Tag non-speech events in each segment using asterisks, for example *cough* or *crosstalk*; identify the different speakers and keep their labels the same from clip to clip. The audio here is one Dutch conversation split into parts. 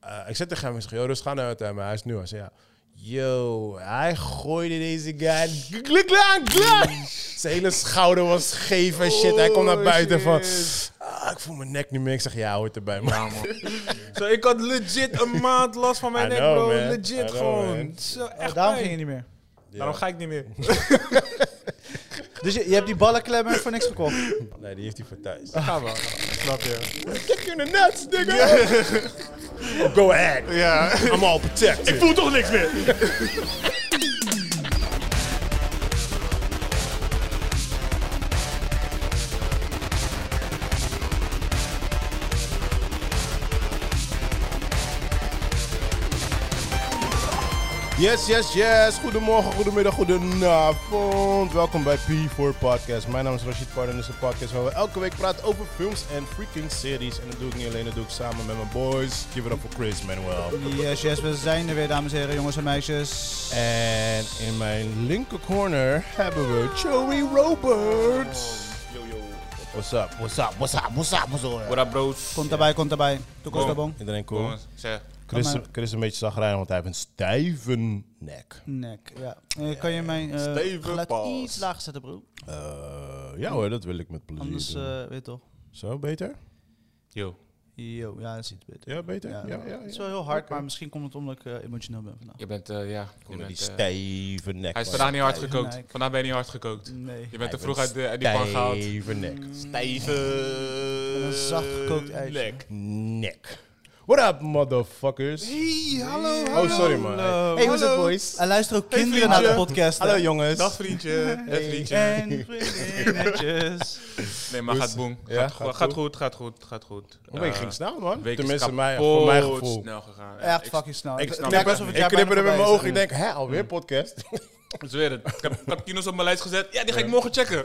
Speaker 1: eh, ik zet tegen hem, ik zeg, yo, dus ga naar het maar hij is nu. Hij zei, ja. Yo, hij gooide deze guy. Gluk, gluk, gluk. Zijn hele schouder was geef en shit. Hij komt naar
Speaker 2: Oh,
Speaker 1: buiten van.
Speaker 2: shit.
Speaker 1: "Ah, ik voel mijn nek niet meer. Ik zeg, ja, hoort erbij, man.
Speaker 3: Ja, man.
Speaker 2: Zo, ik had legit een maand last van mijn
Speaker 1: I
Speaker 2: nek,
Speaker 1: know,
Speaker 2: bro.
Speaker 1: man. I
Speaker 2: Legit
Speaker 1: know, man.
Speaker 2: gewoon. Zo,
Speaker 1: Oh,
Speaker 2: echt
Speaker 3: Eh, Daarom
Speaker 2: pijn.
Speaker 3: ging je niet meer.
Speaker 1: Ja.
Speaker 2: Daarom ga ik niet meer.
Speaker 3: Dus je, je hebt die ballenklem voor niks gekocht.
Speaker 1: Nee, die heeft hij voor thuis. *laughs*
Speaker 2: Ga wel. Snap je?
Speaker 1: Kick you in the nuts, nigga. Go ahead.
Speaker 2: Ja.
Speaker 1: I'm all protected.
Speaker 2: Voel toch niks meer.
Speaker 1: Yes, yes, yes. Goedemorgen, goedemiddag, goedenavond. Welkom bij P4 Podcast. Mijn naam is Rashid Pardon. Dit is een podcast waar we elke week praten over films en freaking series. En dat doe ik niet alleen, dat doe ik samen met mijn boys. Give it up for Chris Manuel.
Speaker 3: Yes, yes, we zijn er weer, dames en heren, jongens en meisjes.
Speaker 1: En in mijn linker corner hebben we Joey Roberts.
Speaker 2: Yo, yo.
Speaker 1: What's up, what's up, what's up, what's up, what's up?
Speaker 2: What up, bros?
Speaker 3: Komt erbij, komt erbij.
Speaker 2: Boom.
Speaker 3: Toekomst daarboom.
Speaker 1: Iedereen cool?
Speaker 2: Jongens, zeg.
Speaker 1: Chris,
Speaker 3: maar.
Speaker 1: Chris is een beetje zagrijnig, want hij heeft een stijve nek.
Speaker 3: Nek, ja. Eh, kan je mijn eh,
Speaker 2: Steven
Speaker 3: geluid
Speaker 2: Paas.
Speaker 3: iets lager zetten, bro?
Speaker 1: Eh, ja hoor, dat wil ik met plezier
Speaker 3: Anders,
Speaker 1: doen.
Speaker 3: eh, weet je toch.
Speaker 1: Zo, beter?
Speaker 2: Yo.
Speaker 3: Yo, ja, dat is iets beter.
Speaker 1: Ja, beter? Ja, ja, ja.
Speaker 3: Het is wel heel hard, maar misschien komt het omdat ik eh, emotioneel ben vandaag.
Speaker 2: Je bent, eh, ja. Je
Speaker 1: Onder die
Speaker 2: bent, eh,
Speaker 1: stijve nek.
Speaker 2: hij is
Speaker 1: man.
Speaker 2: vandaag niet hard
Speaker 3: Stijve
Speaker 2: gekookt.
Speaker 3: nek.
Speaker 2: Vandaag ben je niet hard gekookt.
Speaker 3: Nee.
Speaker 2: Je bent te
Speaker 1: Hij
Speaker 2: vroeg
Speaker 1: heeft
Speaker 2: uit de, uit die pan gehaald. Mm.
Speaker 1: Stijve nek. Stijve...
Speaker 3: Met een zacht gekookt eitje.
Speaker 1: Nek. Nek. What up, motherfuckers?
Speaker 2: Hey, hallo,
Speaker 1: Oh, sorry, man.
Speaker 2: Hallo.
Speaker 3: Hey, what's up,
Speaker 2: Hallo.
Speaker 3: boys? Er luisteren ook
Speaker 2: Hey,
Speaker 3: kinderen naar de
Speaker 2: vriendje.
Speaker 3: podcast. hè?
Speaker 1: Hallo, jongens.
Speaker 2: Dag vriendje. Hey, vriendje.
Speaker 3: En vriendinnetjes.
Speaker 2: Nee, maar
Speaker 1: Hoe
Speaker 2: gaat
Speaker 1: is-
Speaker 2: boem.
Speaker 1: Ja,
Speaker 2: gaat, goed,
Speaker 1: gaat
Speaker 2: gaat goed, gaat goed, gaat goed.
Speaker 1: Oh, ik
Speaker 2: Eh,
Speaker 1: ging snel, man.
Speaker 2: week is
Speaker 1: Tenminste, mij,
Speaker 2: kapot
Speaker 1: voor mijn gevoel.
Speaker 2: snel gegaan. Ja,
Speaker 3: Echt
Speaker 2: Eh, ik-
Speaker 3: fucking snel.
Speaker 1: Ik,
Speaker 3: Het
Speaker 2: snap
Speaker 3: lijkt
Speaker 2: het.
Speaker 3: alsof het
Speaker 1: ik
Speaker 3: jaar bijna
Speaker 1: knipper er met mijn
Speaker 3: voorbij is.
Speaker 1: ogen. Ik denk, hè,
Speaker 2: Mm.
Speaker 1: alweer podcast? *laughs*
Speaker 2: Ik zweer het. Ik heb, ik heb kino's op mijn lijst gezet. Ja, die ga ik morgen checken.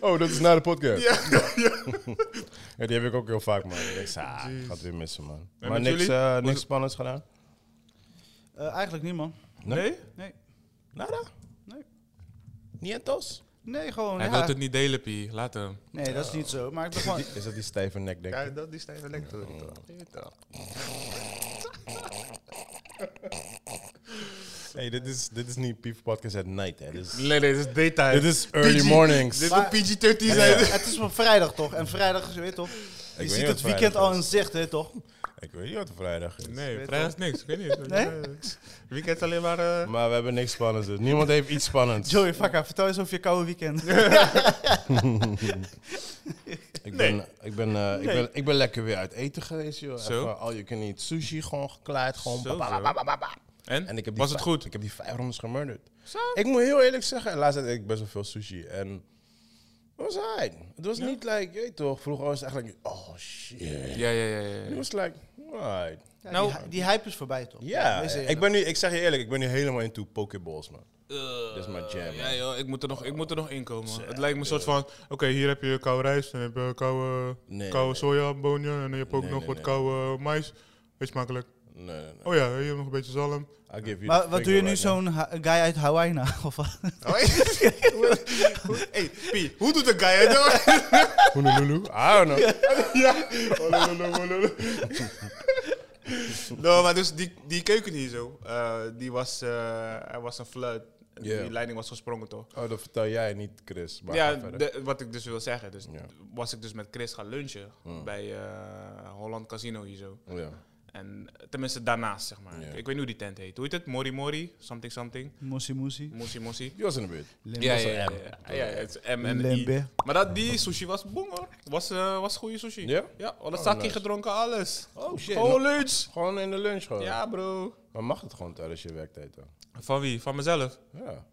Speaker 1: Oh, dat is na de podcast. Ja, *laughs* die heb ik ook heel vaak, man. Ik denk, ah, gaat weer missen, man.
Speaker 2: En
Speaker 1: maar
Speaker 2: met
Speaker 1: niks,
Speaker 2: jullie?
Speaker 1: eh,
Speaker 2: Hoe is
Speaker 1: niks
Speaker 2: het?
Speaker 1: spannends gedaan?
Speaker 3: Eh, eigenlijk niet, man.
Speaker 1: Nee?
Speaker 3: Nee.
Speaker 1: Nada?
Speaker 3: Nee.
Speaker 1: Nietos?
Speaker 3: Nee, gewoon.
Speaker 2: Hij
Speaker 3: ja.
Speaker 2: wil het niet delen, Pi. Laat hem.
Speaker 3: Nee, dat is niet zo.
Speaker 1: *laughs*
Speaker 3: Maar ik ben gewoon.
Speaker 1: Is dat die stijve nek, denk ik?
Speaker 2: dat die stijve lekker. *laughs*
Speaker 1: Hey, dit is, dit is niet Pief Podcast at night, hè. Dit is,
Speaker 2: Nee, nee, dit is daytime.
Speaker 1: dit is early mornings.
Speaker 2: Dit
Speaker 1: Ik
Speaker 3: Maar-
Speaker 2: moet PG-13
Speaker 3: Het
Speaker 2: zijn.
Speaker 3: is- het is van vrijdag toch? En vrijdag, je weet toch? Je
Speaker 1: weet
Speaker 3: ziet
Speaker 1: niet
Speaker 3: het
Speaker 1: wat
Speaker 3: weekend
Speaker 1: vrijdag
Speaker 3: al in zicht, hè, toch?
Speaker 1: is. Ik weet niet wat vrijdag is.
Speaker 2: Nee, vrijdag is niks. Ik weet niet.
Speaker 3: Nee?
Speaker 2: Weekend alleen maar... eh,
Speaker 1: Maar we hebben niks spannends. dus. Niemand heeft iets spannends.
Speaker 3: Joey, fakka, vertel eens over je koude
Speaker 2: *laughs*
Speaker 3: weekend.
Speaker 1: Ik ben, ik, ben, eh, ik, ben, ik ben lekker weer uit eten geweest, joh.
Speaker 2: Zo.
Speaker 1: Even al je kunt niet sushi gewoon geklaard. Gewoon
Speaker 2: Zo,
Speaker 1: ba- ba-
Speaker 2: zo.
Speaker 1: ba- ba- ba- ba.
Speaker 2: En?
Speaker 1: En ik heb die
Speaker 2: Was het
Speaker 1: vij-
Speaker 2: goed?
Speaker 1: Ik heb die vijf rondes gemurderd.
Speaker 2: Zo.
Speaker 1: Ik moet heel eerlijk zeggen, laatst eet ik best wel veel sushi. En het was hij. Het was niet like, je weet toch, vroeger was het eigenlijk, oh shit.
Speaker 2: Ja, ja, ja. ja,
Speaker 1: Het
Speaker 2: ja.
Speaker 1: was like, alright.
Speaker 3: Ja,
Speaker 2: Nou-
Speaker 3: die, hy- die hype is voorbij, toch?
Speaker 1: Ja,
Speaker 3: wees eerlijk.
Speaker 1: ik, ben nu, ik zeg je eerlijk, ik ben nu helemaal into pokeballs, man.
Speaker 2: Eh,
Speaker 1: Dit is mijn jam,
Speaker 2: Ja,
Speaker 1: man.
Speaker 2: joh, ik moet er nog, ik moet er nog inkomen. het lijkt me een soort van, oké, *laughs* hier heb je koude rijst en heb je koude,
Speaker 1: Nee,
Speaker 2: koude
Speaker 1: nee.
Speaker 2: soja, bonje en je hebt ook
Speaker 1: Nee,
Speaker 2: nog
Speaker 1: nee,
Speaker 2: wat
Speaker 1: nee.
Speaker 2: koude eh, mais. Weet je makkelijk.
Speaker 1: Nee, nee, nee.
Speaker 2: Oh ja, hier heb nog een beetje zalm.
Speaker 1: I give you the
Speaker 3: Maar wat doe je
Speaker 1: finger
Speaker 3: nu
Speaker 1: right now. Oh,
Speaker 3: zo'n ha- guy uit Hawaii na? *laughs* Of eh, wat? *laughs*
Speaker 2: hey, Pie, hoe doet de guy het
Speaker 1: *laughs*
Speaker 2: nou?
Speaker 1: Honolulu? I don't *laughs* know.
Speaker 3: *laughs*
Speaker 2: no, maar dus die, die keuken hier zo, eh, die was, eh, er was een flood. En
Speaker 1: Ja.
Speaker 2: Die leiding was gesprongen toch?
Speaker 1: Oh, dat vertel jij niet, Chris. Maar
Speaker 2: ja,
Speaker 1: ga verder.
Speaker 2: de- wat ik dus wil zeggen, dus
Speaker 1: Ja. Hm.
Speaker 2: was ik dus met Chris gaan lunchen bij eh, Holland Casino hier zo.
Speaker 1: ja.
Speaker 2: En eh, tenminste daarnaast, zeg maar.
Speaker 1: Ja.
Speaker 2: Ik, ik weet niet hoe die tent heet. Hoe heet het? Mori Mori? Something something?
Speaker 3: Moesie moesie.
Speaker 2: Mossi Mossi?
Speaker 1: Die was in de buurt.
Speaker 3: Limbe.
Speaker 2: Ja, ja, ja. ja, ja, het is M en I.
Speaker 3: Lembe.
Speaker 2: Maar dat, die sushi was boem hoor. Was, eh, was goede sushi.
Speaker 1: Ja?
Speaker 2: Ja, alle
Speaker 1: Oh,
Speaker 2: sake
Speaker 1: nice.
Speaker 2: gedronken, alles.
Speaker 1: Oh shit.
Speaker 2: Gewoon lunch.
Speaker 1: Gewoon in de lunch gewoon.
Speaker 2: Ja, bro.
Speaker 1: Maar mag het gewoon tijdens je werktijd dan?
Speaker 2: Van wie? Van mezelf.
Speaker 1: Ja.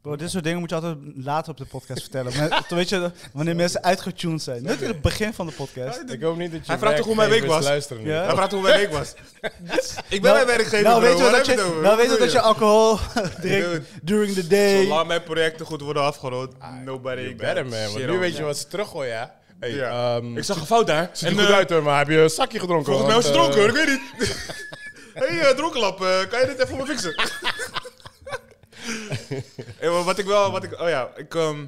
Speaker 3: Bro, dit soort dingen moet je altijd later op de podcast vertellen. Maar, *laughs* toen weet je, wanneer mensen uitgetuned zijn. Net in het begin van de podcast.
Speaker 1: Ik hoop niet dat je
Speaker 2: Hij vraagt toch hoe mijn week
Speaker 1: werkgevers
Speaker 2: was?
Speaker 1: luisteren nu. Oh,
Speaker 3: Ja.
Speaker 2: Hij praat hoe mijn week
Speaker 3: *laughs*
Speaker 2: was. ik ben mijn werkgever,
Speaker 3: nou,
Speaker 2: bro.
Speaker 3: weet je
Speaker 2: Waar
Speaker 3: dat
Speaker 2: heb
Speaker 3: je,
Speaker 2: je het over? Wat
Speaker 3: nou weet je
Speaker 2: bedoel
Speaker 3: dat je alcohol *laughs* drinkt during the day.
Speaker 2: Zolang mijn projecten goed worden afgerond, nobody
Speaker 1: You
Speaker 2: got
Speaker 1: better man,
Speaker 2: shit
Speaker 1: want nu
Speaker 2: on.
Speaker 1: weet je wat ze teruggooien, ja. Hey,
Speaker 2: Ja.
Speaker 1: ehm,
Speaker 2: Ik zag een fout daar.
Speaker 1: ziet er
Speaker 2: eh,
Speaker 1: goed uit hoor, maar heb je een zakje gedronken?
Speaker 2: Volgens mij was
Speaker 1: Want, eh,
Speaker 2: het dronken hoor, ik weet niet. *laughs* Hé, hey, eh, dronkenlap, eh, kan je dit even voor me fixen? *laughs* Hey, maar wat ik wel, wat ik, oh ja, ik, ehm,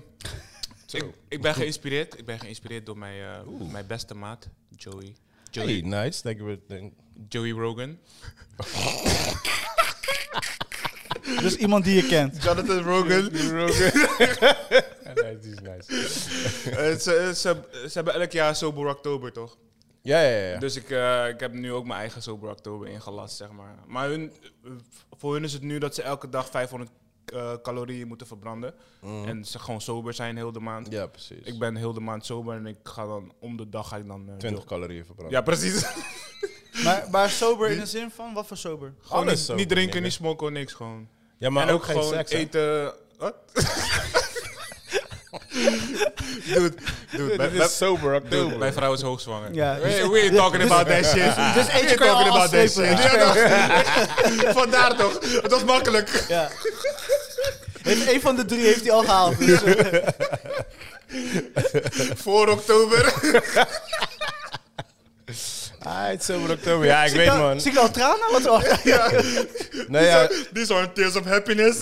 Speaker 2: ik, ik ben geïnspireerd. Ik ben geïnspireerd door mijn, eh, mijn beste maat, Joey.
Speaker 1: Hey, nice. Thank you. for- thank-
Speaker 2: Joey Rogan.
Speaker 3: Dus iemand die je kent.
Speaker 2: Jonathan Rogan.
Speaker 1: *laughs* nice, die is nice.
Speaker 2: *laughs* Eh, ze, ze, ze hebben elk jaar Sober Oktober, toch?
Speaker 1: Ja, ja, ja.
Speaker 2: Dus ik, eh, ik heb nu ook mijn eigen Sober Oktober ingelast, zeg maar. Maar hun, eh, voor hun is het nu dat ze elke dag 500 eh, calorieën moeten verbranden. En ze gewoon sober zijn heel de maand.
Speaker 1: Ja, precies.
Speaker 2: Ik ben heel de maand sober en ik ga dan om de dag ga ik dan... eh,
Speaker 1: 20 calorieën verbrand.
Speaker 2: Ja, precies.
Speaker 3: Maar, maar sober in de zin van, wat voor sober?
Speaker 2: gewoon niet,
Speaker 1: sober,
Speaker 2: niet drinken,
Speaker 1: nigga.
Speaker 2: niet smoken, niks gewoon.
Speaker 1: Ja, maar
Speaker 2: en
Speaker 1: ook, geen
Speaker 2: gewoon
Speaker 1: seks. hè?
Speaker 2: eten... Wat? *laughs* dude, dude, bij,
Speaker 1: Dit is sober
Speaker 2: dude,
Speaker 1: oktober.
Speaker 2: mijn vrouw is hoogzwanger.
Speaker 3: Ja.
Speaker 2: Hey, we ain't talking about that shit.
Speaker 3: Dus
Speaker 2: We
Speaker 3: eentje
Speaker 2: ain't
Speaker 3: kun je
Speaker 2: talking
Speaker 3: al
Speaker 2: about that
Speaker 3: afstrepen.
Speaker 2: shit.
Speaker 3: Ja.
Speaker 2: Ja, *laughs* Vandaar toch. Het was makkelijk.
Speaker 3: Ja. Heeft, een van de drie heeft hij al gehaald. Dus, eh,
Speaker 2: Voor oktober.
Speaker 1: Ah, het is sober oktober. Ja, ik
Speaker 3: zie
Speaker 1: weet
Speaker 3: al-
Speaker 1: man.
Speaker 3: Zie ik al tranen? Wat hoor?
Speaker 1: Nee, ja,
Speaker 2: These are tears of happiness.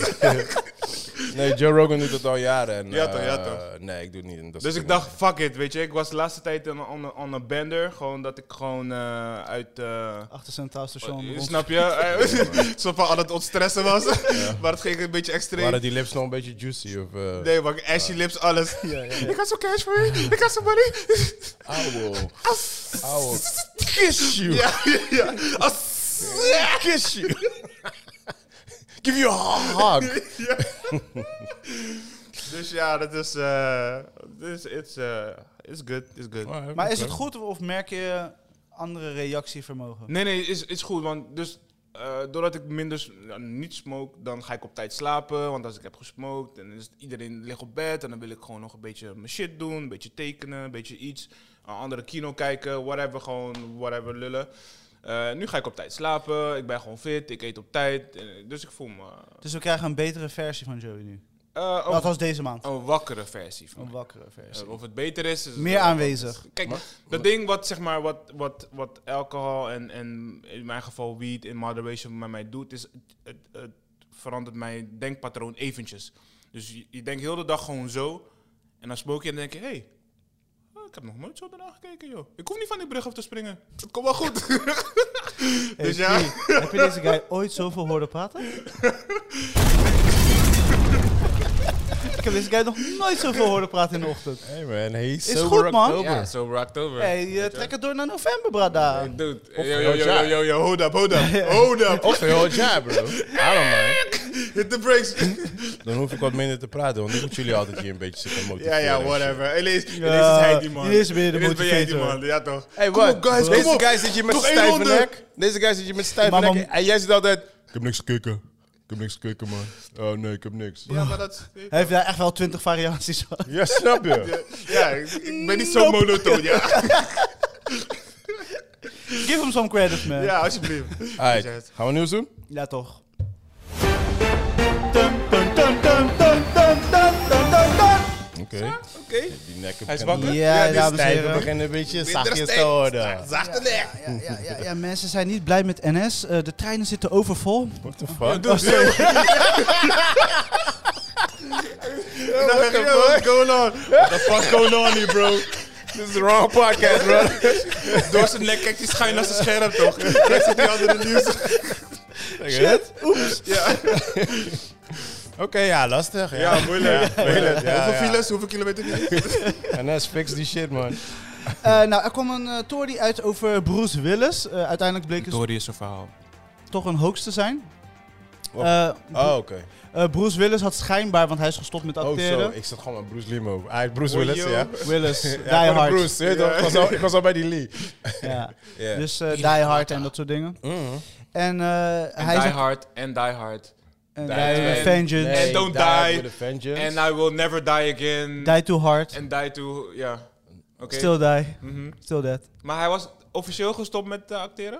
Speaker 1: nee, Joe Rogan doet het al jaren. En,
Speaker 2: Ja, toch, ja,
Speaker 1: eh,
Speaker 2: toch.
Speaker 1: Nee, ik doe het niet. en dat
Speaker 2: Dus
Speaker 1: soort
Speaker 2: ik
Speaker 1: dingen.
Speaker 2: dacht, fuck it, weet je. Ik was de laatste tijd on, on, on een bender. Gewoon dat ik gewoon eh, uit... eh,
Speaker 3: Achter Centraal Station. rond-
Speaker 2: snap je? Eh, *laughs* Zo van aan het ontstressen was. Maar het ging een beetje extreem.
Speaker 1: Waren die lips nog een beetje juicy? Of, eh
Speaker 2: Nee, man. Ashy lips, alles.
Speaker 3: Ja, ja.
Speaker 2: Ik had zo'n cash voor je. Ik had zo'n money.
Speaker 1: Auwe. Auwe. Kiss you.
Speaker 2: Ja, ja, ja. Als-
Speaker 1: Kiss you. Give you a hug.
Speaker 2: Ja. dus ja, dat is. eh dus it's, eh it's good. It's good.
Speaker 3: Maar is het goed of- of merk je andere reactievermogen?
Speaker 2: Nee, nee, is, is goed. Want dus, eh, doordat ik minder s- nou, niet smoke, dan ga ik op tijd slapen. Want als ik heb gesmoked, dan is het- iedereen ligt op bed. En dan wil ik gewoon nog een beetje mijn shit doen. Een beetje tekenen, een beetje iets. Een andere kino kijken, whatever. Gewoon, whatever, lullen. Eh, nu ga ik op tijd slapen. Ik ben gewoon fit. Ik eet op tijd. eh, dus ik voel me
Speaker 3: Dus we krijgen een betere versie van Joey nu.
Speaker 2: eh,
Speaker 3: Dat
Speaker 2: een,
Speaker 3: was deze maand.
Speaker 2: een wakkere versie van
Speaker 3: Een wakkere versie.
Speaker 2: Eh, of het beter is. is
Speaker 3: Meer aanwezig.
Speaker 2: Kijk, dat ding wat, zeg maar, wat, wat, wat alcohol en, en in mijn geval weed in moderation met mij doet, is het, het, het verandert mijn denkpatroon eventjes. Dus je, je denkt heel de dag gewoon zo. En dan smoke je en dan denk je, hé, hey, ah, ik heb nog nooit zo ernaar gekeken, joh. Ik hoef niet van die brug af te springen. Het komt wel goed.
Speaker 3: Hey,
Speaker 2: dus ja.
Speaker 3: Steve, Heb je deze guy ooit zoveel horen praten? Ik heb deze guy nog nooit zoveel horen praten in de ochtend.
Speaker 1: Hey man, he's
Speaker 3: Is
Speaker 1: sober
Speaker 3: goed, man.
Speaker 1: October.
Speaker 2: Ja, zo rocked over.
Speaker 3: Hey, eh, trek het door naar november, brada.
Speaker 2: Dude, yo,
Speaker 1: Of
Speaker 2: yo, yo, yo,
Speaker 1: Roja.
Speaker 2: yo, yo, hold up, hold *laughs* up, hold up.
Speaker 1: Of heel jaar, bro. I don't mind.
Speaker 2: Hit the brakes.
Speaker 1: Dan hoef ik wat minder te praten, want nu moeten jullie altijd hier een beetje zitten motiveren.
Speaker 2: Ja, ja,
Speaker 1: en shit.
Speaker 2: whatever. Ineens, ineens
Speaker 3: Ja,
Speaker 2: is hij die man.
Speaker 3: ineens ben je de
Speaker 2: Ineens ben jij die
Speaker 3: motivator.
Speaker 2: man, ja toch.
Speaker 1: Hey,
Speaker 2: Kom
Speaker 1: wat?
Speaker 2: op, guys,
Speaker 1: Deze
Speaker 2: kom op.
Speaker 1: guy zit hier met
Speaker 2: Nog één
Speaker 1: stijve
Speaker 2: ronde.
Speaker 1: nek. Deze guy zit hier met stijve
Speaker 3: Mama-
Speaker 1: nek. En jij zit altijd... Ik heb niks gekeken. Ik heb niks gekeken, man. Oh nee, ik heb niks.
Speaker 2: Ja, maar dat...
Speaker 3: Hij heeft daar echt wel twintig variaties van.
Speaker 1: Ja, snap
Speaker 2: *laughs*
Speaker 1: je?
Speaker 2: Ja, ik- ik ben niet zo
Speaker 3: Nope.
Speaker 2: monotoon,
Speaker 1: *laughs*
Speaker 2: ja.
Speaker 3: Give him some credit, man. Ja,
Speaker 2: Ja, alsjeblieft.
Speaker 1: Alright, gaan we nieuws doen?
Speaker 3: toch.
Speaker 1: Oké.
Speaker 2: Oké.
Speaker 1: Die nekken
Speaker 2: Hij is
Speaker 1: beginnen-
Speaker 2: wakker?
Speaker 3: Ja,
Speaker 2: dit is
Speaker 3: dames en
Speaker 1: Stijven
Speaker 3: heren.
Speaker 1: beginnen een beetje
Speaker 2: Minder
Speaker 1: zachtjes te
Speaker 2: steek.
Speaker 1: worden.
Speaker 2: Zachte nek.
Speaker 3: Ja, ja, ja, ja, mensen zijn niet blij met NS. Eh, de treinen zitten overvol.
Speaker 1: What the fuck? *laughs*
Speaker 2: Doe zo.
Speaker 1: What the fuck going on? What the fuck going on here, bro? This is the wrong podcast, bro.
Speaker 2: *laughs* Door zijn nek kijkt hij schuin naar zijn scherm, toch? Dat zit die andere nieuws.
Speaker 1: Shit.
Speaker 2: Ja,
Speaker 1: Oké, ja, lastig. Ja,
Speaker 2: ja moeilijk.
Speaker 1: moeilijk. Ja,
Speaker 2: Hoeveel
Speaker 1: ja.
Speaker 2: files, hoeveel kilometer niet?
Speaker 1: NS, fix die shit, man.
Speaker 3: Eh, nou, er kwam een eh, tory uit over Bruce Willis. Eh, uiteindelijk bleek het
Speaker 2: is zijn verhaal.
Speaker 3: toch een hoax te zijn.
Speaker 1: Wat?
Speaker 3: Eh,
Speaker 1: Oh, oké.
Speaker 3: eh, Bruce Willis had schijnbaar, want hij is gestopt met
Speaker 1: Oh, zo.
Speaker 3: acteren.
Speaker 1: *laughs* Ik zat gewoon met Bruce Limo. Ah, Bruce Willis,
Speaker 2: yo.
Speaker 1: ja.
Speaker 3: Willis, Die
Speaker 1: Ja, gewoon
Speaker 3: Hard.
Speaker 1: Bruce. je weet toch? Ik, was al, ik was al bij die Lee.
Speaker 3: Ja.
Speaker 1: *laughs* Ja.
Speaker 3: Dus eh Die Hard en dat soort dingen.
Speaker 1: Mhm.
Speaker 3: En, eh, hij
Speaker 2: die
Speaker 3: zegt-
Speaker 2: hard, en die hard.
Speaker 3: en
Speaker 1: Die
Speaker 3: Die with a
Speaker 1: Hard.
Speaker 3: Vengeance,
Speaker 1: Nee,
Speaker 2: And don't die.
Speaker 1: With a vengeance.
Speaker 2: And I will never die again.
Speaker 3: Die Too Hard,
Speaker 2: En die to, ja. Oké.
Speaker 3: Still Die,
Speaker 2: Mhm.
Speaker 3: Still Dead.
Speaker 2: Maar hij was officieel gestopt met eh, acteren?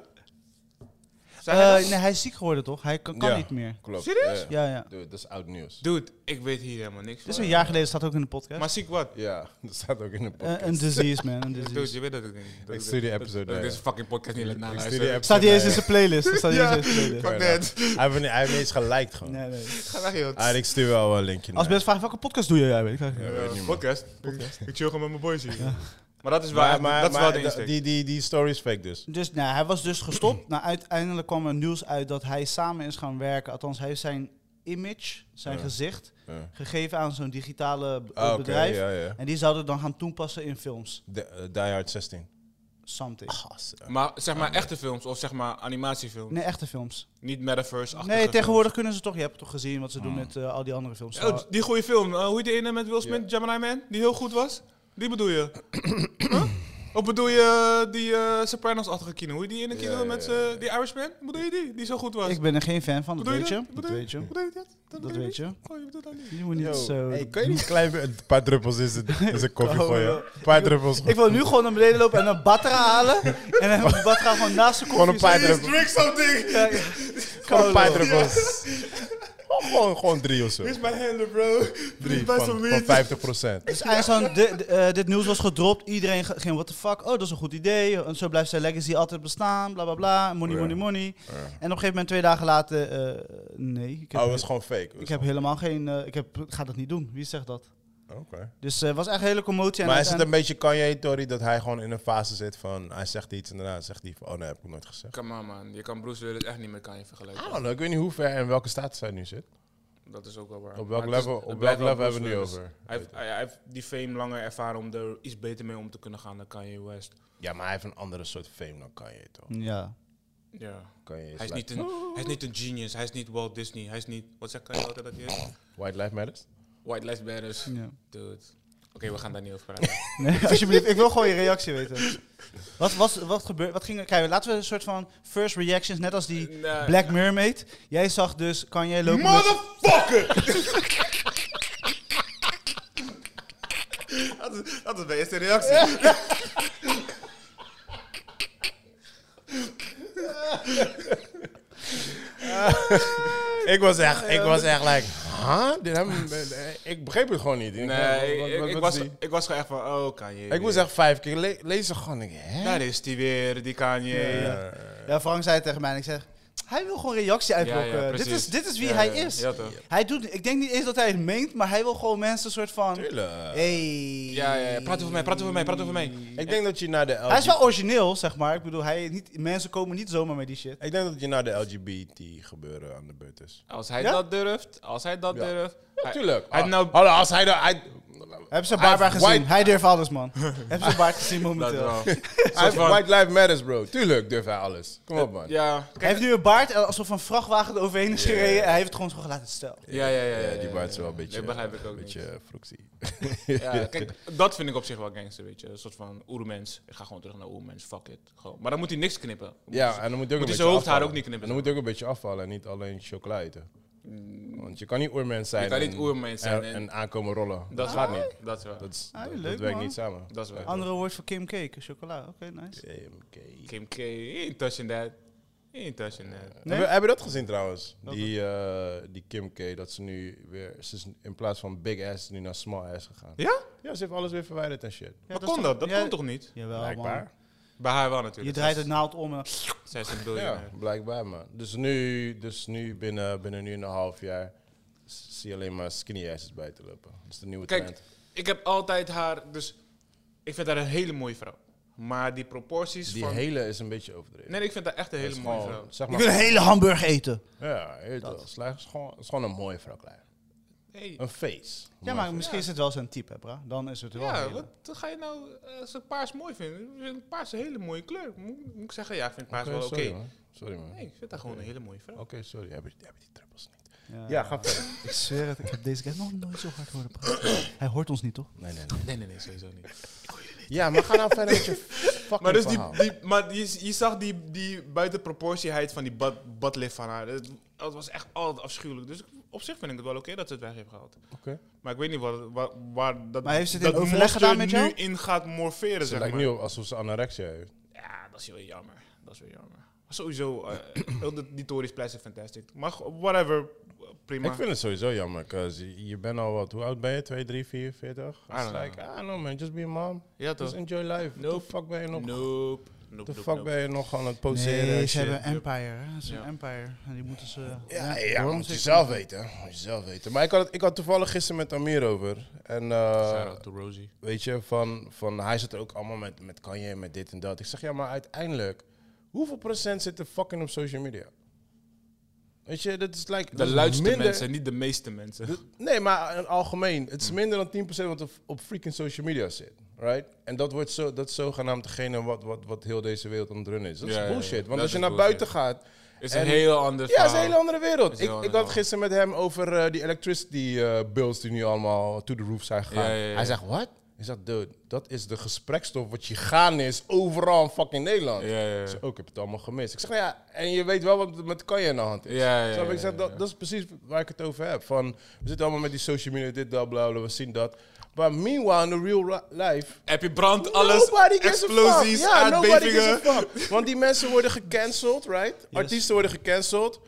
Speaker 2: Zei hij
Speaker 3: Eh,
Speaker 2: dat?
Speaker 3: nee, hij is ziek geworden toch? Hij kan, kan
Speaker 1: Ja.
Speaker 3: niet meer.
Speaker 1: Klopt.
Speaker 2: Serieus?
Speaker 1: Ja.
Speaker 3: eh, Ja, ja.
Speaker 1: Dude, dat is oud nieuws.
Speaker 2: Dude, ik weet hier helemaal niks
Speaker 3: Dit
Speaker 2: van.
Speaker 3: is een jaar geleden, staat ook in de podcast.
Speaker 2: Maar ziek wat?
Speaker 1: Ja, *laughs* dat staat ook in de
Speaker 3: Eh,
Speaker 1: podcast.
Speaker 3: een disease, man. Een
Speaker 2: Dude,
Speaker 1: *laughs*
Speaker 3: disease.
Speaker 2: je weet dat ik niet. Dat
Speaker 1: Ik stuur die episode,
Speaker 2: Dat ik
Speaker 1: ja.
Speaker 2: deze fucking podcast niet laat
Speaker 1: Ik
Speaker 2: naluisteren.
Speaker 1: stuur die app.
Speaker 3: Staat hij eens in
Speaker 1: Nee.
Speaker 3: zijn playlist? Staat hij
Speaker 2: Ja.
Speaker 3: eens in zijn playlist?
Speaker 2: Fuck that.
Speaker 1: Hij heeft niet- hij heeft niet eens geliked gewoon.
Speaker 3: Nee, nee.
Speaker 2: *laughs* Ga weg, joh.
Speaker 1: Ah, ik stuur wel een linkje
Speaker 3: Als
Speaker 1: naar.
Speaker 3: mensen vragen welke podcast doe jij, weet ik eigenlijk
Speaker 1: Ja,
Speaker 3: niet.
Speaker 1: weet niet, man.
Speaker 2: podcast. Ik chill gewoon met mijn boys hier. Maar dat is wel,
Speaker 1: Maar,
Speaker 2: echt-
Speaker 1: maar,
Speaker 2: dat is
Speaker 1: maar
Speaker 2: wel de insteek.
Speaker 1: die, die, die story is fake dus.
Speaker 3: Dus nou, hij was dus gestopt. nou, uiteindelijk kwam er nieuws uit dat hij samen is gaan werken. Althans, hij heeft zijn image, zijn
Speaker 1: Ja.
Speaker 3: gezicht,
Speaker 1: Ja.
Speaker 3: gegeven aan zo'n digitale b-
Speaker 1: Ah, oké,
Speaker 3: bedrijf.
Speaker 1: ja, ja.
Speaker 3: En die zouden dan gaan toepassen in films.
Speaker 1: De, eh, die Hard 16.
Speaker 3: Something.
Speaker 2: Maar zeg maar echte films of zeg maar animatiefilms.
Speaker 3: Nee, echte films.
Speaker 2: Niet metaverse
Speaker 3: Nee, tegenwoordig kunnen ze toch. Je hebt het toch gezien wat ze
Speaker 1: Hmm.
Speaker 3: doen met eh, al die andere films.
Speaker 2: Oh, die goede film. eh, hoe heet die ene met Will Smith, Gemini Man? Die heel goed was? Die bedoel je?
Speaker 1: *coughs*
Speaker 2: Huh? Of bedoel je eh, die eh, Sopranos-achtige kino? Hoe heet die ene kino
Speaker 1: ja,
Speaker 2: met
Speaker 1: ja, ja.
Speaker 2: eh, die Irishman? Bedoel je die? Die zo goed was?
Speaker 3: ik ben er geen fan van, dat
Speaker 2: Bedoel
Speaker 3: weet je.
Speaker 2: dat?
Speaker 3: Dat
Speaker 2: Bedoel
Speaker 3: weet je.
Speaker 2: Bedoel je dat?
Speaker 3: Dat weet je.
Speaker 2: Oh, je bedoelt dat niet.
Speaker 3: Je moet niet zo...
Speaker 1: Hey, kan je niet een klein be- een paar druppels in zijn in zijn koffie
Speaker 3: Oh,
Speaker 1: gooien?
Speaker 3: joh.
Speaker 1: Een paar druppels.
Speaker 3: Ik wil nu gewoon naar beneden lopen en een batra halen. En een batra gewoon naast de koffie.
Speaker 1: Gewoon een paar
Speaker 3: zetten.
Speaker 1: druppels. Drink something!
Speaker 3: Ja, ja.
Speaker 1: Gewoon een paar
Speaker 3: Kolo.
Speaker 1: druppels. Oh, Gewoon, gewoon drie of zo.
Speaker 2: my handler, bro.
Speaker 1: Drie van, van 50 procent.
Speaker 3: Dus Einstein, di- di- eh, dit nieuws was gedropt. Iedereen ge- ging, what the fuck? Oh, dat is een goed idee. En zo blijft zijn legacy altijd bestaan. Bla bla bla. Money,
Speaker 1: Oh Ja.
Speaker 3: money, money. En op een gegeven moment, twee dagen later, eh, nee. Ik heb,
Speaker 1: Oh, het was gewoon fake.
Speaker 3: ik heb helemaal geen. eh, ik heb, ik ga dat niet doen. Wie zegt dat?
Speaker 1: Oh, Oké.
Speaker 3: Dus eh, het was echt een hele commotie. en
Speaker 1: Maar is het een
Speaker 3: uiteindelijk-
Speaker 1: beetje Kanye Tory dat hij gewoon in een fase zit van hij zegt iets en daarna zegt hij van oh nee, heb ik nooit gezegd.
Speaker 2: Come on, man. Je kan Bruce Willis echt niet meer kan je vergelijken.
Speaker 1: I don't know, ik weet niet hoe ver en in welke status hij nu zit.
Speaker 2: Dat is ook wel waar.
Speaker 1: Op welk
Speaker 2: Maar het
Speaker 1: level-
Speaker 2: het
Speaker 1: op
Speaker 2: blijft
Speaker 1: welk
Speaker 2: wel
Speaker 1: level
Speaker 2: Bruce
Speaker 1: hebben we het nu over?
Speaker 2: Willis. Hij heeft, hij- hij heeft die fame langer ervaren om er iets beter mee om te kunnen gaan dan Kanye West.
Speaker 1: Ja, maar hij heeft een andere soort fame dan Kanye toch?
Speaker 3: Ja.
Speaker 2: Ja.
Speaker 1: Kanye is
Speaker 2: Hij is,
Speaker 1: like-
Speaker 2: niet een, hij is niet een genius, hij is niet Walt Disney, hij is niet... Wat zeg Kanye altijd dat hij is?
Speaker 1: White Life Matters?
Speaker 2: White Lives Matters.
Speaker 3: ja.
Speaker 2: Dude. Oké, we gaan daar niet over praten.
Speaker 3: Nee, *laughs* alsjeblieft, ik wil gewoon je reactie weten. Wat, was, wat, gebeurde, wat ging er? Kijk, laten we een soort van first reactions, net als die
Speaker 2: Nee.
Speaker 3: Black Mermaid. Jij zag dus, kan jij lopen met-
Speaker 2: Motherfucker! dat, is, dat is mijn eerste reactie.
Speaker 1: Ik was echt, ik was echt like, huh? Dit hebben we- Ik begreep het gewoon niet. Ik-
Speaker 2: Nee,
Speaker 1: wat-
Speaker 2: ik,
Speaker 1: wat-
Speaker 2: ik
Speaker 1: wat
Speaker 2: was,
Speaker 1: is die?
Speaker 2: ik was gewoon echt van, oh Kanye.
Speaker 1: Ik moest echt vijf keer le- lezen gewoon, ik, hè?
Speaker 2: Daar is die weer, die Kanye.
Speaker 1: Ja.
Speaker 3: Ja, Frank zei het tegen mij en ik zeg... Hij wil gewoon reactie uitlokken. dit,
Speaker 2: precies.
Speaker 3: is, dit is wie
Speaker 2: Ja,
Speaker 3: hij
Speaker 2: ja,
Speaker 3: is.
Speaker 2: Ja, toch?
Speaker 3: Hij doet, ik denk niet eens dat hij het meent, maar hij wil gewoon mensen een soort van...
Speaker 1: Tuurlijk.
Speaker 3: Hey.
Speaker 2: Ja, ja, ja, praat over mij, praat over mij, praat over mij.
Speaker 1: Ik denk dat je naar de LG
Speaker 3: Hij is wel origineel, zeg maar. Ik bedoel, hij, niet, mensen komen niet zomaar met die shit.
Speaker 1: Ik denk dat je naar de LGBT gebeuren aan de beurt is.
Speaker 2: Als hij
Speaker 3: Ja?
Speaker 2: dat durft, als hij dat
Speaker 1: Ja.
Speaker 2: durft. hij-
Speaker 1: Tuurlijk.
Speaker 2: Hij,
Speaker 1: Ah,
Speaker 2: nou,
Speaker 1: hallo, als hij daar... Hij,
Speaker 3: Hebben ze
Speaker 1: Hij
Speaker 3: Barbara
Speaker 1: heeft
Speaker 3: gezien?
Speaker 1: white-
Speaker 3: Hij durft alles,
Speaker 2: *laughs*
Speaker 3: man. Hebben ze Barbara gezien
Speaker 2: dat
Speaker 3: momenteel?
Speaker 2: wel.
Speaker 3: Hij
Speaker 1: hij heeft
Speaker 2: van-
Speaker 1: White Lives Matters, bro. Tuurlijk durft hij alles. Kom op, man.
Speaker 2: Ja, kijk,
Speaker 3: heeft nu een baard eh, alsof een vrachtwagen er overheen is gereden. en Hij heeft het gewoon zo gelaten stel.
Speaker 2: ja, ja,
Speaker 1: Ja,
Speaker 2: ja, ja,
Speaker 1: die
Speaker 2: ja,
Speaker 1: baard is
Speaker 2: ja.
Speaker 1: wel een beetje...
Speaker 2: Dat begrijp ik ook
Speaker 1: Een
Speaker 2: niet.
Speaker 1: beetje eh, vroegzie.
Speaker 2: Ja, kijk, dat vind ik op zich wel gangster, weet je. Een soort van oermens. Ik ga gewoon terug naar oermens, fuck it. Gewoon. Maar dan moet hij niks knippen.
Speaker 1: Ja, en dan moet je ook
Speaker 2: Moet
Speaker 1: een
Speaker 2: hij
Speaker 1: beetje
Speaker 2: zijn hoofdhaar
Speaker 1: afvallen.
Speaker 2: ook niet knippen,
Speaker 1: En dan moet je ook een beetje afvallen en niet alleen chocola eten. Want je kan niet oermens zijn.
Speaker 2: Mm. Je kan
Speaker 1: en-
Speaker 2: niet oermens zijn
Speaker 1: En,
Speaker 2: en-
Speaker 1: en aankomen rollen.
Speaker 2: Dat gaat niet. Dat is wel.
Speaker 1: Dat, is-
Speaker 3: Ah,
Speaker 1: dat,
Speaker 3: leuk,
Speaker 1: dat werkt
Speaker 3: man.
Speaker 1: niet samen.
Speaker 2: Dat is wel.
Speaker 3: Andere woord voor Kim Cake, chocola. Oké, nice.
Speaker 1: TMK.
Speaker 2: Kim K, he ain't touching that. He ain't touching that.
Speaker 3: Nee?
Speaker 1: Heb, je, heb je dat gezien trouwens? Die, eh, die Kim K, dat ze nu weer... Ze is in plaats van big ass is nu naar small ass gegaan.
Speaker 2: Ja?
Speaker 1: Ja, ze heeft alles weer verwijderd en shit.
Speaker 3: Ja,
Speaker 2: Maar
Speaker 3: is
Speaker 2: kon
Speaker 3: toch-
Speaker 2: dat? Dat
Speaker 3: ja,
Speaker 2: kon toch niet?
Speaker 3: Jawel, man.
Speaker 1: Blijkbaar.
Speaker 2: Bij haar wel
Speaker 3: Je
Speaker 2: natuurlijk.
Speaker 3: draait het naald om en...
Speaker 2: Zij is een
Speaker 1: Ja,
Speaker 2: biljonair.
Speaker 1: blijkbaar man. Dus nu, dus nu binnen, binnen nu en een half jaar s- zie je alleen maar skinny asses bij te lopen. Dat is de nieuwe
Speaker 2: Kijk,
Speaker 1: trend.
Speaker 2: ik heb altijd haar... Dus ik vind haar een hele mooie vrouw. Maar die proporties
Speaker 1: Die
Speaker 2: van...
Speaker 1: hele is een beetje overdreven.
Speaker 2: Nee, ik vind haar echt een
Speaker 1: Dat is
Speaker 2: hele mooie
Speaker 1: gewoon,
Speaker 2: vrouw.
Speaker 1: Zeg
Speaker 3: Ik
Speaker 1: maar,
Speaker 3: wil een hele hamburger eten.
Speaker 1: Ja, je weet wel. Slijger is gewoon, het is gewoon een mooie vrouw Klein.
Speaker 2: Hey,
Speaker 1: Een face.
Speaker 3: Ja,
Speaker 1: Mooi
Speaker 3: maar
Speaker 1: face.
Speaker 3: misschien is het wel zijn type, hè, bra. Dan is het wel. een
Speaker 2: Ja,
Speaker 3: hele.
Speaker 2: wat wat ga je nou eh, als ze paars mooi vinden? Ik vind paars een hele mooie kleur. Moet, moet ik zeggen, ja, ik vind paars
Speaker 1: Oké,
Speaker 2: wel oké.
Speaker 1: Eh, Sorry man. Sorry, man.
Speaker 2: Nee, ik vind dat gewoon een hele mooie vrouw.
Speaker 1: Oké, sorry. Heb je, heb je die druppels niet?
Speaker 3: Ja.
Speaker 1: ga verder.
Speaker 3: *laughs* Ik zweer het, ik heb deze keer nog nooit zo hard horen praten. Hij hoort ons niet, toch?
Speaker 1: Nee, nee, nee.
Speaker 2: Nee, nee, nee, sowieso niet.
Speaker 1: Ja, maar ga nou verder
Speaker 2: *laughs*
Speaker 1: met je fucking
Speaker 2: Maar, dus die,
Speaker 1: verhaal.
Speaker 2: die, maar je, je zag die, die buitenproportieheid van die bad, badlif van haar. Dat, dat was echt altijd afschuwelijk. Dus op zich vind ik het wel oké dat ze het weg heeft gehaald.
Speaker 1: Oké.
Speaker 2: Maar ik weet niet waar, waar, waar dat,
Speaker 3: Maar heeft ze het in
Speaker 2: dat
Speaker 3: overleg
Speaker 2: monster
Speaker 3: gedaan met jou?
Speaker 2: nu in gaat morferen,
Speaker 1: Ze
Speaker 2: *laughs* zeg
Speaker 1: lijkt
Speaker 2: maar.
Speaker 1: nu op alsof ze anorexia heeft.
Speaker 2: Ja, dat is wel jammer. Dat is wel jammer. Maar sowieso, eh, heel de- die Tories pleister fantastic. Maar go- whatever, prima.
Speaker 1: Ik vind het sowieso jammer, cause je- je bent al wat, hoe oud ben je? 2, 3, 4, 40?
Speaker 2: don't
Speaker 1: It's like, I don't know man, just be a mom.
Speaker 2: ja,
Speaker 1: Just
Speaker 2: toch?
Speaker 1: enjoy life. What the
Speaker 2: Nope.
Speaker 1: fuck ben je nog?
Speaker 2: Nope.
Speaker 1: De fuck ben je nog aan het poseren? en
Speaker 3: Nee, ze
Speaker 1: shit?
Speaker 3: hebben een empire. hè. Het is
Speaker 2: Ja.
Speaker 3: een empire. En die moeten ze...
Speaker 1: Ja, ja,
Speaker 3: waarom
Speaker 1: moet je
Speaker 3: ze-
Speaker 1: zelf weten. hè. Moet je zelf weten. Maar ik had, het, ik had toevallig gisteren met Amir over. En eh
Speaker 2: to Rosie.
Speaker 1: weet je, van, van, hij zit ook allemaal met, met Kanye en met dit en dat. Ik zeg, ja, maar uiteindelijk, hoeveel procent zit er fucking op social media? Weet je, dat is like...
Speaker 2: De
Speaker 1: dat is
Speaker 2: luidste
Speaker 1: minder-
Speaker 2: mensen, niet Mm. de meeste mensen.
Speaker 1: dat- Nee, maar in het algemeen. Het is minder dan 10% wat op, op freaking social media zit. Right? En dat, wordt zo, dat is zogenaamd degene wat, wat, wat heel deze wereld aan het runnen is. Dat
Speaker 2: Ja, ja,
Speaker 1: is
Speaker 2: ja.
Speaker 1: bullshit. Want
Speaker 2: Dat
Speaker 1: als je
Speaker 2: is
Speaker 1: naar
Speaker 2: bullshit.
Speaker 1: buiten gaat...
Speaker 2: is
Speaker 1: en-
Speaker 2: een heel ander
Speaker 1: Ja, dat is een
Speaker 2: verhaal.
Speaker 1: hele andere wereld.
Speaker 2: Is een
Speaker 1: Ik, ik
Speaker 2: heel ander
Speaker 1: had
Speaker 2: verhaal.
Speaker 1: gisteren met hem over eh, die electricity eh, bills die nu allemaal to the roof zijn gegaan.
Speaker 2: Ja, ja, ja.
Speaker 1: Hij zegt, wat? Ik zeg, dude, dat is de gesprekstof wat je gaan is overal in fucking Nederland.
Speaker 2: Ja, ja, ja.
Speaker 1: Ik zeg, oh, ik heb het allemaal gemist. Ik zeg, nou ja, en je weet wel wat er met kan je aan de hand is.
Speaker 2: Ja, ja,
Speaker 1: Snap je? Ik
Speaker 2: ja,
Speaker 1: zeg,
Speaker 2: ja,
Speaker 1: dat,
Speaker 2: ja.
Speaker 1: dat is precies waar ik het over heb. Van, we zitten allemaal met die social media, dit, dat, bla, bla, we zien dat. Maar meanwhile, in the real ri- life,
Speaker 2: Heb je brand, alles,
Speaker 1: Nobody gives a fuck.
Speaker 2: explosies,
Speaker 1: Ja, nobody gives
Speaker 2: aardbevingen.
Speaker 1: a fuck. Want die mensen worden gecanceld, right? Artiesten worden gecanceld.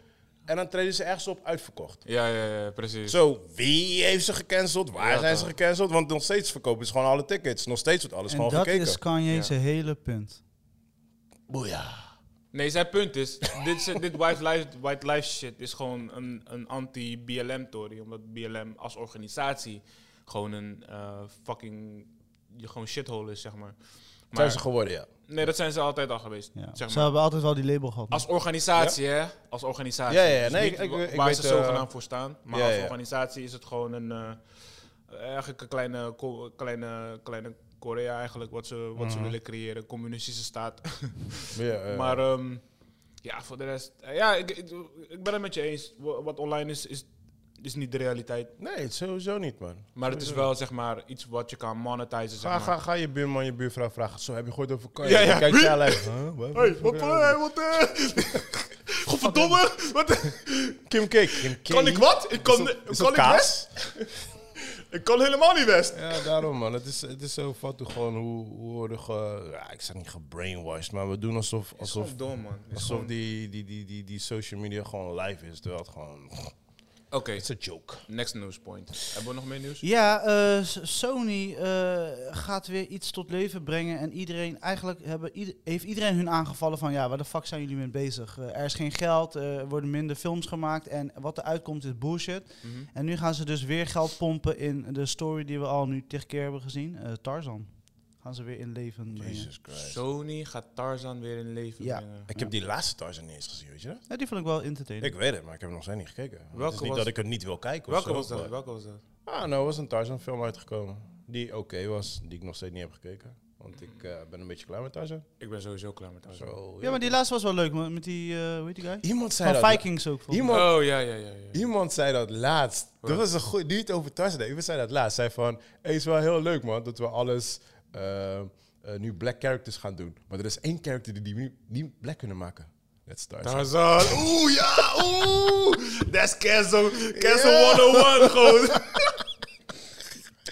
Speaker 1: En dan treden ze ergens op uitverkocht.
Speaker 2: Ja, ja, ja, precies.
Speaker 1: Zo, wie heeft ze gecanceld? Waar
Speaker 2: Ja,
Speaker 1: zijn ze
Speaker 2: toch.
Speaker 1: gecanceld? Want nog steeds verkopen ze gewoon alle tickets. Nog steeds wordt alles
Speaker 3: En
Speaker 1: gewoon
Speaker 3: dat
Speaker 1: gekeken.
Speaker 3: is Kanye's hele punt.
Speaker 1: Boeia.
Speaker 2: Nee, zijn punt is, dit, is- dit white, life, white life shit is gewoon een, een anti-BLM-tory. Omdat BLM als organisatie gewoon een eh, fucking, je gewoon shithole is, zeg maar.
Speaker 1: Zijn
Speaker 2: maar
Speaker 1: ze geworden, ja.
Speaker 2: nee, dat zijn ze altijd al geweest,
Speaker 3: Ja.
Speaker 2: zeg
Speaker 3: Ze
Speaker 2: maar.
Speaker 3: hebben altijd wel die label gehad.
Speaker 2: Als organisatie, hè? Als organisatie.
Speaker 1: Ja, ja,
Speaker 2: Dus
Speaker 1: nee,
Speaker 2: niet
Speaker 1: ik- ik- ik
Speaker 2: waar
Speaker 1: weet,
Speaker 2: ze
Speaker 1: eh,
Speaker 2: zogenaamd voor staan. Maar
Speaker 1: ja,
Speaker 2: als
Speaker 1: ja.
Speaker 2: organisatie is het gewoon een... eh, eigenlijk een kleine, ko- kleine, kleine Korea eigenlijk, wat ze, wat ze willen creëren. Communistische staat.
Speaker 1: Mhm. Ja, eh,
Speaker 2: Maar ehm, ja, voor de rest... eh, ja, ik, ik, ik ben het met je eens. Wa- Wat online is, is, is niet de realiteit.
Speaker 1: nee, het is sowieso niet, man.
Speaker 2: Maar het is wel, zeg maar, iets wat je kan monetizen, zeg
Speaker 1: Ga,
Speaker 2: maar.
Speaker 1: ga, ga je buurman, je buurvrouw vragen. Zo, heb je gehoord over Kanye?
Speaker 2: Ja, ja.
Speaker 1: Kijk,
Speaker 2: *laughs*
Speaker 1: jij lijkt. Huh? Wat?
Speaker 2: wat... eh, wat eh, Godverdomme! Wat...
Speaker 1: Kim Cake. Kim Cake.
Speaker 2: Kan ik wat? Ik kan,
Speaker 1: Is dat- is
Speaker 2: kan
Speaker 1: dat
Speaker 2: ik
Speaker 1: kaas?
Speaker 2: West? ik kan helemaal niet West.
Speaker 1: Ja, daarom man. Het is, het is zo fattig gewoon hoe, hoe worden ge... Ja, ik zeg niet gebrainwashed, maar we doen alsof, alsof,
Speaker 2: dom, man.
Speaker 1: alsof die, die, die, die, die social media gewoon live is. Terwijl het gewoon...
Speaker 2: Oké,
Speaker 1: It's a joke.
Speaker 2: next news point. Hebben we nog meer nieuws?
Speaker 3: Ja, eh, S- Sony eh, gaat weer iets tot leven brengen. En iedereen, eigenlijk hebben, ieder- heeft iedereen hun aangevallen van ja, waar de fuck zijn jullie mee bezig? Eh, er is geen geld, eh, er worden minder films gemaakt en wat er uitkomt is bullshit.
Speaker 2: Mhm.
Speaker 3: En nu gaan ze dus weer geld pompen in de story die we al nu tig keer hebben gezien. eh, Tarzan. Gaan ze weer in leven brengen.
Speaker 1: Jesus Christ.
Speaker 2: Sony gaat Tarzan weer in leven
Speaker 3: Ja.
Speaker 2: brengen.
Speaker 1: Ik heb die laatste Tarzan niet eens gezien, weet je dat?
Speaker 3: Ja, die vond ik wel entertaining.
Speaker 1: Ik weet het, maar ik heb hem nog steeds niet gekeken. het
Speaker 2: Welke
Speaker 1: is niet
Speaker 2: was-
Speaker 1: dat ik het niet wil kijken of
Speaker 2: Welke
Speaker 1: zo,
Speaker 2: was dat?
Speaker 1: maar-
Speaker 2: Welke was dat?
Speaker 1: Ah, nou er was een Tarzan film uitgekomen. Die oké was, die ik nog steeds niet heb gekeken. Want ik eh, ben een beetje klaar met Tarzan.
Speaker 2: Ik ben sowieso klaar met Tarzan.
Speaker 1: Zo,
Speaker 3: ja, maar die laatste was wel leuk, man, met die, eh, hoe heet die guy?
Speaker 1: Iemand zei
Speaker 3: Van
Speaker 1: dat...
Speaker 3: Vikings ook. volgens mij.
Speaker 1: Iemand,
Speaker 2: Oh, ja, ja, ja. ja.
Speaker 1: Iemand zei dat laatst. Dat
Speaker 2: Wat?
Speaker 1: was een goed. Niet over Tarzan. Iemand zei dat laatst. Zei van. Hey, is wel heel leuk, man. Dat we alles. eh, eh, nu black characters gaan doen. Maar er is één character die die nu niet black kunnen maken. That's Tarzan.
Speaker 2: Nou, Tarzan. Oeh, ja, oeh. That's cancel. Cancel
Speaker 1: Ja.
Speaker 2: *laughs* 101 gewoon.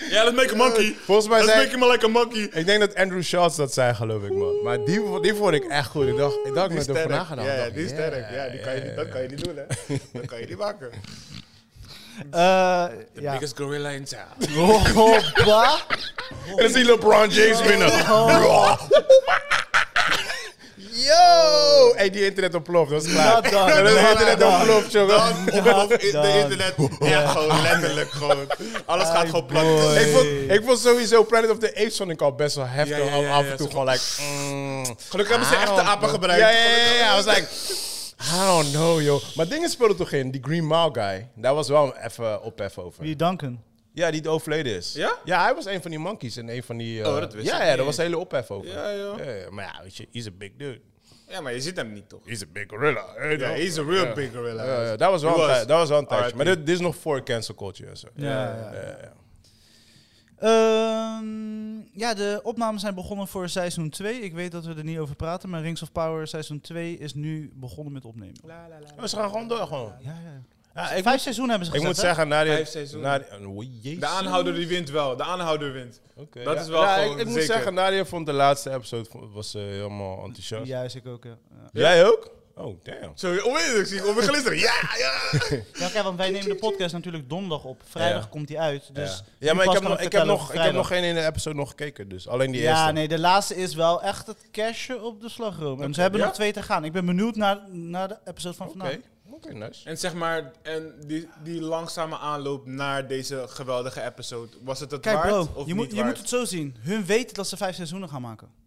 Speaker 2: Ja, let's make a monkey.
Speaker 1: Volgens mij
Speaker 2: Let's
Speaker 1: zei-
Speaker 2: make him like a monkey.
Speaker 1: Ik denk dat Andrew Schultz dat zei, geloof ik, man. Maar die, vo- die vond ik echt goed. Ik dacht, ik dacht met hem vandaag gedaan. Ik dacht, yeah, yeah.
Speaker 2: niet doen, hè. Dat kan je niet maken.
Speaker 1: *laughs*
Speaker 3: Eh,
Speaker 2: The
Speaker 3: ja.
Speaker 2: biggest gorilla in town.
Speaker 3: Oh, oh, bah.
Speaker 1: En dan zie je LeBron James winnen. Yo! Hey, die internet ontploft. Dat is klaar.
Speaker 3: Dat
Speaker 1: *laughs*
Speaker 3: dan.
Speaker 1: Dat is
Speaker 3: Dat
Speaker 1: internet
Speaker 3: dan.
Speaker 1: ontploft, jongen.
Speaker 2: Of in
Speaker 3: Dan.
Speaker 2: de internet.
Speaker 1: Oh.
Speaker 2: Ja, gewoon letterlijk gewoon. Alles gaat gewoon
Speaker 3: boy.
Speaker 2: plat.
Speaker 1: Ik vond, ik vond sowieso Planet of the Apes vond ik al best wel heftig.
Speaker 2: Ja, ja, ja,
Speaker 1: af
Speaker 2: ja,
Speaker 1: en toe
Speaker 2: zo-
Speaker 1: gewoon like... mm,
Speaker 2: Gelukkig hebben ze
Speaker 1: I
Speaker 2: echte
Speaker 1: don't
Speaker 2: apen
Speaker 1: know.
Speaker 2: gebruikt.
Speaker 1: Ja, ja, ja. ja, I was like... I don't know, yo. Maar dingen speelden toch in. Die Green Mile guy. Daar was wel even ophef over.
Speaker 3: Wie Duncan.
Speaker 1: Ja, die overleden is.
Speaker 2: Ja?
Speaker 1: Ja, hij was een van die monkeys en een van die... eh,
Speaker 2: Oh, dat wist
Speaker 1: ja,
Speaker 2: ik
Speaker 1: ja,
Speaker 2: niet
Speaker 1: daar was
Speaker 2: eens.
Speaker 1: hele ophef over.
Speaker 2: Ja, joh.
Speaker 1: ja, maar ja, weet je, he's a big dude.
Speaker 2: Ja, maar je ziet hem niet, toch?
Speaker 1: He's a big gorilla. Ja,
Speaker 2: Ja, he's a real big gorilla.
Speaker 1: Ja, ja, dat was wel
Speaker 2: He
Speaker 1: een
Speaker 2: was.
Speaker 1: tij- dat was wel een tijdje.
Speaker 2: R.I.P.
Speaker 1: Maar dit, dit is nog voor cancel culture en zo.
Speaker 3: Ja, ja,
Speaker 1: ja, ja.
Speaker 3: Ehm, ja, de opnames zijn begonnen voor seizoen 2. Ik weet dat we er niet over praten, maar Rings of Power seizoen 2 is nu begonnen met opnemen.
Speaker 1: Oh, ze gaan gewoon door, gewoon.
Speaker 3: Ja, ja.
Speaker 1: Ja, ik,
Speaker 3: Vijf seizoenen hebben ze
Speaker 1: ik
Speaker 3: gezet,
Speaker 1: moet
Speaker 3: hè?
Speaker 1: zeggen, na die...
Speaker 2: Vijf seizoenen.
Speaker 1: Na die, oh, jezus.
Speaker 2: De aanhouder die wint wel. De aanhouder wint.
Speaker 1: Oké,
Speaker 2: Dat
Speaker 1: ja.
Speaker 2: is wel
Speaker 1: Ja,
Speaker 2: gewoon
Speaker 1: ik, ik moet
Speaker 2: zeker.
Speaker 1: zeggen, Nadia vond de laatste episode vond- was eh, helemaal enthousiast.
Speaker 3: Juist, ik ook. Ja. Ja.
Speaker 1: Jij ook? Oh, damn.
Speaker 2: Zo, onmiddellijk zie ik op glinsteren. Ja, ja.
Speaker 3: Ja, kijk, want wij nemen de podcast natuurlijk donderdag op. Vrijdag
Speaker 1: Ja.
Speaker 3: komt die uit. Dus
Speaker 1: ja, ja maar
Speaker 3: nu
Speaker 1: ik
Speaker 3: pas
Speaker 1: heb,
Speaker 3: kan
Speaker 1: nog, ik, heb
Speaker 3: vertellen
Speaker 1: nog,
Speaker 3: over
Speaker 1: ik heb nog
Speaker 3: vrijdag.
Speaker 1: geen ene episode nog gekeken, dus alleen die
Speaker 3: Ja,
Speaker 1: eerste.
Speaker 3: nee, de laatste is wel echt het cashje op de slagroom. En ze hebben
Speaker 1: ja?
Speaker 3: nog twee te gaan. Ik ben benieuwd naar, naar de episode van
Speaker 1: Oké,
Speaker 3: vandaag.
Speaker 1: oké, nice.
Speaker 2: En zeg maar, en die, die langzame aanloop naar deze geweldige episode, was het het
Speaker 3: Kijk
Speaker 2: waard
Speaker 3: bro,
Speaker 2: of
Speaker 3: je,
Speaker 2: niet
Speaker 3: moet, je
Speaker 2: waard?
Speaker 3: moet het zo zien. Hun weten dat ze vijf seizoenen gaan maken.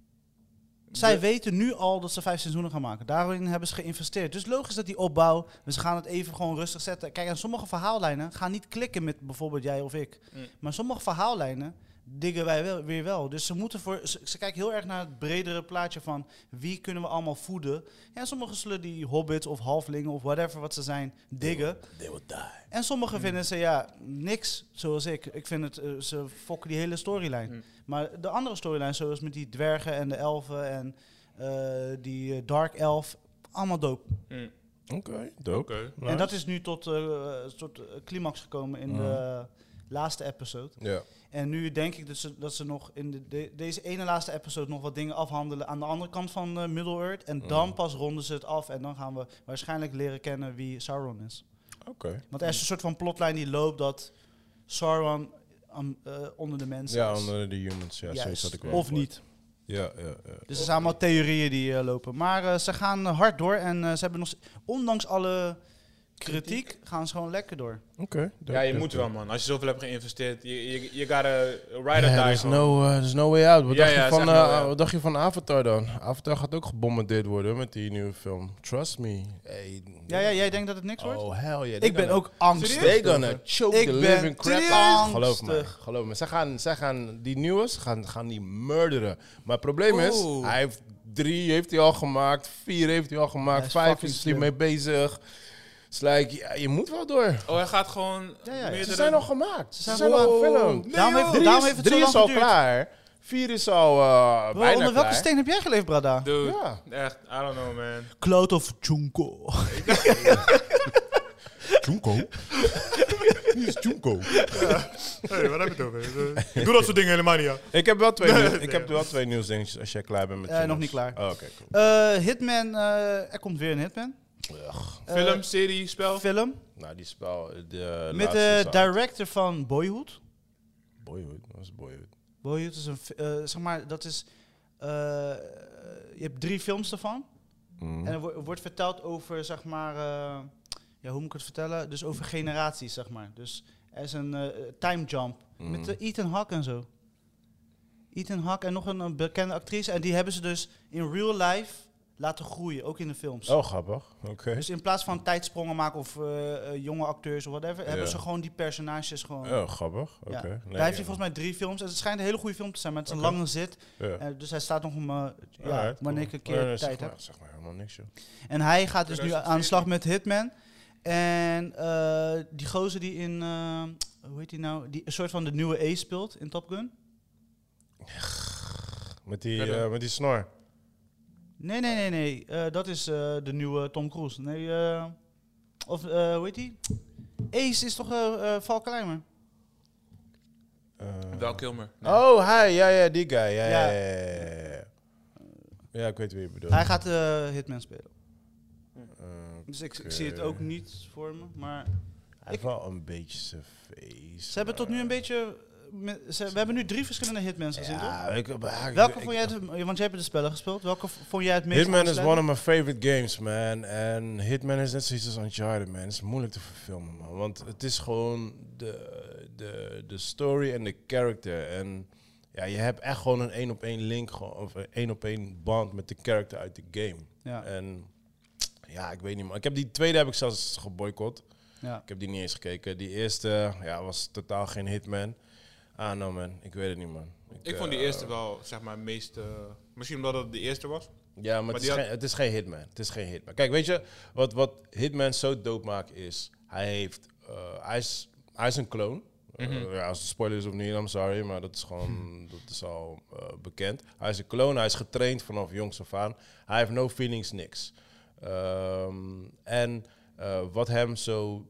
Speaker 3: Zij
Speaker 2: De-
Speaker 3: weten nu al dat ze vijf seizoenen gaan maken. Daarin hebben ze geïnvesteerd. Dus logisch dat die opbouw, we gaan het even gewoon rustig zetten. Kijk, en sommige verhaallijnen gaan niet klikken met bijvoorbeeld jij of ik.
Speaker 2: Mm.
Speaker 3: Maar sommige verhaallijnen diggen wij wel, weer wel. Dus ze moeten voor, ze, ze kijken heel erg naar het bredere plaatje van wie kunnen we allemaal voeden. En sommigen zullen die hobbits of halflingen of whatever wat ze zijn diggen.
Speaker 1: They will die. Mm.
Speaker 3: En sommigen vinden ze, ja, niks, zoals ik. Ik vind het, eh, ze fokken die hele storyline.
Speaker 2: Mm.
Speaker 3: Maar de andere storyline, zoals met die dwergen en de elfen en eh, die eh, dark elf, allemaal dope.
Speaker 2: Mm,
Speaker 1: Oké, dope.
Speaker 2: Oké.
Speaker 3: En dat is nu tot eh, een soort eh, climax gekomen in
Speaker 1: Mhm.
Speaker 3: de laatste episode.
Speaker 1: Ja.
Speaker 3: En nu denk ik dat ze, dat ze nog in de, de- deze ene laatste episode nog wat dingen afhandelen aan de andere kant van eh, Middle-earth. En dan
Speaker 1: Mhm.
Speaker 3: pas ronden ze het af en dan gaan we waarschijnlijk leren kennen wie Sauron is.
Speaker 1: Oké.
Speaker 3: Want er is een soort van plotlijn die loopt dat Sauron am- eh, onder de mensen
Speaker 1: Ja,
Speaker 3: is.
Speaker 1: onder de humans. Ja,
Speaker 3: Juist.
Speaker 1: zoiets had ik wel
Speaker 3: Of
Speaker 1: gehoord.
Speaker 3: niet.
Speaker 1: Ja, ja, ja.
Speaker 3: Dus er zijn allemaal theorieën die eh, lopen. Maar eh, ze gaan eh, hard door en eh, ze hebben nog, s- ondanks alle kritiek, gaan ze gewoon lekker door.
Speaker 1: Oké. dope,
Speaker 2: Ja, je
Speaker 1: dope,
Speaker 2: moet
Speaker 1: dope.
Speaker 2: wel man. Als je zoveel hebt geïnvesteerd, je, je, je gotta ride
Speaker 1: Ja,
Speaker 2: or die
Speaker 1: there's
Speaker 2: gewoon.
Speaker 1: no, eh, there's no way out. Wat,
Speaker 2: Ja,
Speaker 1: dacht
Speaker 2: ja,
Speaker 1: je
Speaker 2: is
Speaker 1: van,
Speaker 2: echt no
Speaker 1: eh,
Speaker 2: way out.
Speaker 1: wat dacht je van Avatar dan? Avatar gaat ook gebombardeerd worden met die nieuwe film. Trust me. Hey,
Speaker 3: Ja, ja jij denkt dat het niks wordt?
Speaker 1: Oh, hell yeah.
Speaker 3: Ik ben ook angstig.
Speaker 1: They gonna choke
Speaker 3: Ik
Speaker 1: the
Speaker 3: ben
Speaker 1: living crap
Speaker 3: serieus.
Speaker 1: out. Geloof me,
Speaker 3: angstig.
Speaker 1: geloof me. Zij gaan, zij gaan die nieuws gaan, gaan die murderen. Maar het probleem is,
Speaker 2: Oeh.
Speaker 1: hij heeft drie heeft hij al gemaakt, vier heeft hij al gemaakt,
Speaker 3: Hij is
Speaker 1: vijf
Speaker 3: fucking
Speaker 1: is hij
Speaker 3: slim.
Speaker 1: mee bezig. Het is like, ja, je moet wel door.
Speaker 2: Oh, hij gaat gewoon
Speaker 3: Ja, ja, ja.
Speaker 2: meerdere...
Speaker 1: Ze zijn al gemaakt. Ze
Speaker 3: zijn
Speaker 1: zijn, al
Speaker 3: gewoon-
Speaker 1: gefilmd.
Speaker 3: Nee, Daarom joh. heeft-
Speaker 1: Drie
Speaker 3: daarom
Speaker 1: is-
Speaker 3: heeft het zo
Speaker 1: drie
Speaker 3: lang
Speaker 1: is al
Speaker 3: geduurd.
Speaker 1: klaar. Vier is al eh
Speaker 3: Wel,
Speaker 1: bijna
Speaker 3: onder welke
Speaker 1: klaar.
Speaker 3: steen heb jij geleefd, Brada?
Speaker 2: Dude,
Speaker 1: Ja.
Speaker 2: echt, I don't know man.
Speaker 3: Cloud of Junko.
Speaker 1: Junko? Wie is Junko?
Speaker 2: Hey, wat heb je het over? Ik doe dat soort dingen helemaal niet, ja.
Speaker 1: Ik heb wel twee, nieuws- ik heb wel twee nieuwsdingetjes als jij klaar bent met
Speaker 3: Eh,
Speaker 1: je
Speaker 3: nog
Speaker 1: nieuws.
Speaker 3: niet klaar.
Speaker 1: Oh, Oké, cool.
Speaker 3: Eh, Hitman, eh, er komt weer een Hitman. Eh,
Speaker 2: Film, serie, spel?
Speaker 3: Film.
Speaker 1: Nou, die spel. De
Speaker 3: Met eh,
Speaker 1: de
Speaker 3: de director van Boyhood.
Speaker 1: Boyhood, dat was Boyhood.
Speaker 3: Boyhood is een, fi- eh, zeg maar, dat is, eh, je hebt drie films ervan.
Speaker 1: Hm. Mm.
Speaker 3: En er wo- er wordt verteld over, zeg maar, eh, ja, hoe moet ik het vertellen? Dus over generaties, zeg maar. Dus er is een eh, time jump
Speaker 1: Hm.
Speaker 3: met eh, Ethan Hawke en zo. Ethan Hawke en nog een, een bekende actrice. En die hebben ze dus in real life laten groeien, ook in de films.
Speaker 1: Oh, grappig. Oké.
Speaker 3: Dus in plaats van tijdsprongen maken of eh, eh, jonge acteurs of whatever, hebben
Speaker 1: Ja.
Speaker 3: ze gewoon die personages gewoon.
Speaker 1: Oh, grappig. Oké.
Speaker 3: Ja.
Speaker 1: Nee,
Speaker 3: Daar heeft
Speaker 1: ja.
Speaker 3: hij volgens mij drie films. En het schijnt een hele goede film te zijn, maar het is een
Speaker 1: Oké.
Speaker 3: lange zit.
Speaker 1: Ja.
Speaker 3: Eh, dus hij staat nog om eh, ja,
Speaker 1: Alright, cool.
Speaker 3: wanneer ik een keer
Speaker 1: Nee, nee,
Speaker 3: tijd
Speaker 1: zeg
Speaker 3: heb.
Speaker 1: Maar, zeg maar helemaal niks, joh.
Speaker 3: En hij gaat dus nu
Speaker 2: 2014.
Speaker 3: aan de slag met Hitman. En eh, die gozer die in, eh, hoe heet die nou, die een soort van de nieuwe E speelt in Top Gun.
Speaker 1: Met die,
Speaker 2: Verder.
Speaker 1: eh, met die snor.
Speaker 3: Nee, nee, nee, nee. Eh, dat is eh, de nieuwe Tom Cruise. Nee, eh, of eh, hoe heet die? Ace is toch eh eh Val Kilmer?
Speaker 1: Eh,
Speaker 2: Wel Kilmer.
Speaker 1: Oh, hij. Ja, ja, die guy. Ja, ja,
Speaker 3: Ja.
Speaker 1: ja. Ja, ja, ja. Ja, ik weet wie je bedoelt.
Speaker 3: Hij gaat eh, Hitman spelen.
Speaker 1: Eh,
Speaker 3: Dus ik, ik zie het
Speaker 1: Oké.
Speaker 3: ook niet voor me. Maar
Speaker 1: hij heeft wel een beetje zijn face.
Speaker 3: ze hebben tot nu een beetje... eh, met- ze- we hebben nu drie verschillende Hitmans gezien, toch?
Speaker 1: Ja, ik, maar ik-
Speaker 3: Welke
Speaker 1: ik-
Speaker 3: vond jij het, want jij hebt de spellen gespeeld. Welke v- vond jij het meest
Speaker 1: Hitman is
Speaker 3: aansluiten?
Speaker 1: one of my favorite games, man. En Hitman is net zoiets als Uncharted, man. Het is moeilijk te verfilmen, man. Want het is gewoon de, de, de story en de character. En ja, je hebt echt gewoon een één-op-één link, gewoon- of een één-op-één band met de character uit de game.
Speaker 3: Ja,
Speaker 1: En ja, ik weet niet, man. Ik heb die tweede heb ik zelfs geboycott.
Speaker 3: ja.
Speaker 1: Ik heb die niet eens gekeken. Die eerste ja, was totaal geen Hitman. Ah, no, man. Ik eh, weet het niet, man.
Speaker 2: Ik vond die eerste wel, zeg maar, meest... eh, misschien omdat het de eerste was.
Speaker 1: Ja, maar, het,
Speaker 2: Maar
Speaker 1: is
Speaker 2: die had-
Speaker 1: geen, het is geen Hitman. Het is geen Hitman. Kijk, weet je, wat, wat Hitman zo dood maakt is... Hij, heeft, eh, hij, is, hij is een kloon. Eh,
Speaker 2: Mhm.
Speaker 1: ja, als het spoiler is of niet, I'm sorry. Maar dat is
Speaker 2: *laughs*
Speaker 1: gewoon... Dat is al eh, bekend. Hij is een kloon. Hij is getraind vanaf jongs af aan. Hij heeft no feelings, niks. Ehm, en eh, wat hem zo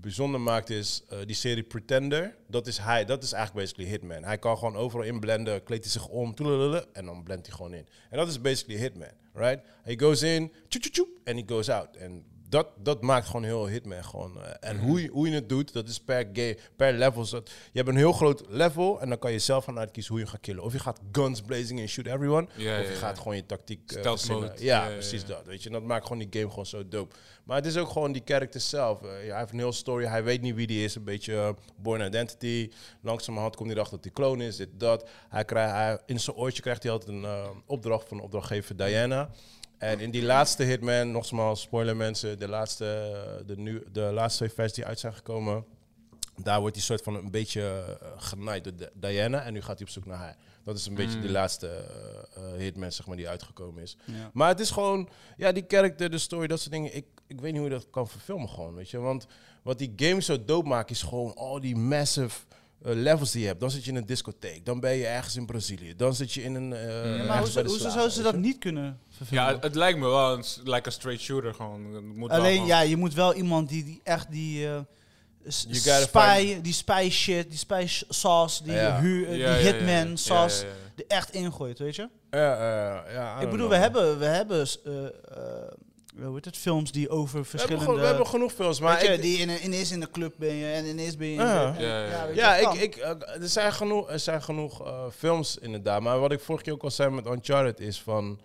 Speaker 1: bijzonder maakt is eh, die serie Pretender. Dat is hij, dat is eigenlijk basically Hitman. Hij kan gewoon overal inblenden, kleedt hij zich om, toelalala, en dan blendt hij gewoon in. En dat is basically Hitman, right? He goes in, tjoep, tjoep, tjoep, en he goes out. En dat, dat maakt gewoon heel Hitman gewoon. eh, en
Speaker 4: Mhm.
Speaker 1: hoe, je, hoe je het doet, dat is per, game, per level. Dat, je hebt een heel groot level en dan kan je zelf gaan uitkiezen hoe je gaat killen. Of je gaat guns blazing en shoot everyone.
Speaker 4: Ja,
Speaker 1: of je
Speaker 4: ja, ja.
Speaker 1: gaat gewoon je tactiek... eh,
Speaker 4: Stealth
Speaker 1: verzinnen.
Speaker 4: mode.
Speaker 1: Ja,
Speaker 4: Ja, ja,
Speaker 1: precies
Speaker 4: ja.
Speaker 1: dat. Weet je, en dat maakt gewoon die game gewoon zo dope. Maar het is ook gewoon die character zelf. Eh, ja, hij heeft een heel story. Hij weet niet wie die is. Een beetje eh, born identity. Langzamerhand komt hij erachter dat hij kloon is. Dit, dat. Hij krijgt, hij, in zijn oortje krijgt hij altijd een eh, opdracht van opdrachtgever Diana. En in die laatste Hitman, nogmaals, spoiler mensen, de laatste, eh, de, nu, de laatste twee versies die uit zijn gekomen, daar wordt hij soort van een beetje eh, genaaid door Di- Diana en nu gaat hij op zoek naar haar. Dat is een beetje
Speaker 3: Mm.
Speaker 1: de laatste eh, eh, Hitman, zeg maar, die uitgekomen is.
Speaker 3: Ja.
Speaker 1: Maar het is gewoon, ja, die character, de story, dat soort dingen. Ik, ik weet niet hoe je dat kan verfilmen gewoon, weet je. Want wat die game zo dope maakt, is gewoon al die massive eh, levels die je hebt. Dan zit je in een discotheek, dan ben je ergens in Brazilië, dan zit je in een... eh, ergens bij
Speaker 3: maar
Speaker 1: de
Speaker 3: hoe, zou- hoe
Speaker 1: slaven,
Speaker 3: zou ze
Speaker 1: weet
Speaker 3: dat
Speaker 1: je.
Speaker 3: niet kunnen verfilmen?
Speaker 4: Ja, het, het lijkt me wel een, s- like een straight shooter gewoon. Het Moet wel
Speaker 3: Alleen,
Speaker 4: gewoon-
Speaker 3: ja, je moet wel iemand die, die echt die... eh, s-
Speaker 1: You gotta Ah,
Speaker 3: spy, die spy shit, die spy sh- sauce, die,
Speaker 1: Ja.
Speaker 3: hu- eh,
Speaker 4: Ja, ja,
Speaker 3: die
Speaker 4: ja, ja.
Speaker 3: hitman
Speaker 4: Ja, ja,
Speaker 3: sauce,
Speaker 4: ja.
Speaker 3: er echt ingooit, weet je?
Speaker 1: Ja, eh, ja, I
Speaker 3: Ik
Speaker 1: don't know,
Speaker 3: bedoel, we
Speaker 1: man.
Speaker 3: hebben, we hebben eh, eh, hoe heet het, films die over
Speaker 1: We hebben,
Speaker 3: verschillende...
Speaker 1: gewoon, we hebben genoeg films, maar
Speaker 3: weet je,
Speaker 1: ik-
Speaker 3: die in, ineens in de club ben je en ineens ben je... in
Speaker 1: Ja.
Speaker 3: de- en-
Speaker 4: Ja, ja, ja.
Speaker 3: weet je,
Speaker 1: Ja,
Speaker 3: dat
Speaker 1: ik,
Speaker 3: kan.
Speaker 1: ik, eh, er zijn genoeg, er zijn genoeg eh, films inderdaad. Maar wat ik vorige keer ook al zei met Uncharted is van...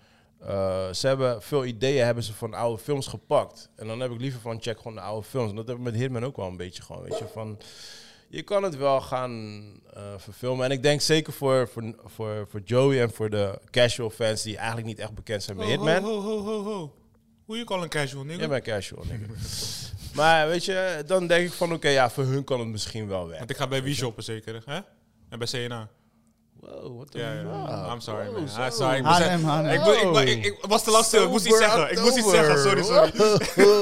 Speaker 1: eh, ze hebben veel ideeën hebben ze van oude films gepakt. En dan heb ik liever van check gewoon de oude films. En dat heb ik met Hitman ook wel een beetje gewoon, weet je. Van, je kan het wel gaan eh, verfilmen. En ik denk zeker voor, voor, voor, voor Joey en voor de casual fans... die eigenlijk niet echt bekend zijn met
Speaker 3: Oh,
Speaker 4: Ho,
Speaker 1: Hitman.
Speaker 4: Ho, ho, ho, ho. Hoe je call een casual nigga?
Speaker 1: Jij bent casual, nigga. maar weet je, dan denk ik van... oké, ja, voor hun kan het misschien wel werken.
Speaker 4: Want ik ga bij wie shoppen zeker, hè? En bij CNA.
Speaker 1: Wow, what the
Speaker 4: Ja, ja.
Speaker 1: fuck?
Speaker 4: I'm
Speaker 2: oh,
Speaker 4: sorry,
Speaker 1: Wow,
Speaker 4: man. Ah,
Speaker 1: zo. *laughs*
Speaker 4: sorry, ik moest
Speaker 3: Haarlem, Haarlem.
Speaker 4: Ik, be- ik, be- ik, ik was te lastig, ik moest iets
Speaker 1: Sober
Speaker 4: zeggen. Ik moest iets
Speaker 1: October.
Speaker 4: zeggen, sorry, sorry.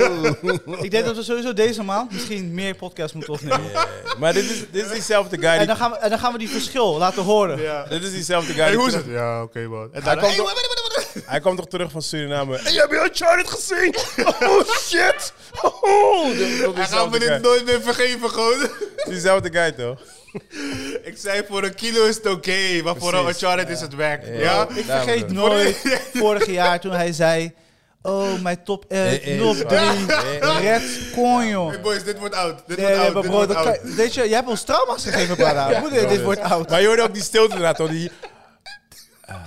Speaker 3: Ik denk dat we sowieso deze maand misschien meer podcasts moeten opnemen.
Speaker 1: Maar dit is, dit is diezelfde guy
Speaker 3: En,
Speaker 1: die...
Speaker 3: dan gaan we, en dan gaan we die verschil laten horen.
Speaker 1: Dit is diezelfde guy
Speaker 4: Hey,
Speaker 1: die
Speaker 4: hoe is
Speaker 1: terug-
Speaker 4: het? Ja, oké, man. En
Speaker 1: Hij
Speaker 4: daarna-
Speaker 1: kwam,
Speaker 4: Hey,
Speaker 1: toch,
Speaker 4: wacht, wacht, wacht, wacht.
Speaker 1: hij kwam toch terug van Suriname. Hey, heb je Uncharted gezien? *laughs* Oh, shit! Oh, dat- dat is
Speaker 4: Hij gaat me
Speaker 1: diezelfde guy.
Speaker 4: dit nooit meer vergeven, gewoon. *laughs*
Speaker 1: Diezelfde guy, toch?
Speaker 4: ik zei, voor een kilo is het oké, maar voor een
Speaker 1: Precies,
Speaker 4: Uncharted is het werk. Ja?
Speaker 1: daarom.
Speaker 3: Ik vergeet nooit vorig jaar toen hij zei... Oh, mijn top eh,
Speaker 1: Eh, eh,
Speaker 3: top
Speaker 1: zwaar.
Speaker 3: 3.
Speaker 1: Eh, eh.
Speaker 3: Red Coin, joh.
Speaker 4: Hey,
Speaker 2: dus
Speaker 4: boys, dit wordt oud. Dit
Speaker 3: Nee,
Speaker 4: wordt
Speaker 3: nee,
Speaker 4: oud,
Speaker 3: maar
Speaker 4: dit
Speaker 3: bro,
Speaker 4: wordt
Speaker 3: dat
Speaker 4: oud.
Speaker 3: kan- weet je, jij hebt ons trauma's gegeven, Para. Moet dit, dit wordt oud.
Speaker 1: Maar je hoorde ook die stilte inderdaad, toch? Die,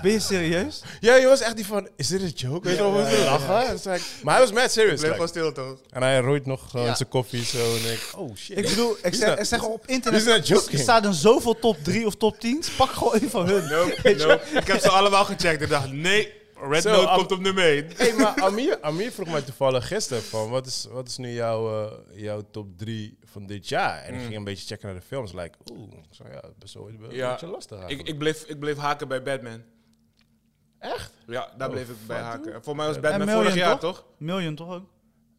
Speaker 3: Ben je serieus?
Speaker 1: ja, je was echt die van, is dit een joke? Weet je wel, hoe ze lachen? En toen zei ik- Maar hij was mad serious.
Speaker 4: Blijf
Speaker 1: like.
Speaker 4: gewoon stil, toch?
Speaker 1: En hij rooit nog gewoon zijn koffie zo en ik, oh shit.
Speaker 3: Ik bedoel, ik zeg, ik zeg op internet
Speaker 1: He's not joking.
Speaker 3: er staan er zoveel top 3 of top 10. Pak gewoon een van hun.
Speaker 2: *laughs*
Speaker 4: Nope, nope. Ik heb ze allemaal gecheckt en dacht, nee, Red
Speaker 1: Zo,
Speaker 4: Note
Speaker 1: ab-
Speaker 4: komt op nummer 1.
Speaker 1: Hey, maar Amir, Amir vroeg mij toevallig gisteren van, wat is, wat is nu jouw, eh, jouw top 3 van dit jaar? En ik ging een beetje checken naar de films. Like, oeh, ik zei, ja, best wel een
Speaker 2: Mm. Ja,
Speaker 1: beetje lastig
Speaker 2: Ik,
Speaker 1: eigenlijk.
Speaker 2: ik, bleef, ik bleef haken bij Batman.
Speaker 1: Echt?
Speaker 2: Ja, daar bleef ik bij
Speaker 1: fuck,
Speaker 2: haken.
Speaker 1: dude.
Speaker 2: En Voor mij was
Speaker 3: En
Speaker 2: Batman
Speaker 3: Million,
Speaker 2: vorig jaar, toch?
Speaker 3: Million toch ook?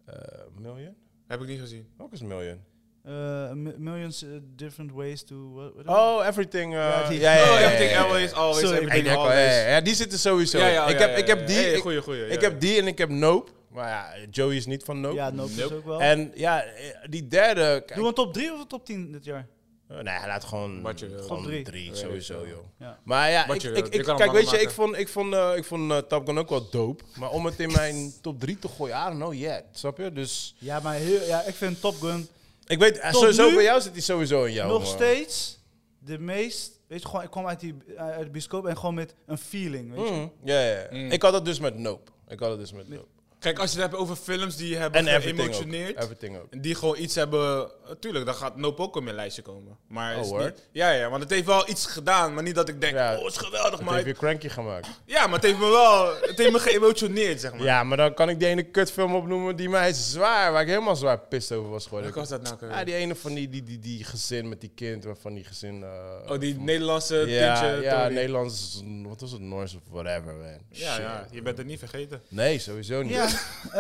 Speaker 1: Eh, million?
Speaker 2: Heb ik niet gezien.
Speaker 1: Ook is Million.
Speaker 3: Eh, mi- millions eh, different ways to... what- what-
Speaker 1: Oh, Everything. eh,
Speaker 3: Ja,
Speaker 1: ja,
Speaker 3: die-
Speaker 1: ja, ja,
Speaker 2: Oh,
Speaker 1: ja,
Speaker 2: everything,
Speaker 1: ja, ja.
Speaker 2: always, always,
Speaker 3: Sorry,
Speaker 1: Hey, die
Speaker 2: everything,
Speaker 1: heb ik al- ja,
Speaker 2: always.
Speaker 1: ja, ja, die zitten sowieso.
Speaker 2: Ja, ja,
Speaker 1: ik,
Speaker 2: ja,
Speaker 1: heb,
Speaker 2: ja,
Speaker 1: ik
Speaker 2: ja.
Speaker 1: heb die,
Speaker 2: Hey,
Speaker 1: ik,
Speaker 2: goeie, goeie,
Speaker 1: ik
Speaker 2: ja.
Speaker 1: heb die en ik heb Nope. Maar ja, Joey is niet van Nope.
Speaker 3: Ja, Nope is
Speaker 2: Nope.
Speaker 3: ook wel.
Speaker 1: En ja, eh, die derde... kijk,
Speaker 3: Doe een top 3 of een top 10 dit jaar?
Speaker 1: Eh, Nee, hij laat gewoon,
Speaker 2: Wat je wil.
Speaker 1: gewoon
Speaker 3: Top
Speaker 1: drie,
Speaker 3: drie.
Speaker 1: sowieso, joh.
Speaker 3: Ja.
Speaker 1: Maar ja,
Speaker 2: Wat
Speaker 1: ik,
Speaker 2: je
Speaker 1: ik,
Speaker 2: wil.
Speaker 1: ik-
Speaker 2: Je kan hem
Speaker 1: kijk, weet je,
Speaker 2: langer
Speaker 1: ik vond, ik vond, eh, ik vond eh, Top Gun ook wel dope. Maar om het in mijn top 3 te gooien, I don't know yet. Snap je? Dus
Speaker 3: Ja, maar heel, ja, ik vind Top Gun
Speaker 1: ik weet, eh,
Speaker 3: Tot
Speaker 1: sowieso
Speaker 3: nu
Speaker 1: bij jou zit hij sowieso in jou.
Speaker 2: eh,
Speaker 3: nog
Speaker 1: man.
Speaker 3: steeds de meest... Weet je, gewoon, ik kwam uit, die, eh, uit de bioscoop en gewoon met een feeling,
Speaker 2: Hmm.
Speaker 3: weet je.
Speaker 1: Mm, Ja, ja, ja. Ik had dat dus met Nope. Ik had het dus met Nope.
Speaker 2: Kijk, als je het hebt over films die je hebben
Speaker 1: En everything ook.
Speaker 2: geëmotioneerd.
Speaker 1: Everything ook.
Speaker 2: En die gewoon iets hebben. eh, Tuurlijk, dan gaat Nope ook op mijn lijstje komen. Maar
Speaker 1: Oh,
Speaker 2: is
Speaker 1: hoor.
Speaker 2: niet, ja, ja, want het heeft wel iets gedaan. Maar niet dat ik denk,
Speaker 1: Ja.
Speaker 2: oh, het is geweldig,
Speaker 1: Dat
Speaker 2: maar.
Speaker 1: heb je cranky gemaakt.
Speaker 2: Ja, maar het heeft me wel. Het heeft me geëmotioneerd, zeg maar.
Speaker 1: Ja, maar dan kan ik die ene kutfilm opnoemen die mij zwaar, waar ik helemaal zwaar pist over was geworden.
Speaker 2: Welke was dat nou? ook alweer?
Speaker 1: Ja, die ene van die, die, die, die gezin met die kind, waarvan die gezin... eh,
Speaker 2: oh, die Nederlandse
Speaker 1: Ja,
Speaker 2: tintje.
Speaker 1: ja
Speaker 2: Tony.
Speaker 1: Nederlands, wat was het, Noors of whatever, man.
Speaker 2: ja,
Speaker 1: Shit.
Speaker 2: ja, je bent het niet vergeten.
Speaker 1: Nee, sowieso niet. *laughs*
Speaker 3: Ja,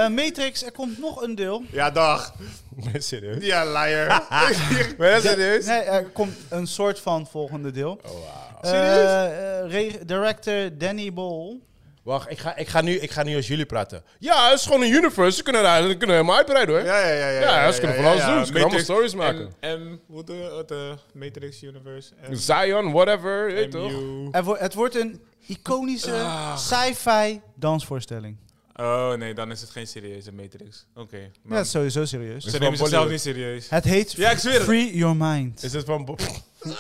Speaker 3: eh, Matrix, er komt nog een deel.
Speaker 4: Ja, dag.
Speaker 1: Ben je serieus?
Speaker 4: Ja,
Speaker 1: *laughs*
Speaker 4: liar.
Speaker 1: Ben je serieus?
Speaker 3: Nee, er komt een soort van volgende deel.
Speaker 1: Oh, wauw.
Speaker 3: Eh, eh, re- director Danny Bol.
Speaker 1: Wacht, ik ga, ik, ga nu, ik ga nu als jullie praten. Ja, het is gewoon een universe. Ze kunnen, daar- ze kunnen helemaal uitbreiden hoor.
Speaker 2: Ja, ja, ja. Ja,
Speaker 1: Ja, ze kunnen van alles doen. Ze kunnen allemaal stories
Speaker 2: Matrix
Speaker 1: maken.
Speaker 2: En, hoe de, het, eh, Matrix Universe. En
Speaker 1: Zion, whatever. je weet toch?
Speaker 2: MU.
Speaker 3: Er wo- het wordt een iconische
Speaker 2: Ah.
Speaker 3: sci-fi dansvoorstelling.
Speaker 2: Oh nee, dan is het geen serieuze Matrix. Oké.
Speaker 3: Ja,
Speaker 2: maar
Speaker 3: dat is sowieso serieus.
Speaker 1: is
Speaker 2: Ze
Speaker 1: van
Speaker 2: nemen zichzelf
Speaker 1: Bollywood.
Speaker 2: niet serieus.
Speaker 3: Het heet
Speaker 2: Ja, ik zweer het.
Speaker 3: Free Your Mind.
Speaker 1: Is het van, Bo- *laughs*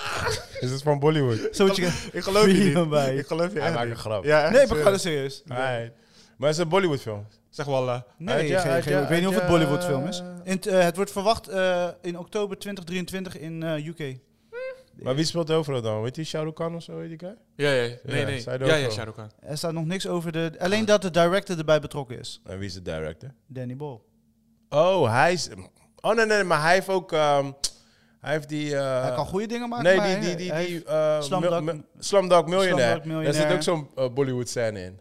Speaker 1: is het van Bollywood?
Speaker 3: Zo moet je-
Speaker 2: Ik geloof je
Speaker 3: Free
Speaker 2: niet.
Speaker 3: your mind.
Speaker 2: Ik geloof je
Speaker 1: Hij
Speaker 2: echt
Speaker 1: maakt een
Speaker 2: niet.
Speaker 1: grap.
Speaker 2: Ja, echt,
Speaker 3: Nee, maar
Speaker 2: sorry.
Speaker 3: gewoon serieus.
Speaker 1: Alright. Maar het is een Bollywood film.
Speaker 2: Zeg wallah.
Speaker 3: Nee,
Speaker 1: Uit ja,
Speaker 3: geen-
Speaker 1: uit
Speaker 3: geen-
Speaker 1: ja,
Speaker 3: ik weet niet of
Speaker 1: uit
Speaker 3: het
Speaker 1: ja.
Speaker 3: Bollywood film is. In t- eh, het wordt verwacht eh, in oktober 2023 in eh, UK.
Speaker 1: Maar wie speelt de overal dan? Weet je Shah Rukh Khan of zo? Weet die guy?
Speaker 2: Ja, ja. Nee, nee.
Speaker 1: zij
Speaker 2: Ja,
Speaker 1: er ook
Speaker 2: ja,
Speaker 1: wel.
Speaker 2: Shah Rukh Khan.
Speaker 3: Er staat nog niks over de... Alleen dat de director erbij betrokken is.
Speaker 1: En wie is de director?
Speaker 3: Danny Ball.
Speaker 1: Oh, hij is... Oh, nee, nee, maar hij heeft ook... ehm, hij heeft die... eh,
Speaker 3: hij kan goede dingen maken,
Speaker 1: Nee,
Speaker 3: maar
Speaker 1: die...
Speaker 3: hij-
Speaker 1: die, die,
Speaker 3: hij
Speaker 1: die eh, mil-
Speaker 3: Slumdog-
Speaker 1: mi- Slumdog Millionaire.
Speaker 3: Slumdog
Speaker 1: Daar
Speaker 3: Millionaire.
Speaker 1: zit ook zo'n eh, Bollywood scène in.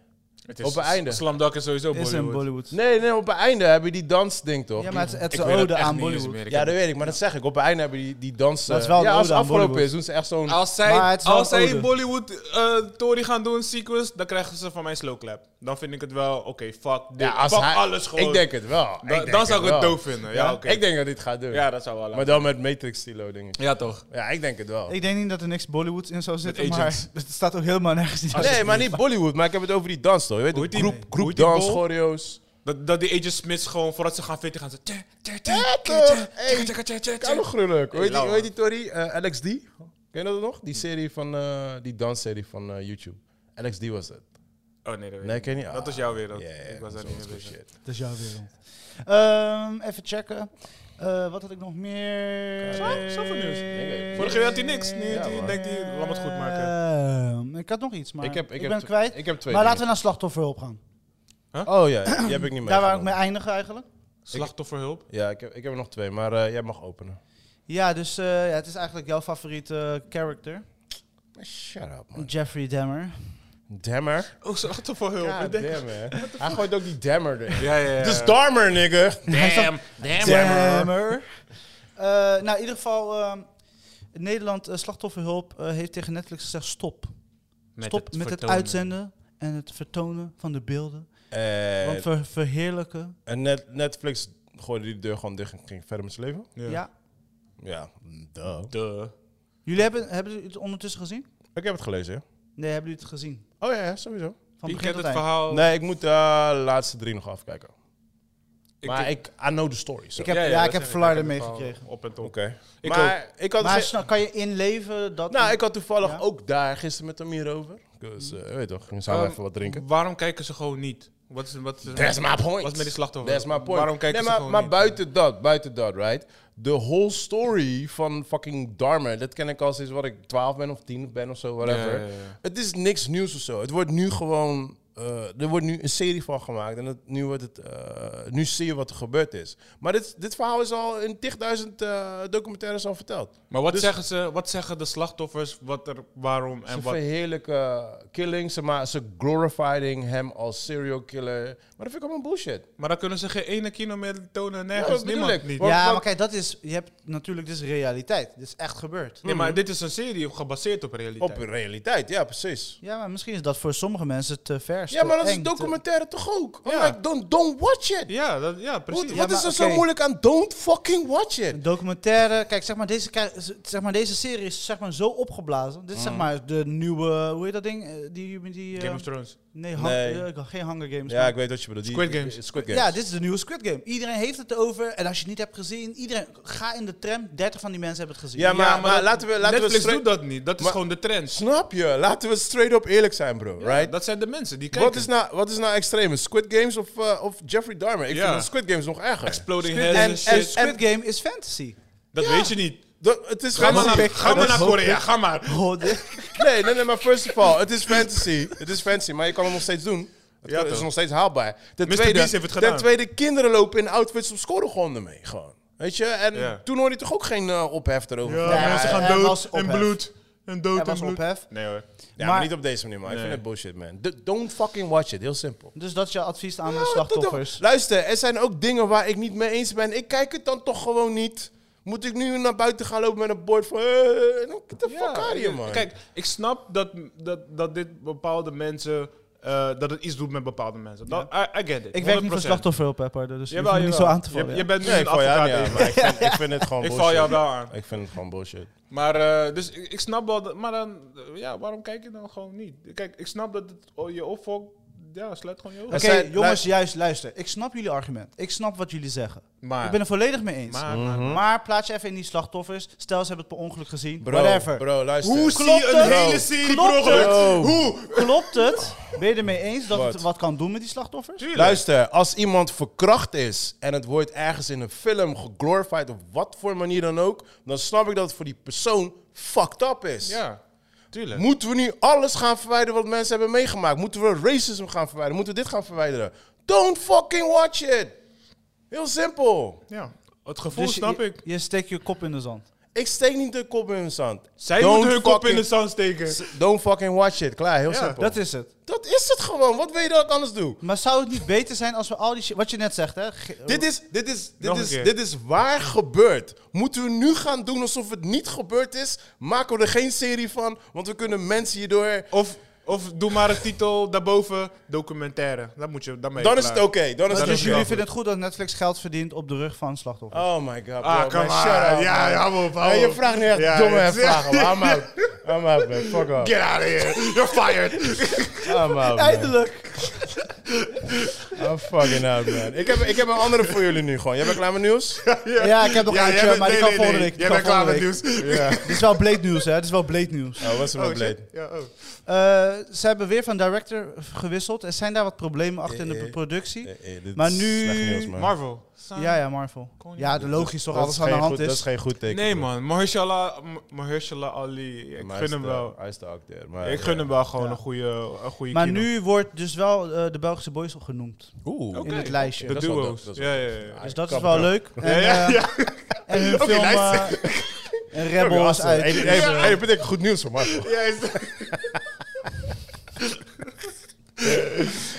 Speaker 2: Het
Speaker 1: Op het einde.
Speaker 2: Slamdak is sowieso
Speaker 3: is
Speaker 2: Bollywood.
Speaker 3: een Bollywood.
Speaker 1: Nee, nee, op het einde hebben die dansding toch?
Speaker 3: Ja, maar het, het is
Speaker 2: Ik
Speaker 3: een
Speaker 2: weet dat
Speaker 3: ode
Speaker 2: echt
Speaker 3: aan
Speaker 2: niet eens
Speaker 3: Bollywood.
Speaker 2: meer. Ik
Speaker 1: Ja,
Speaker 2: heb-
Speaker 1: dat weet ik, maar dat zeg ik. Op het einde hebben die, die dansen.
Speaker 3: Dat is wel een
Speaker 1: ja, als
Speaker 3: ode
Speaker 1: het
Speaker 3: aan
Speaker 1: afgelopen
Speaker 3: Bollywood.
Speaker 1: is, doen ze echt zo'n.
Speaker 2: Als
Speaker 3: Maar
Speaker 2: zij,
Speaker 3: het is wel
Speaker 2: als
Speaker 3: een
Speaker 2: zij
Speaker 3: ode.
Speaker 2: Bollywood eh Tory gaan doen, sequels, dan krijgen ze van mij slow clap. Dan vind ik het wel, oké, fuck dit.
Speaker 1: Ja, als
Speaker 2: fuck
Speaker 1: hij-
Speaker 2: alles gewoon.
Speaker 1: Ik denk het wel. Ik
Speaker 2: Da-
Speaker 1: denk
Speaker 2: dan zou ik het
Speaker 1: wel.
Speaker 2: doof vinden. Ja, oké.
Speaker 1: Ik denk dat hij het gaat doen.
Speaker 2: Ja, dat zou wel.
Speaker 1: maar dan met Matrix-stilo dingen.
Speaker 2: ja, toch.
Speaker 1: Ja, ik denk het wel.
Speaker 3: Ik denk niet dat er niks Bollywood in zou zitten,
Speaker 2: Met
Speaker 3: maar
Speaker 2: agents.
Speaker 3: *laughs* het staat ook helemaal nergens in.
Speaker 1: nee, maar niet Bollywood, maar ik heb het over die dans toch? Je weet
Speaker 2: Hoe
Speaker 1: het,
Speaker 2: heet die-
Speaker 1: groep,
Speaker 2: hoe
Speaker 1: groep
Speaker 2: heet die
Speaker 1: dans,
Speaker 2: bol?
Speaker 1: choreo's.
Speaker 2: Dat, dat die Agent Smiths gewoon voordat ze gaan fitten gaan ze. tja, tja, tja,
Speaker 1: Ja,
Speaker 2: tja, tja,
Speaker 1: toch?
Speaker 2: tja,
Speaker 1: Hey.
Speaker 2: tja, tja, tja, tja.
Speaker 1: Kan nog gruwelijk. Hoe heet die,
Speaker 2: Lauwe.
Speaker 1: hoe heet die Tori? Eh, Alex D? Ken je dat nog? Die serie van, eh, die dansserie van eh, YouTube. Alex D was het.
Speaker 2: Oh nee, dat weet
Speaker 1: Nee,
Speaker 2: ik
Speaker 1: ken je niet?
Speaker 2: Dat was jouw wereld.
Speaker 1: Ja, ja,
Speaker 2: Ik was daar
Speaker 1: dat
Speaker 2: niet mee
Speaker 1: was
Speaker 2: bezig.
Speaker 1: Oh, shit.
Speaker 3: Dat is jouw wereld. Ehm, even checken. Eh, wat had ik nog meer? Eh,
Speaker 2: Zo- zoveel nieuws.
Speaker 1: Denk ik.
Speaker 2: Vorige keer had hij niks. Nu
Speaker 1: Ja,
Speaker 2: die-
Speaker 1: man.
Speaker 2: denkt hij, laat me het goed maken.
Speaker 3: Ehm, ik had nog iets, maar ik,
Speaker 1: Ik heb, ik heb
Speaker 3: ben
Speaker 1: tw-
Speaker 3: kwijt.
Speaker 1: Ik heb twee.
Speaker 3: maar
Speaker 1: dingen.
Speaker 3: laten we naar slachtofferhulp gaan.
Speaker 1: Oh ja, die heb ik niet mee.
Speaker 3: *clears throat* Daar waar ik mee eindig eigenlijk.
Speaker 2: Slachtofferhulp.
Speaker 1: Ja, ik heb, ik heb er nog twee, maar eh, jij mag openen.
Speaker 3: Ja, dus eh, ja, het is eigenlijk jouw favoriete eh, character.
Speaker 1: Shut up, man.
Speaker 3: Jeffrey Dahmer.
Speaker 1: Dammer.
Speaker 2: Oh, slachtofferhulp.
Speaker 1: God
Speaker 2: Ik denk-
Speaker 1: damn, hè. Hij gooit ook die dammer erin.
Speaker 2: Ja, ja, ja.
Speaker 1: Dus Darmer, nigga.
Speaker 3: Hij staat-
Speaker 1: Dammer.
Speaker 3: Eh, nou, in ieder geval, ehm, Nederland eh, Slachtofferhulp eh, heeft tegen Netflix gezegd stop. stop met het
Speaker 2: vertonen.
Speaker 3: uitzenden en het vertonen van de beelden.
Speaker 1: Eh,
Speaker 3: Want ver- verheerlijken,
Speaker 1: en net, Netflix gooide die deur gewoon dicht en ging verder met zijn leven.
Speaker 3: ja.
Speaker 1: Ja, duh.
Speaker 2: Duh.
Speaker 3: Jullie hebben, hebben jullie het ondertussen gezien?
Speaker 1: Ik heb het gelezen, hè.
Speaker 3: Nee, hebben jullie het gezien?
Speaker 1: Oh ja, ja, sowieso.
Speaker 3: Van
Speaker 2: Wie
Speaker 3: begin
Speaker 2: kent het
Speaker 3: tot eind.
Speaker 2: verhaal?
Speaker 1: Nee, ik moet eh, de laatste drie nog afkijken.
Speaker 2: Ik
Speaker 1: maar
Speaker 2: denk-
Speaker 1: ik, I know the story. zo.
Speaker 3: Ik heb, ja,
Speaker 2: Ja, ja,
Speaker 3: ik
Speaker 2: dat
Speaker 3: heb
Speaker 2: zeg
Speaker 3: Florida
Speaker 2: Ik heb het
Speaker 3: meegekregen.
Speaker 2: verhaal Op en top.
Speaker 1: Oké.
Speaker 2: Ik
Speaker 1: maar ik had...
Speaker 3: Maar
Speaker 1: ze-
Speaker 3: snap- kan je inleven dat...
Speaker 1: nou, ik had toevallig
Speaker 3: Ja?
Speaker 1: ook daar gisteren met hem hierover. Dus, eh, weet toch, gingen samen
Speaker 2: Ehm,
Speaker 1: even wat drinken.
Speaker 2: Waarom kijken ze gewoon niet? Wat is, wat is
Speaker 1: dus- That's my point.
Speaker 2: Wat is met die slachtoffer?
Speaker 1: That's my point.
Speaker 2: Waarom kijken
Speaker 1: nee,
Speaker 2: ze
Speaker 1: maar,
Speaker 2: gewoon
Speaker 1: maar
Speaker 2: niet?
Speaker 1: buiten dat, buiten dat, right? De whole story van fucking Dharma, dat ken ik al sinds wat ik 12 ben of 10 ben of zo, whatever.
Speaker 2: Ja, ja, ja.
Speaker 1: Het is niks nieuws of zo. Het wordt nu gewoon. eh, er wordt nu een serie van gemaakt en het, nu, wordt het, eh, nu zie je wat er gebeurd is. Maar dit, dit verhaal is al in tigduizend eh, documentaires al verteld.
Speaker 2: Maar wat,
Speaker 1: Dus-
Speaker 2: zeggen ze, wat zeggen de slachtoffers? Wat er, waarom en
Speaker 1: Ze
Speaker 2: wat?
Speaker 1: verheerlijken killing, ze, ma- ze glorifying hem als serial killer. Maar dat vind ik allemaal bullshit.
Speaker 2: Maar dan kunnen ze geen ene kilo meer tonen.
Speaker 1: Ja,
Speaker 2: Nergens,
Speaker 1: dat bedoel
Speaker 2: niemand
Speaker 1: ik.
Speaker 2: niet.
Speaker 1: Wat-
Speaker 3: ja,
Speaker 1: wat-
Speaker 3: maar kijk, dat is... Je hebt natuurlijk, dit is realiteit. Dit is echt gebeurd.
Speaker 2: Nee, maar dit is een serie gebaseerd op realiteit.
Speaker 1: Op realiteit, ja, precies.
Speaker 3: Ja, maar misschien is dat voor sommige mensen te vers.
Speaker 1: Ja,
Speaker 3: te
Speaker 1: maar dat
Speaker 3: eng,
Speaker 1: is
Speaker 3: te-
Speaker 1: documentaire toch ook? I'm
Speaker 2: Ja.
Speaker 1: like, don't, don't watch it.
Speaker 2: ja, dat, ja,
Speaker 1: Wat,
Speaker 2: precies.
Speaker 1: wat
Speaker 3: Ja,
Speaker 1: is
Speaker 3: maar
Speaker 1: er
Speaker 3: oké.
Speaker 1: zo moeilijk aan? Don't fucking watch it.
Speaker 3: Een documentaire. Kijk, zeg maar, deze, kei- zeg maar, deze serie is zeg maar, zo opgeblazen. Dit is zeg maar de nieuwe. Hoe heet dat ding? Eh, Die, die, eh,
Speaker 2: Game of Thrones.
Speaker 3: nee, Hun-
Speaker 1: Nee.
Speaker 3: eh, geen Hunger Games.
Speaker 1: Ja,
Speaker 3: maar-
Speaker 1: ik weet wat je bedoelt. Die-
Speaker 2: Squid Games.
Speaker 1: die- Squid Games.
Speaker 3: ja, dit is de nieuwe Squid Game. Iedereen heeft het erover. En als je het niet hebt gezien, iedereen. Ga in de tram. 30 van die mensen hebben het gezien.
Speaker 1: Ja, maar,
Speaker 2: Ja,
Speaker 1: maar
Speaker 2: dat-
Speaker 1: laten we... Laten we
Speaker 2: Netflix
Speaker 1: straight-
Speaker 2: doet dat niet. Dat is
Speaker 1: Maar-
Speaker 2: gewoon de trend.
Speaker 1: Snap je? Laten we straight up eerlijk zijn, bro. right?
Speaker 2: Dat zijn de mensen die kijken.
Speaker 1: Wat is, nou, wat is nou extreem? Squid Games of, eh, of Jeffrey Dahmer? Ik
Speaker 2: Ja.
Speaker 1: vind dat Squid Games nog erger.
Speaker 2: Exploding
Speaker 3: Squid
Speaker 2: heads
Speaker 3: Game-
Speaker 2: en
Speaker 3: en,
Speaker 2: shit.
Speaker 3: Squid Game is fantasy.
Speaker 2: dat weet je niet.
Speaker 1: Dat- het is
Speaker 2: Ga maar
Speaker 1: fantasy.
Speaker 2: naar, ga maar
Speaker 1: Het
Speaker 2: naar
Speaker 1: is-
Speaker 2: Korea, ga maar.
Speaker 3: Oh, dit-
Speaker 1: Nee, nee, nee, maar first of all, het is fantasy. Het is fantasy, maar je kan het nog steeds doen. Het
Speaker 2: Ja,
Speaker 1: kan- het is
Speaker 2: toch.
Speaker 1: nog steeds haalbaar. Ten
Speaker 2: Mr.
Speaker 1: tweede,
Speaker 2: Beast heeft het gedaan.
Speaker 1: ten tweede, kinderen lopen in outfits op scoregronde mee. Gewoon. Weet je? En
Speaker 2: Ja.
Speaker 1: toen hoorde je toch ook geen eh, ophef erover.
Speaker 2: Ja,
Speaker 1: Ja,
Speaker 3: Ja,
Speaker 2: mensen
Speaker 3: er
Speaker 2: gaan dood
Speaker 3: was
Speaker 2: en
Speaker 3: ophef.
Speaker 2: bloed. En
Speaker 3: Er
Speaker 2: dood en
Speaker 3: was
Speaker 2: bloed.
Speaker 3: ophef.
Speaker 2: Nee hoor.
Speaker 1: maar,
Speaker 3: maar-
Speaker 1: niet op deze manier, man. Ik vind
Speaker 2: Nee.
Speaker 1: het bullshit, man. D- don't fucking watch it. Heel simpel.
Speaker 3: Dus dat is jouw advies aan de
Speaker 1: Ja, dat-
Speaker 3: slachtoffers.
Speaker 1: Luister, er zijn ook dingen waar ik niet mee eens ben. Ik kijk het dan toch gewoon niet. Moet ik nu naar buiten gaan lopen met een bord van... eh, get the fuck out of here, man.
Speaker 2: Kijk, ik snap dat, dat, dat dit bepaalde mensen eh, eh, dat het iets doet met bepaalde mensen. Dat, I, I get it.
Speaker 3: Ik werk niet voor
Speaker 2: 100%.
Speaker 3: slachtofferhulp, Pepper, dus je
Speaker 2: Jawel,
Speaker 3: hoeft me niet zo
Speaker 2: jawel.
Speaker 3: aan te vallen.
Speaker 2: Je,
Speaker 3: ja.
Speaker 2: je bent nu
Speaker 1: Nee, ik
Speaker 2: een
Speaker 1: val jou
Speaker 2: advocaat.
Speaker 1: niet aan,
Speaker 2: Eva.
Speaker 1: maar ik vind, ik
Speaker 2: *laughs*
Speaker 1: vind het gewoon
Speaker 2: Ik
Speaker 1: bullshit.
Speaker 2: val jou wel aan.
Speaker 1: Ik vind het gewoon bullshit.
Speaker 2: Maar eh, dus ik, ik snap wel, dat, maar dan, eh, ja, waarom kijk je dan gewoon niet? Kijk, ik snap dat het o- je opvolgt, ja, sluit gewoon je ogen.
Speaker 1: Het
Speaker 3: Oké,
Speaker 1: zijn-
Speaker 3: jongens, juist, luister. Ik snap jullie argument. Ik snap wat jullie zeggen.
Speaker 2: Maar,
Speaker 3: Ik ben er volledig mee eens.
Speaker 2: maar, maar-
Speaker 1: Mhm.
Speaker 3: Maar plaats je even in die slachtoffers. Stel, ze hebben het per ongeluk gezien.
Speaker 1: Bro,
Speaker 3: Whatever.
Speaker 1: bro, luister.
Speaker 4: Hoe zie
Speaker 3: Klopt
Speaker 4: je een
Speaker 3: het?
Speaker 4: hele serie
Speaker 3: Klopt
Speaker 4: per
Speaker 1: het?
Speaker 4: ongeluk? Hoe?
Speaker 3: Klopt het? *laughs* Ben je ermee eens dat
Speaker 1: Wat?
Speaker 3: het wat kan doen met die slachtoffers?
Speaker 2: tuurlijk.
Speaker 1: Luister, als iemand verkracht is en het wordt ergens in een film geglorified op wat voor manier dan ook, dan snap ik dat het voor die persoon fucked up is.
Speaker 2: Ja, tuurlijk.
Speaker 1: Moeten we nu alles gaan verwijderen wat mensen hebben meegemaakt? Moeten we racism gaan verwijderen? Moeten we dit gaan verwijderen? Don't fucking watch it! Heel simpel.
Speaker 2: Ja, het gevoel
Speaker 3: Dus je-
Speaker 2: snap
Speaker 3: je,
Speaker 2: ik.
Speaker 3: Je steekt je kop in de zand.
Speaker 1: Ik steek niet de kop in de zand.
Speaker 2: Zij
Speaker 1: Don't
Speaker 2: moeten hun kop in
Speaker 1: fucking-
Speaker 2: de zand steken.
Speaker 1: Don't fucking watch it. Klaar, heel
Speaker 2: Ja,
Speaker 1: simpel.
Speaker 3: Dat is het.
Speaker 1: Dat is het gewoon. Wat wil je dat ik anders doe?
Speaker 3: Maar zou het niet beter zijn als we al die shit... Wat je net zegt, hè? Dus Ge-
Speaker 1: Dit is, dit, is, dit,
Speaker 2: Nog een
Speaker 1: is,
Speaker 2: keer.
Speaker 1: dit is waar gebeurd. Moeten we nu gaan doen alsof het niet gebeurd is? Maken we er geen serie van? Want we kunnen mensen hierdoor...
Speaker 2: Of, of doe maar een titel daarboven, documentaire. Dat moet je, dan ben je
Speaker 1: Dan is het oké.
Speaker 2: klaar.
Speaker 1: Dan is
Speaker 3: Maar
Speaker 1: het
Speaker 3: dus
Speaker 1: oké.
Speaker 3: jullie vinden het goed dat Netflix geld verdient op de rug van slachtoffers?
Speaker 1: Oh my god, bro.
Speaker 2: Ah,
Speaker 1: man,
Speaker 2: come
Speaker 1: shut up,
Speaker 2: on.
Speaker 1: man.
Speaker 2: Ja, ja, hou op, hou
Speaker 1: Hey, je
Speaker 2: op.
Speaker 1: vraagt nu echt
Speaker 2: Ja,
Speaker 1: domme
Speaker 2: ja.
Speaker 1: vragen, maar I'm out. I'm out, man. Fuck off.
Speaker 2: Get out of here. You're fired.
Speaker 1: I'm out, man.
Speaker 3: Eindelijk!
Speaker 1: I'm fucking out, man. Ik heb, ik heb een andere voor jullie nu gewoon. Jij bent klaar met
Speaker 2: *laughs*
Speaker 1: nieuws?
Speaker 3: Ja, ik heb nog
Speaker 4: Ja, jij
Speaker 3: eentje,
Speaker 4: bent-
Speaker 3: maar die
Speaker 4: nee,
Speaker 3: kan
Speaker 4: nee,
Speaker 3: volgende
Speaker 4: nee.
Speaker 3: week. die
Speaker 4: Jij
Speaker 3: kan
Speaker 4: bent klaar met
Speaker 3: volgende
Speaker 4: nieuws.
Speaker 1: Ja.
Speaker 3: week. Dit is wel bleed nieuws, hè? Dit is wel bleed nieuws.
Speaker 1: Oh, was
Speaker 4: Oh,
Speaker 1: een blade.
Speaker 4: shit. Ja, oh.
Speaker 3: Eh, ze hebben weer van director gewisseld. Er zijn daar wat problemen achter in
Speaker 1: Eh,
Speaker 3: de
Speaker 1: eh,
Speaker 3: productie.
Speaker 1: Eh, eh, dit
Speaker 3: Maar
Speaker 1: is
Speaker 3: nu-
Speaker 1: slecht nieuws, man.
Speaker 2: Marvel.
Speaker 3: Ja, ja, Marvel.
Speaker 2: eh. Kon je-
Speaker 3: Ja, de logisch toch,
Speaker 1: Dat is
Speaker 3: alles aan de
Speaker 1: geen
Speaker 3: hand
Speaker 1: goed- Dat is
Speaker 3: is.
Speaker 1: geen goed teken.
Speaker 2: Nee
Speaker 1: bro.
Speaker 2: man, Mahershala, M- Mahershala Ali, ik
Speaker 1: Maar hij
Speaker 2: gun
Speaker 1: is
Speaker 2: hem
Speaker 1: de-
Speaker 2: wel.
Speaker 1: Hij is de acteur. maar eh,
Speaker 2: Ik
Speaker 1: ja.
Speaker 2: gun hem wel gewoon
Speaker 3: Ja.
Speaker 2: een goede, een goede
Speaker 3: Maar
Speaker 2: kino.
Speaker 3: nu wordt dus wel eh, de Belgische boys al genoemd
Speaker 1: Oeh.
Speaker 2: Oké.
Speaker 3: in het lijstje.
Speaker 2: De
Speaker 1: Dat is wel dope,
Speaker 2: duo's.
Speaker 1: dat is
Speaker 2: Ja, ja, ja.
Speaker 3: Dus dat is
Speaker 1: Kap
Speaker 3: wel
Speaker 1: erop.
Speaker 3: leuk. En,
Speaker 2: Ja, ja,
Speaker 3: eh, *laughs* en hun film... eh, en Rebel is uit.
Speaker 1: Hey, hey, hey, hey, vind ik goed nieuws voor Marco.
Speaker 2: Ja, is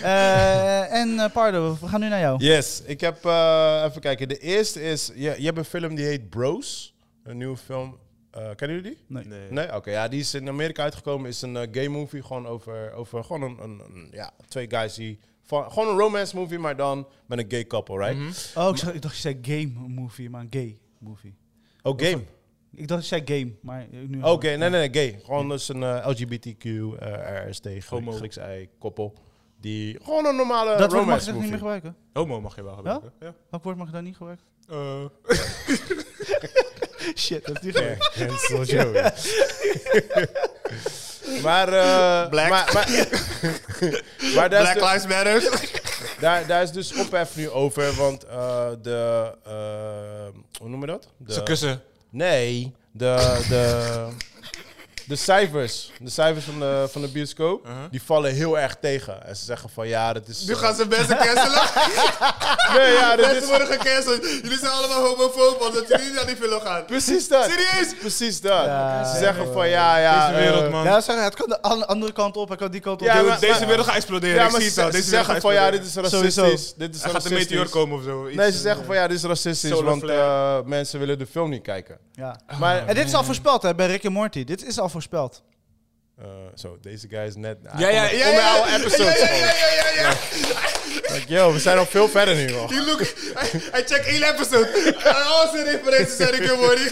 Speaker 3: Eh, en eh, Pardo, we gaan nu naar jou.
Speaker 1: *laughs* Yes, ik heb eh, even kijken. De eerste is, je, je hebt een film die heet Bros. Een nieuwe film. Eh, kennen jullie die?
Speaker 3: Nee.
Speaker 1: Nee? Oké, ja, die is in Amerika uitgekomen. Is een eh, gay movie, gewoon over, over gewoon een, een, een- ja, twee guys die... Van, gewoon een romance movie, maar dan met een gay couple, right?
Speaker 3: Oh, ik, zag- ik dacht je zei game movie, maar een gay movie.
Speaker 1: Oh, game.
Speaker 3: Ik dacht je zei game, maar nu...
Speaker 1: Oké, nee, nee, nee, gay. Gewoon dus een eh, LGBTQ, eh RST, Grieks,
Speaker 2: Homo.
Speaker 1: Grieks ei, koppel. Die gewoon een normale
Speaker 3: Dat woord mag je
Speaker 1: romance
Speaker 3: echt niet
Speaker 1: movie.
Speaker 3: meer gebruiken?
Speaker 2: Homo mag je wel gebruiken. Ja?
Speaker 3: Welk woord mag je daar niet gebruiken?
Speaker 2: Eh,
Speaker 3: Shit, dat is niet gebruikt.
Speaker 1: Cancel
Speaker 4: *laughs*
Speaker 1: Joey. maar, eh,
Speaker 4: Black.
Speaker 1: maar,
Speaker 4: *laughs*
Speaker 1: maar, maar daar, is
Speaker 4: Black
Speaker 1: de-
Speaker 4: Lives Matter.
Speaker 1: daar, daar is dus ophef nu over, want eh, de, eh, hoe noem je dat? De-
Speaker 2: Ze kussen.
Speaker 1: nee, de, de, de cijfers, de cijfers van de, van de bioscoop, die vallen heel erg tegen. En ze zeggen van ja, dat is...
Speaker 4: Uh-huh. Nu
Speaker 1: eh,
Speaker 4: gaan ze mensen cancelen.
Speaker 1: nee, ja, dat
Speaker 4: *laughs* Mensen
Speaker 1: is
Speaker 4: worden gecanceld. Jullie zijn allemaal homofoob omdat jullie niet naar die film gaan.
Speaker 1: precies dat.
Speaker 4: Serieus?
Speaker 1: Precies dat.
Speaker 3: Ja,
Speaker 1: ze
Speaker 3: ja,
Speaker 1: zeggen van ja, ja...
Speaker 2: Deze wereld,
Speaker 1: eh,
Speaker 2: man.
Speaker 3: Ja, zeg, het kan de an- andere kant op, het kan die kant op.
Speaker 1: Ja,
Speaker 3: Dude,
Speaker 1: maar-
Speaker 2: Deze wereld gaat exploderen.
Speaker 1: Ja,
Speaker 2: ik
Speaker 1: maar
Speaker 2: zie
Speaker 1: ze,
Speaker 2: het al.
Speaker 1: ze
Speaker 2: Deze wereld
Speaker 1: zeggen van
Speaker 2: gaat
Speaker 1: ja, dit
Speaker 2: exploderen.
Speaker 1: is
Speaker 3: Sowieso.
Speaker 1: racistisch. Dit is
Speaker 2: Er gaat een
Speaker 1: racistisch.
Speaker 2: meteor komen of zo. iets,
Speaker 1: Nee, ze
Speaker 2: eh,
Speaker 1: zeggen van ja, dit is racistisch,
Speaker 2: Solar
Speaker 1: want
Speaker 2: flare.
Speaker 1: eh, mensen willen de film niet kijken.
Speaker 3: ja. Oh,
Speaker 1: Maar,
Speaker 3: En dit is al voorspeld, hè, bij Rick en Morty. Dit is al voorspeld.
Speaker 1: Eh, zo, deze guy is net...
Speaker 2: Ja, ja, ja,
Speaker 1: Onder
Speaker 2: ja.
Speaker 1: oude episodes.
Speaker 4: Ja, ja, ja, ja, ja.
Speaker 1: Like, yo, we zijn al veel verder nu, man.
Speaker 4: You look. I, I check één episode. Al zijn referenties zijn ik geworden.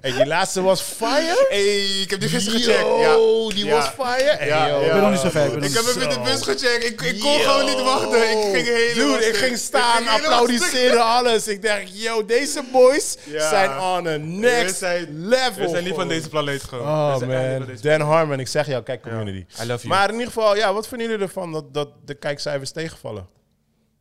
Speaker 1: hey, die laatste was fire?
Speaker 4: Hey, ik heb die gisteren
Speaker 1: Yo,
Speaker 4: gecheckt. Ja.
Speaker 1: die
Speaker 4: Ja.
Speaker 1: was fire? Hey,
Speaker 4: Ja,
Speaker 1: yo.
Speaker 4: ja.
Speaker 3: Ik ben nog niet zo ver. Ik ben nog
Speaker 4: Ik heb
Speaker 3: niet-
Speaker 4: hem in de bus gecheckt. Ik, ik kon
Speaker 1: Yo.
Speaker 4: gewoon niet wachten. Ik ging helemaal
Speaker 1: Dude, ik
Speaker 4: stuk.
Speaker 1: ging staan,
Speaker 4: Ik ging helemaal
Speaker 1: applaudisseren, alles. Ik dacht, yo, deze boys
Speaker 4: Ja.
Speaker 1: zijn on a next
Speaker 4: We zijn-
Speaker 1: level.
Speaker 2: We zijn niet van
Speaker 1: gewoon.
Speaker 2: deze planeet gewoon.
Speaker 1: Oh
Speaker 2: We zijn echt niet van
Speaker 1: man,
Speaker 2: deze
Speaker 1: Dan Harmon, ik zeg jou, kijk community.
Speaker 2: I love you.
Speaker 1: Maar in ieder geval, ja, wat vinden jullie ervan dat, dat de kijkcijfers tegenvallen?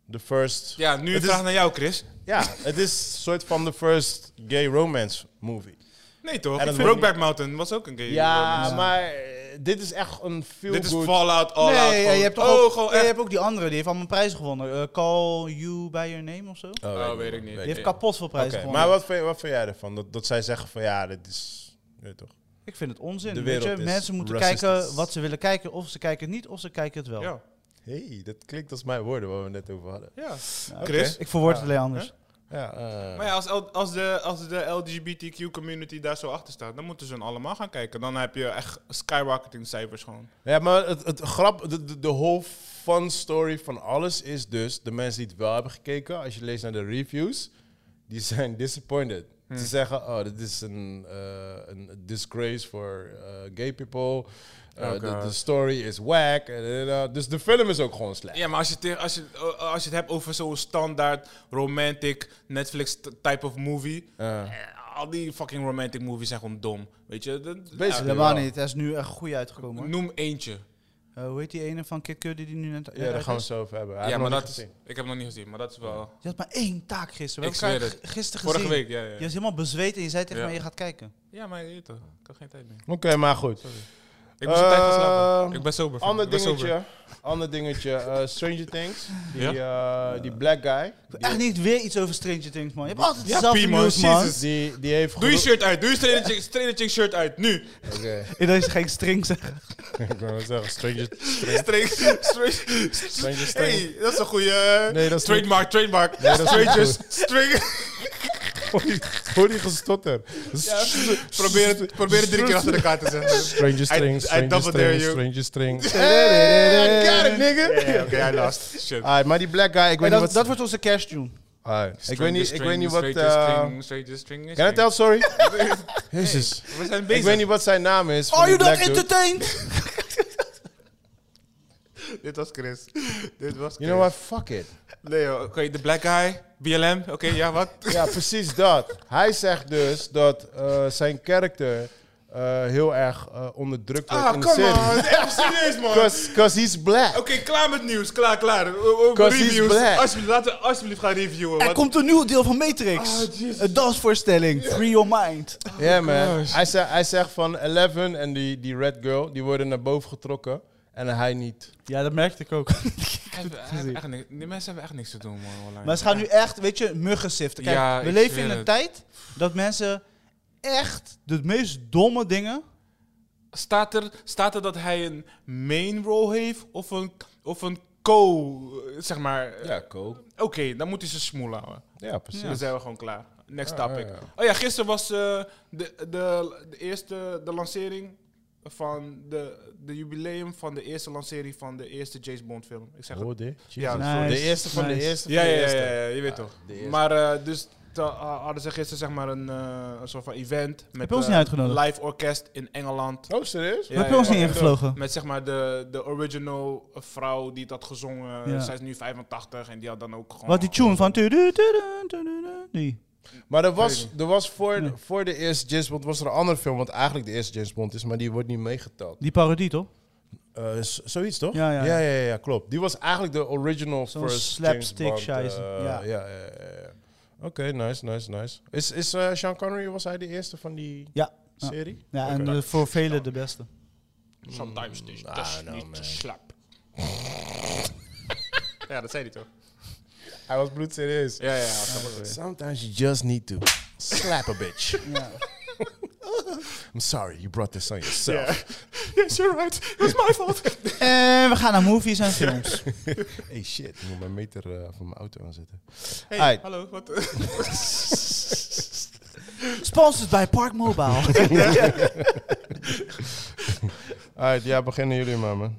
Speaker 1: De first...
Speaker 2: Ja, nu een
Speaker 1: Het is-
Speaker 2: vraag naar jou, Chris.
Speaker 1: Ja, het is een soort van de first gay romance movie.
Speaker 2: Nee toch?
Speaker 1: En
Speaker 2: Ik
Speaker 1: dat
Speaker 2: vind
Speaker 1: wil ik
Speaker 2: Brokeback Mountain was ook een gay.
Speaker 1: Ja,
Speaker 2: romance.
Speaker 1: maar eh, dit is echt een feel
Speaker 2: Dit is
Speaker 1: good...
Speaker 2: Fallout, All Out.
Speaker 3: Nee,
Speaker 2: gewoon-
Speaker 3: je hebt toch
Speaker 2: Oh,
Speaker 3: ook,
Speaker 2: gewoon
Speaker 3: nee, je
Speaker 2: echt.
Speaker 3: hebt ook die andere, die heeft allemaal prijzen gewonnen. Eh, Call You By Your Name of zo. Die
Speaker 2: Oh, weet ik niet.
Speaker 1: Oké,
Speaker 2: Weet
Speaker 3: heeft
Speaker 2: ik.
Speaker 3: kapot veel prijzen gewonnen.
Speaker 1: maar wat vind, wat vind jij ervan? Dat, dat zij zeggen van ja, dit is... je Weet toch?
Speaker 3: ik vind het onzin.
Speaker 1: De
Speaker 3: weet je?
Speaker 1: wereld is
Speaker 3: Mensen moeten
Speaker 1: racistisch.
Speaker 3: kijken wat ze willen kijken. Of ze kijken het niet, of ze kijken het wel.
Speaker 2: Ja,
Speaker 1: hey, dat klinkt als mijn woorden waar we net over hadden.
Speaker 2: ja. Chris?
Speaker 3: Ik verwoord het alleen anders.
Speaker 1: Ja, eh,
Speaker 2: Maar ja, als, L- als, de, als de LGBTQ community daar zo achter staat, dan moeten ze hun allemaal gaan kijken. Dan heb je echt skyrocketing cijfers gewoon.
Speaker 1: ja, maar het, het grap, de, de, de whole fun story van alles is dus, de mensen die het wel hebben gekeken, als je leest naar de reviews, die zijn disappointed.
Speaker 2: Hmm.
Speaker 1: Ze zeggen, oh, dit is een, eh, een disgrace voor eh, gay people. Eh,
Speaker 2: Oh
Speaker 1: de-
Speaker 2: God.
Speaker 1: de story is whack. eh, eh, eh, dus de film is ook gewoon slecht.
Speaker 2: Ja, maar als je, tegen- als je, als je het hebt over zo'n standaard romantic Netflix t- type of movie.
Speaker 1: Eh.
Speaker 2: eh, Al die fucking romantic movies zijn gewoon dom. Weet je? Dat,
Speaker 1: Basically.
Speaker 2: ja,
Speaker 3: Helemaal
Speaker 1: wel.
Speaker 3: niet. Hij is nu echt goed uitgekomen. hoor.
Speaker 2: noem eentje.
Speaker 3: Eh, hoe heet die ene van Kid Cudi die nu net
Speaker 1: Ja, daar
Speaker 3: uit
Speaker 1: gaan we
Speaker 3: is?
Speaker 1: het zo over hebben. Hij
Speaker 2: Ja,
Speaker 1: heeft
Speaker 2: maar
Speaker 1: nog
Speaker 2: dat
Speaker 1: niet
Speaker 2: is,
Speaker 1: gezien.
Speaker 2: ik heb hem nog niet gezien, maar dat is wel.
Speaker 3: Je had maar één taak gisteren. We
Speaker 2: Ik
Speaker 3: hebben elkaar
Speaker 2: zweer
Speaker 3: g- gisteren
Speaker 2: Vorige
Speaker 3: gezien.
Speaker 2: week, ja.
Speaker 1: eh.
Speaker 2: Ja,
Speaker 3: Je was helemaal bezweet en je zei tegen
Speaker 2: Ja.
Speaker 3: mij, je gaat kijken.
Speaker 2: ja maar je weet toch, ik heb geen tijd meer.
Speaker 1: Oké, maar goed.
Speaker 2: Ik moest op tijd gaan slapen.
Speaker 1: Eh,
Speaker 2: Ik ben sober. vriend.
Speaker 1: Ander
Speaker 2: Ik ben sober.
Speaker 1: dingetje. Ander dingetje. eh, Stranger Things. Die,
Speaker 2: Ja?
Speaker 1: eh, die black guy. Die,
Speaker 3: Echt niet weer iets over Stranger Things, man. Je hebt altijd
Speaker 2: Ja,
Speaker 3: dezelfde
Speaker 2: Piemon,
Speaker 3: nieuws, man.
Speaker 2: Jezus.
Speaker 1: die, die heeft...
Speaker 2: Doe je
Speaker 1: gero-
Speaker 2: shirt uit, doe je Stranger Things- Stranger Things shirt uit, nu!
Speaker 1: Oké.
Speaker 3: En dan is er geen string zeggen.
Speaker 1: Ik wou net zeggen, *laughs* Stranger...
Speaker 2: Stranger
Speaker 1: Stranger
Speaker 2: Stranger
Speaker 1: Things.
Speaker 2: Hey, dat is een goede.
Speaker 1: Nee, dat is
Speaker 2: trademark, trademark.
Speaker 1: Nee, dat is niet
Speaker 2: Stranger
Speaker 1: goed.
Speaker 2: Stranger.
Speaker 1: Hoor die- Hoor die gestotter.
Speaker 2: *laughs* Probeer het, probeer het drie keer achter elkaar te zeggen.
Speaker 1: *laughs* Stranger Things,
Speaker 2: I
Speaker 1: Stranger
Speaker 2: double dare
Speaker 1: Things,
Speaker 2: you.
Speaker 1: Stranger Things.
Speaker 2: *laughs* Hey, I got it, nigga! Oké, hij last. Shit.
Speaker 1: Alright, maar die black guy, ik weet
Speaker 3: En
Speaker 1: niet
Speaker 3: dat,
Speaker 1: wat...
Speaker 3: dat wordt onze cash tune.
Speaker 1: Alright, Ik weet niet, ik weet niet wat...
Speaker 2: Stranger
Speaker 1: eh,
Speaker 2: string, stranger string,
Speaker 1: Can I
Speaker 2: string.
Speaker 1: tell,
Speaker 2: *laughs*
Speaker 1: sorry? Jezus.
Speaker 2: We zijn
Speaker 1: Ik weet
Speaker 2: bezig.
Speaker 1: niet wat zijn naam is. van
Speaker 3: Are
Speaker 1: die
Speaker 3: you not
Speaker 1: black dude.
Speaker 3: entertained?
Speaker 2: Dit was Chris. Dit was Chris.
Speaker 1: You know what, fuck it.
Speaker 2: Nee, joh. Oké, de black guy. BLM. Oké, ja, wat?
Speaker 1: *laughs* Ja, precies dat. Hij zegt dus dat eh, zijn karakter eh, heel erg eh, onderdrukt wordt in de
Speaker 2: Ah, come
Speaker 1: serie.
Speaker 2: on. Even serieus, man. Oké,
Speaker 1: Cause, cause he's black.
Speaker 2: klaar met nieuws. Klaar, klaar. O- o-
Speaker 1: Cause he's
Speaker 2: Reviews.
Speaker 1: black.
Speaker 2: Alsjeblieft, laten we alsjeblieft gaan reviewen.
Speaker 3: Er
Speaker 2: want-
Speaker 3: komt een nieuw deel van Matrix.
Speaker 2: Ah, Jezus.
Speaker 3: een dansvoorstelling. Free your mind.
Speaker 2: Oh,
Speaker 1: Ja, man. Hij zegt, hij zegt van Eleven en die, die red girl, die worden naar boven getrokken. En hij niet.
Speaker 3: Ja, dat merkte ik ook.
Speaker 2: Hij heeft- hij heeft echt niks- Die mensen hebben echt niks te doen, man. online.
Speaker 3: Maar ze gaan nu echt, weet je, muggen siften. Kijk,
Speaker 2: Ja,
Speaker 3: we
Speaker 2: ik
Speaker 3: leven
Speaker 2: zweer
Speaker 3: in een
Speaker 2: het.
Speaker 3: tijd dat mensen echt de meest domme dingen...
Speaker 2: Staat er, staat er dat hij een main role heeft of een, of een co, eh, zeg maar. eh,
Speaker 1: cool.
Speaker 2: Oké, dan moet hij ze smoel houden.
Speaker 1: Ja, precies.
Speaker 2: Dan zijn we gewoon klaar. Next
Speaker 1: Ja,
Speaker 2: topic.
Speaker 1: ja, ja.
Speaker 2: Oh ja, gisteren was eh, de, de, de eerste de lancering van de, de jubileum van de eerste lancering van de eerste James Bond film. Ik zeg het.
Speaker 1: Hoorde je?
Speaker 2: Ja,
Speaker 1: Jesus.
Speaker 3: sorry.
Speaker 1: de eerste van de
Speaker 3: Nice.
Speaker 1: eerste. van
Speaker 2: Ja,
Speaker 1: de
Speaker 2: ja, ja,
Speaker 1: eerste.
Speaker 2: ja, ja, je weet
Speaker 1: Ja,
Speaker 2: toch.
Speaker 1: de eerste.
Speaker 2: Maar eh, dus te- ha- hadden ze gisteren zeg maar een, eh, een soort van event met
Speaker 3: je ons
Speaker 2: eh,
Speaker 3: niet uitgenodigd?
Speaker 2: live orkest in Engeland.
Speaker 1: Oh, serieus?
Speaker 2: Ja,
Speaker 3: Heb je ons
Speaker 2: ja,
Speaker 3: niet
Speaker 2: ja.
Speaker 3: ingevlogen?
Speaker 2: Met zeg maar de, de original vrouw die dat gezongen.
Speaker 3: Ja.
Speaker 2: Zij is nu 85 en die had dan ook gewoon...
Speaker 3: Wat die tune van... tudu, tudu, tudu, tudu, Die.
Speaker 1: Maar er was, er was voor, voor de eerste James Bond was er een andere film, wat eigenlijk de eerste James Bond is, maar die wordt niet meegeteld.
Speaker 3: Die parodie, toch?
Speaker 1: Eh, z- zoiets toch?
Speaker 3: Ja, ja,
Speaker 1: ja,
Speaker 3: ja.
Speaker 1: ja, ja, klopt. Die was eigenlijk de original
Speaker 3: Zo'n
Speaker 1: first
Speaker 3: slapstick
Speaker 1: James Bond,
Speaker 3: scheisse,
Speaker 1: eh,
Speaker 3: ja.
Speaker 1: ja, ja, ja, ja. Oké, nice, nice, nice. Is, is eh, Sean Connery, was hij de eerste van die
Speaker 3: Ja. Ja.
Speaker 1: serie?
Speaker 3: Ja, en
Speaker 1: Oké.
Speaker 3: eh, voor velen de beste.
Speaker 2: Sometimes is
Speaker 1: I
Speaker 2: dat
Speaker 1: know,
Speaker 2: niet
Speaker 1: man.
Speaker 2: te slap. ja, dat zei hij toch?
Speaker 1: Hij was bloedserieus. Ah,
Speaker 2: Ja, ja, ja. dat was het.
Speaker 1: Sometimes you just need to slap a bitch.
Speaker 3: *laughs* Ja.
Speaker 1: *laughs* I'm sorry, you brought this on yourself.
Speaker 2: Yes, you're right. It was my fault.
Speaker 3: En we gaan naar movies en films.
Speaker 1: Hey shit, ik moet mijn meter eh, van mijn auto aanzetten.
Speaker 2: Hey,
Speaker 1: Aight.
Speaker 2: hallo. Wat? *laughs*
Speaker 3: Sponsored by Park Mobile.
Speaker 1: Alright, ja, beginnen jullie maar, man.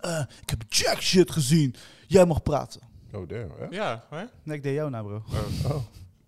Speaker 3: Eh, ik heb jack shit gezien. Jij mag praten.
Speaker 1: Oh, damn. Hè?
Speaker 2: ja, hè?
Speaker 3: Nee, ik deed jou na, bro.
Speaker 1: Oh.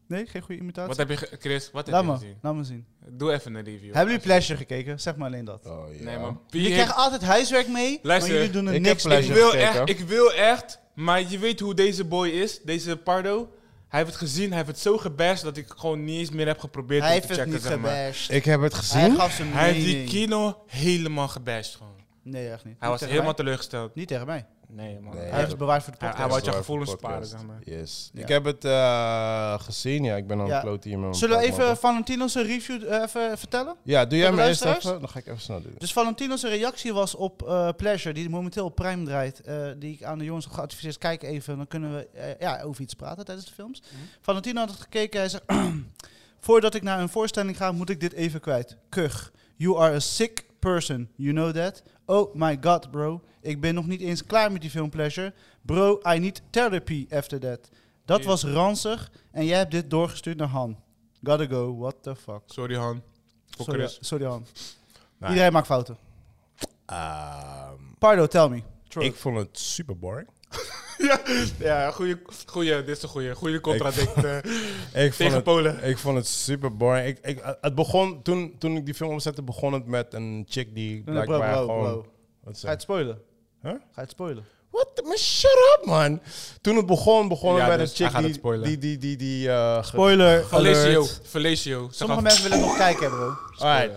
Speaker 3: Nee, geen goede
Speaker 2: Wat
Speaker 3: imitatie.
Speaker 2: heb je, ge- Chris, wat heb
Speaker 3: Laat
Speaker 2: je
Speaker 3: me,
Speaker 2: gezien?
Speaker 3: laat me zien.
Speaker 2: Doe even een review.
Speaker 3: Hebben jullie Pleasure gekeken? Zeg maar alleen dat.
Speaker 1: Oh, ja.
Speaker 2: Nee, man.
Speaker 3: Je krijgt altijd huiswerk mee,
Speaker 2: Luister,
Speaker 3: maar jullie doen er
Speaker 1: ik heb
Speaker 3: niks mee.
Speaker 1: pleasure.
Speaker 2: ik wil,
Speaker 1: gekeken.
Speaker 2: echt, ik wil echt, maar je weet hoe deze boy is, deze Pardo. Hij heeft het gezien, hij heeft het zo gebashed dat ik gewoon niet eens meer heb geprobeerd
Speaker 3: Hij
Speaker 2: om te
Speaker 3: heeft het
Speaker 2: checken.
Speaker 3: niet
Speaker 2: zeg maar.
Speaker 3: gebashed.
Speaker 1: Ik heb het
Speaker 3: Hij
Speaker 1: gezien.
Speaker 3: gaf zijn
Speaker 2: Hij heeft die
Speaker 3: mening.
Speaker 2: kino helemaal gebashed gewoon.
Speaker 3: Nee, echt niet.
Speaker 2: Hij
Speaker 3: Niet
Speaker 2: was
Speaker 3: tegen
Speaker 2: helemaal
Speaker 3: mij.
Speaker 2: teleurgesteld.
Speaker 3: Niet tegen mij.
Speaker 2: Nee, man.
Speaker 1: Nee.
Speaker 2: Hij
Speaker 3: Hij heeft het bewaard voor de
Speaker 2: Hij-
Speaker 3: podcast.
Speaker 2: hij wou- je
Speaker 1: Sorry,
Speaker 2: gevoelens
Speaker 1: podcast.
Speaker 2: sparen, zeg maar.
Speaker 1: Yes.
Speaker 3: Ja.
Speaker 1: Ik heb het eh, gezien. Ja, ik ben aan het
Speaker 3: Ja.
Speaker 1: kloten hier. met mijn
Speaker 3: Zullen we
Speaker 1: platmappen.
Speaker 3: even Valentino zijn review eh, even vertellen?
Speaker 1: Ja, doe jij
Speaker 3: Voor de
Speaker 1: me eerst
Speaker 3: luisteraars?
Speaker 1: even. Dan ga ik even snel doen.
Speaker 3: Dus Valentino zijn reactie was op eh, Pleasure, die momenteel op Prime draait. eh, die ik aan de jongens heb geadviseerd, kijk even, dan kunnen we eh, ja, over iets praten tijdens de films.
Speaker 2: Mhm.
Speaker 3: Valentino had het gekeken, hij zegt... *clears throat* Voordat ik naar een voorstelling ga, moet ik dit even kwijt. Kuch. You are a sick person, you know that? Oh my god, bro. Ik ben nog niet eens klaar met die film Pleasure. Bro, I need therapy after that. Dat
Speaker 2: Ja.
Speaker 3: was ranzig en jij hebt dit doorgestuurd naar Han. Gotta go, what the fuck.
Speaker 2: Sorry, Han. Voor
Speaker 3: Sorry,
Speaker 2: Chris.
Speaker 3: sorry Han.
Speaker 1: Nee.
Speaker 3: Iedereen maakt fouten.
Speaker 1: Ehm,
Speaker 3: Pardo, tell me.
Speaker 1: ik vond het super boring.
Speaker 2: ja, ja goeie, goeie, dit is een goeie. Goeie contradict *laughs* eh,
Speaker 1: Ik vond
Speaker 2: tegen
Speaker 1: het,
Speaker 2: Polen.
Speaker 1: ik vond het super boring. Ik, ik, het begon, toen, toen ik die film opzette, begon het met een chick die
Speaker 3: Bro,
Speaker 1: blijkbaar
Speaker 3: bro,
Speaker 1: gewoon...
Speaker 3: bro.
Speaker 1: Wat
Speaker 3: Ga je
Speaker 1: ze-
Speaker 3: het spoilen?
Speaker 1: Huh?
Speaker 3: Ga je het spoilen?
Speaker 1: What the, man, shut up man. Toen het begon, begon
Speaker 2: Ja,
Speaker 1: het met
Speaker 2: dus
Speaker 1: een
Speaker 2: hij
Speaker 1: chick
Speaker 2: gaat het
Speaker 1: die,
Speaker 2: spoilen.
Speaker 1: die, die, die, die eh, ge-
Speaker 3: Spoiler
Speaker 2: Valesio. Valesio. Zeg
Speaker 3: Sommige
Speaker 2: af.
Speaker 3: mensen willen nog kijken, bro.
Speaker 1: Alright.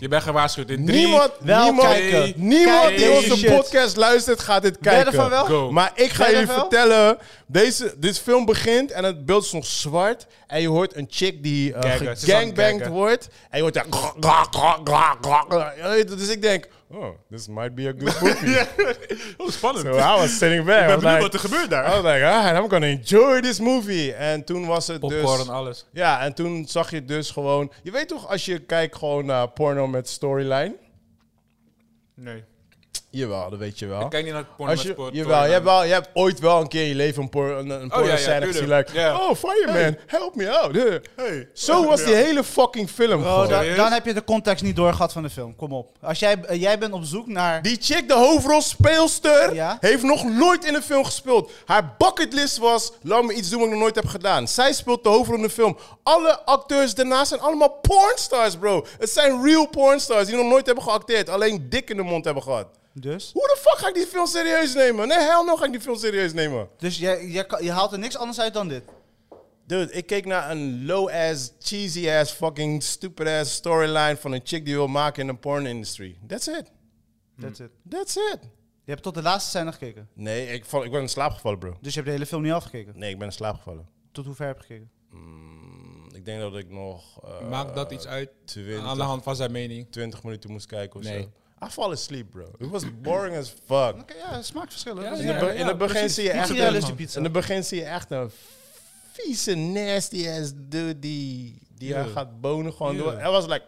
Speaker 2: Je bent gewaarschuwd in drie.
Speaker 1: Niemand,
Speaker 3: wel
Speaker 1: niemand,
Speaker 2: kijken.
Speaker 1: niemand
Speaker 2: Kijk
Speaker 1: die
Speaker 2: deze
Speaker 1: onze
Speaker 3: shit.
Speaker 1: podcast luistert gaat dit
Speaker 3: Ben je
Speaker 1: kijken.
Speaker 3: ervan wel?
Speaker 2: Go.
Speaker 1: Maar ik ga
Speaker 3: Ben je
Speaker 1: jullie
Speaker 3: ervan?
Speaker 1: vertellen, deze, dit film begint en het beeld is nog zwart. En je hoort een chick die eh
Speaker 2: Kijken, ze is aan het
Speaker 1: gangbanged
Speaker 2: kijken.
Speaker 1: wordt. En je hoort daar... grrr, grrr, grrr, grrr, grrr. Je weet het, Dus ik denk, oh, this might be a
Speaker 2: *laughs*
Speaker 1: good movie.
Speaker 2: Oh, spannend.
Speaker 1: So I was sitting back.
Speaker 2: ben
Speaker 1: I was
Speaker 2: benieuwd
Speaker 1: like-
Speaker 2: wat er gebeurt daar.
Speaker 1: I was like, alright, I'm gonna enjoy this movie. En toen was het
Speaker 2: Popcorn
Speaker 1: dus...
Speaker 2: en alles.
Speaker 1: Ja, en toen zag je dus gewoon... Je weet toch, als je kijkt gewoon naar porno met storyline...
Speaker 2: Nee.
Speaker 1: Jawel, dat weet je wel.
Speaker 2: Ik kijk niet naar porno
Speaker 1: Als
Speaker 2: met
Speaker 1: je,
Speaker 2: sport. eh, Oh,
Speaker 1: jawel, je hebt wel, je hebt ooit wel een keer in je leven een, por een, een porno
Speaker 2: ja, ja,
Speaker 1: scène
Speaker 2: tuurlijk.
Speaker 1: gezien. Like,
Speaker 2: Ja.
Speaker 1: Oh, fireman, help me out. Huh. Zo was die hele fucking film
Speaker 2: Oh,
Speaker 3: Bro,
Speaker 1: gewoon.
Speaker 3: dan,
Speaker 2: Serieus?
Speaker 3: dan heb je de context niet doorgehad van de film. Kom op. Als jij, eh, jij bent op zoek naar...
Speaker 1: Die chick, de hoofdrolspeelster,
Speaker 3: Ja.
Speaker 1: heeft nog nooit in een film gespeeld. Haar bucketlist was, laat me iets doen wat ik nog nooit heb gedaan. Zij speelt de hoofdrol in de film. Alle acteurs daarnaast zijn allemaal pornstars, bro. Het zijn real pornstars die nog nooit hebben geacteerd. Alleen dik in de mond hebben gehad.
Speaker 3: Dus?
Speaker 1: Hoe de fuck ga ik die film serieus nemen? Nee, hell no ga ik die film serieus nemen.
Speaker 3: Dus jij, jij, kan- je haalt er niks anders uit dan dit.
Speaker 1: Dude, ik keek naar een low-ass, cheesy-ass, fucking stupid-ass storyline van een chick die wil maken in de porn-industry. That's it.
Speaker 3: That's it.
Speaker 1: That's it.
Speaker 3: Je hebt tot de laatste scène gekeken.
Speaker 1: Nee, ik, val, ik ben in slaap gevallen, bro.
Speaker 3: Dus je hebt de hele film niet afgekeken.
Speaker 1: Nee, ik ben in slaap gevallen. Mm,
Speaker 3: Tot hoe ver heb je gekeken?
Speaker 1: Ik denk dat ik nog eh,
Speaker 2: Maakt dat iets uit? Aan de
Speaker 1: 20,
Speaker 2: hand van zijn mening.
Speaker 1: 20 minuten moest kijken of
Speaker 2: Nee.
Speaker 1: zo. I fall asleep, bro. It was boring as fuck.
Speaker 3: Oké, ja, smaakverschillen.
Speaker 2: Ja,
Speaker 3: Dat is
Speaker 1: In,
Speaker 2: ja.
Speaker 1: het be- in het begin
Speaker 2: precies.
Speaker 1: zie je
Speaker 2: Niet
Speaker 1: echt
Speaker 2: zo
Speaker 1: een,
Speaker 2: realistisch
Speaker 3: man. pizza.
Speaker 1: in het begin zie je echt een vieze nasty ass dude die, die haar
Speaker 2: Ja.
Speaker 1: gaat bonen gewoon
Speaker 2: Ja.
Speaker 1: door. Hij was
Speaker 2: *laughs*
Speaker 1: like,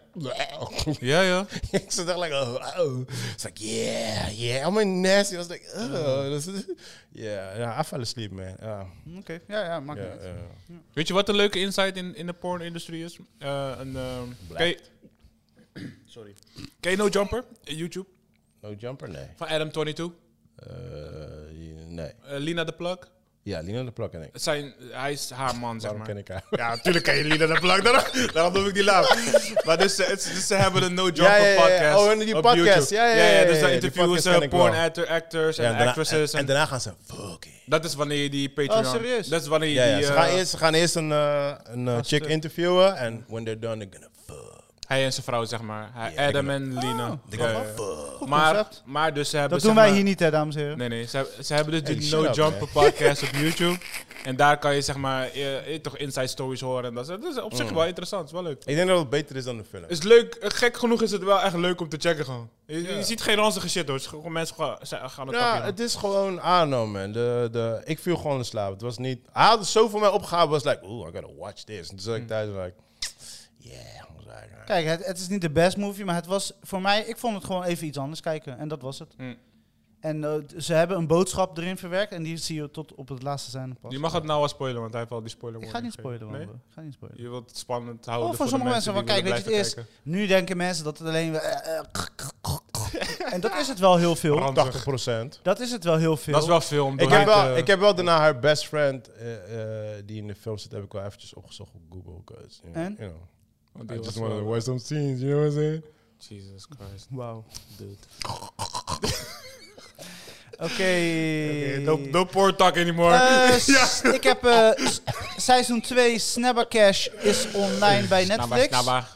Speaker 1: *laughs*
Speaker 2: Ja, ja.
Speaker 1: ik zat echt like, oh, oh. It's like, yeah, yeah, I'm a nasty. I was like,
Speaker 2: Mm.
Speaker 1: oh. This is, yeah, yeah, I fell asleep, man. Ah, Ja,
Speaker 3: Oké, ja, ja, maakt
Speaker 1: ja,
Speaker 3: niet uit.
Speaker 1: ja.
Speaker 2: Weet je wat een leuke insight in, in de porn-industrie is? Eh, een, ehm, ken
Speaker 1: *coughs*
Speaker 2: je- Sorry. Ken je No Jumper? Eh, YouTube.
Speaker 1: No jumper? Nee.
Speaker 2: Van Adam22.
Speaker 1: Eh, nee.
Speaker 2: Eh, Lina de Plug.
Speaker 1: Ja, Lina de Plak en ik.
Speaker 2: Het zijn, hij is haar man, zeg
Speaker 1: Waarom
Speaker 2: maar.
Speaker 1: ken ik haar?
Speaker 2: Ja, natuurlijk ken je Lina de Plug. Daarom, daarom noem ik die naam. maar dus, ze- het- dus ze hebben een No Jumper
Speaker 1: ja, ja.
Speaker 2: podcast.
Speaker 1: Oh, en die
Speaker 2: op
Speaker 1: podcast.
Speaker 2: YouTube.
Speaker 1: Ja, ja, ja, ja,
Speaker 2: dus
Speaker 1: ja,
Speaker 2: daar
Speaker 1: die
Speaker 2: interviewen
Speaker 1: podcast ken
Speaker 2: ze
Speaker 1: ik
Speaker 2: porn
Speaker 1: wel.
Speaker 2: actor, actors
Speaker 1: Ja,
Speaker 2: en
Speaker 1: en, daarna, en,
Speaker 2: actresses.
Speaker 1: en
Speaker 2: En,
Speaker 1: daarna gaan ze fucking.
Speaker 2: dat is wanneer je die Patreon...
Speaker 3: Oh, serieus?
Speaker 2: Dat is wanneer je
Speaker 1: Ja, ja,
Speaker 2: die...
Speaker 1: ze
Speaker 2: eh,
Speaker 1: gaan eerst, ze gaan eerst een, eh, een eh, chick interviewen. En when they're done, they're gonna fuck.
Speaker 2: Hij en zijn vrouw, zeg maar. Hij,
Speaker 1: Ja,
Speaker 2: Adam en Lina.
Speaker 1: They're
Speaker 2: Ja,
Speaker 1: gonna
Speaker 2: ja.
Speaker 1: fuck.
Speaker 3: Goed
Speaker 2: Maar,
Speaker 3: concept.
Speaker 2: maar dus ze hebben...
Speaker 3: Dat doen
Speaker 2: zeg
Speaker 3: wij
Speaker 2: maar-
Speaker 3: hier niet, hè, dames en heren.
Speaker 2: Nee, nee. Ze, ze hebben dus
Speaker 1: Hey,
Speaker 2: die
Speaker 1: shut
Speaker 2: No
Speaker 1: up,
Speaker 2: Jumper podcast op YouTube. En daar kan je zeg maar eh, eh, toch inside stories horen. En dat, is- dat is op zich
Speaker 1: Mm.
Speaker 2: wel interessant. Is wel leuk.
Speaker 1: Ik denk dat het beter is dan de film.
Speaker 2: Is leuk. eh, Gek genoeg is het wel echt leuk om te checken gewoon. Je, je ziet geen ranzige shit hoor. Het is gewoon mensen gaan, zijn- gaan het
Speaker 1: Ja,
Speaker 2: kapje doen.
Speaker 1: het is gewoon, I don't know man. De, de, ik viel gewoon in slaap. Het was niet, hij had zo voor mij opgehaald. was like, ooh, I gotta watch this. En toen zat ik thuis en was like, yeah. I was like, ah.
Speaker 3: Kijk, het, het is niet de best movie, maar het was voor mij... Ik vond het gewoon even iets anders kijken. En dat was het.
Speaker 2: Mm.
Speaker 3: En eh, t- ze hebben een boodschap erin verwerkt. En die zie je tot op het laatste scène pas.
Speaker 2: Je mag het nou wel spoilen, want hij heeft al die spoiler
Speaker 3: Ik ga
Speaker 2: warning
Speaker 3: niet
Speaker 2: gegeven.
Speaker 3: spoilen, man.
Speaker 2: Nee?
Speaker 3: bro. Ik ga niet spoilen.
Speaker 2: Je wilt het spannend houden
Speaker 3: Oh, voor sommige mensen,
Speaker 2: van
Speaker 3: van kijk, weet je het eerst. Nu denken mensen dat het alleen... eh, eh,
Speaker 2: *laughs*
Speaker 3: en dat is het wel heel veel.
Speaker 1: 80 procent.
Speaker 3: Dat is het wel heel veel.
Speaker 2: Dat is wel film.
Speaker 1: Ik heb, wel, ik heb wel daarna haar best friend, eh, eh, die in de film zit, heb ik wel eventjes opgezocht op Google. 'cause, You know,
Speaker 3: En?
Speaker 1: You know, I just wanted
Speaker 2: eh,
Speaker 1: to watch some scenes, you know what I'm saying?
Speaker 2: Jesus Christ,
Speaker 3: Wauw.
Speaker 2: dude.
Speaker 3: *laughs* Oké.
Speaker 2: No, no porn talk anymore.
Speaker 1: Nou,
Speaker 3: Eh, s- Ik heb eh, s- seizoen 2 Snabba Cash is online bij
Speaker 2: Snabba,
Speaker 3: Netflix.
Speaker 1: nou,
Speaker 2: snabba.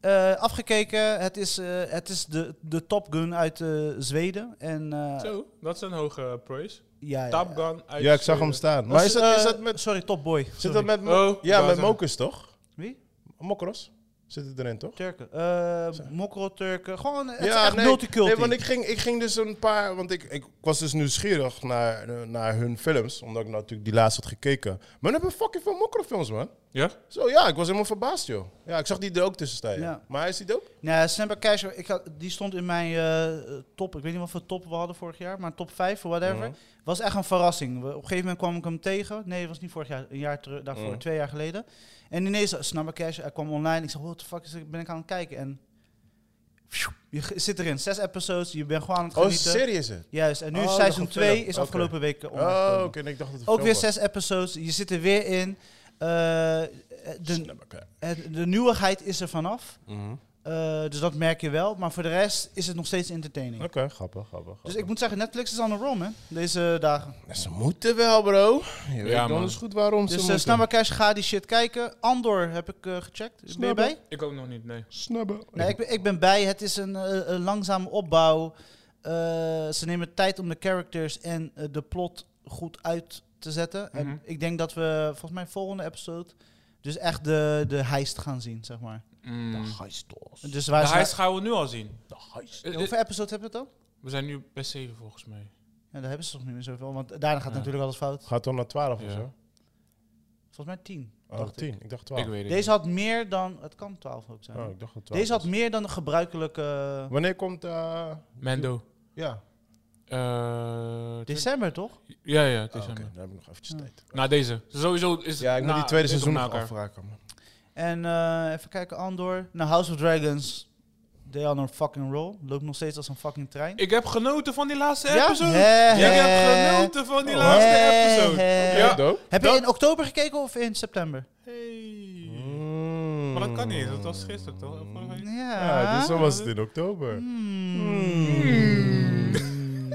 Speaker 3: Eh, afgekeken. Het is, eh, het is de, de Top Gun uit eh, Zweden. En, eh,
Speaker 2: Zo, dat is een hoge praise.
Speaker 3: ja, ja, ja.
Speaker 2: Top Gun uit
Speaker 1: Ja, ik zag hem
Speaker 2: Zweden.
Speaker 1: staan.
Speaker 3: Dat
Speaker 1: Maar is dat,
Speaker 3: eh,
Speaker 1: is dat met,
Speaker 3: Sorry, Top Boy.
Speaker 1: zit
Speaker 3: Sorry.
Speaker 1: dat met, Mo-
Speaker 2: Oh,
Speaker 1: ja,
Speaker 2: wou
Speaker 1: met
Speaker 2: zeggen.
Speaker 1: Mokus toch?
Speaker 3: Wie?
Speaker 1: Mokros zit het erin toch?
Speaker 3: Turken. Eh Mokro Turken. Gewoon, het is
Speaker 1: Ja,
Speaker 3: echt
Speaker 1: nee,
Speaker 3: multiculti.
Speaker 1: Nee, want ik ging, ik ging dus een paar. Want ik, ik was dus nieuwsgierig naar, naar hun films. Omdat ik natuurlijk die laatst had gekeken. Maar dan hebben we fucking veel mokkerfilms, man.
Speaker 5: Ja?
Speaker 1: Zo ja, ik was helemaal verbaasd, joh. Ja, ik zag die er ook tussen staan. ja.
Speaker 3: Ja.
Speaker 1: Maar hij is die er ook?
Speaker 3: Nee, Snapback Cash, Nou, ik had, die stond in mijn eh, top. Ik weet niet wat voor top we hadden vorig jaar, maar top 5 of whatever.
Speaker 1: Mhm.
Speaker 3: Was echt een verrassing. We- Op een gegeven moment kwam ik hem tegen. Nee, het was niet vorig jaar, een jaar terug, daarvoor,
Speaker 1: Mhm.
Speaker 3: twee jaar geleden. En ineens, Snapback Cash, hij kwam online. Ik zei, what the fuck is dit? ben ik aan het kijken? En pjoep, je g- zit erin, zes episodes, je bent gewoon aan het
Speaker 1: Oh,
Speaker 3: genieten.
Speaker 1: serie is het?
Speaker 3: Juist, en nu
Speaker 1: Oh,
Speaker 3: is
Speaker 1: dat
Speaker 3: seizoen
Speaker 1: is een film.
Speaker 3: 2 is
Speaker 1: Oké.
Speaker 3: afgelopen week eh, online
Speaker 1: Oh, oké.
Speaker 3: gekomen.
Speaker 1: nee, ik dacht dat het
Speaker 3: Ook weer zes episodes, je zit er weer in. Eh, de, het- de nieuwigheid is er vanaf.
Speaker 1: Mhm.
Speaker 3: Eh, dus dat merk je wel. Maar voor de rest is het nog steeds entertaining.
Speaker 1: Oké, grappig, grappig.
Speaker 3: Dus ik moet zeggen, Netflix is on the roll, hè, deze dagen.
Speaker 1: Ze moeten wel, bro. Je weet
Speaker 5: man.
Speaker 1: anders goed waarom ze
Speaker 3: Dus eh
Speaker 1: moeten.
Speaker 3: Snabba Cash, ga die shit kijken. Andor heb ik eh, gecheckt. Ben je
Speaker 1: Snabba.
Speaker 3: bij?
Speaker 2: Ik ook nog niet, nee.
Speaker 1: Snabben.
Speaker 3: Nee, ik ben, ik ben bij. Het is een, eh, een langzame opbouw. Eh, ze nemen tijd om de characters en eh, de plot goed uit te zetten.
Speaker 2: Mhm.
Speaker 3: En ik denk dat we, volgens mij, volgende episode... Dus echt de, de heist gaan zien, zeg maar.
Speaker 5: Mm.
Speaker 3: Dus
Speaker 5: De
Speaker 3: waar
Speaker 5: heist
Speaker 3: ze...
Speaker 5: gaan we nu al zien. Eh, eh,
Speaker 3: Hoeveel episode hebben we het dan?
Speaker 5: We zijn nu bij 7 volgens mij.
Speaker 3: Ja, daar hebben ze toch niet meer zoveel. Want daarna gaat
Speaker 5: Ja.
Speaker 3: natuurlijk alles fout.
Speaker 1: Gaat dan naar 12
Speaker 5: Ja.
Speaker 1: of zo?
Speaker 3: Volgens mij tien.
Speaker 1: Oh,
Speaker 3: dacht ik.
Speaker 1: 10. Ik dacht
Speaker 5: Ik
Speaker 1: 12.
Speaker 5: weet het
Speaker 3: Deze had meer dan... Het kan 12 ook zijn.
Speaker 1: Oh, ik dacht dat 12.
Speaker 3: Deze had
Speaker 1: was.
Speaker 3: meer dan de gebruikelijke...
Speaker 1: Wanneer komt... eh,
Speaker 5: niet. Mando.
Speaker 1: Ja.
Speaker 5: Eh,
Speaker 3: December, toch?
Speaker 5: ja, ja,
Speaker 2: Ah,
Speaker 1: Oh, Oké,
Speaker 5: december.
Speaker 1: dan heb ik nog eventjes
Speaker 3: Ja.
Speaker 1: tijd.
Speaker 5: Na deze. Sowieso is
Speaker 1: Ja, ik moet
Speaker 5: na-
Speaker 1: die tweede
Speaker 5: is het
Speaker 1: seizoen
Speaker 5: Nou, na
Speaker 1: nog
Speaker 5: elkaar.
Speaker 1: afraken. man.
Speaker 3: En eh, even kijken, Andor. Nou, House of Dragons. They are on a fucking roll. Loopt nog steeds als een fucking trein.
Speaker 5: Ik heb genoten van die laatste
Speaker 3: Ja?
Speaker 5: episode.
Speaker 3: Hè,
Speaker 5: Ik
Speaker 3: hè.
Speaker 5: heb genoten van die
Speaker 1: Oh,
Speaker 5: laatste
Speaker 3: hè,
Speaker 5: episode.
Speaker 3: hè.
Speaker 5: Ja.
Speaker 1: Dope.
Speaker 3: Heb je in oktober gekeken of in september?
Speaker 5: Hey.
Speaker 1: Mm.
Speaker 5: Maar dat kan niet, dat was gisteren toch? Of vorige week?
Speaker 3: Ja. Hmm.
Speaker 1: Ja, dus dan was het in oktober. Mm.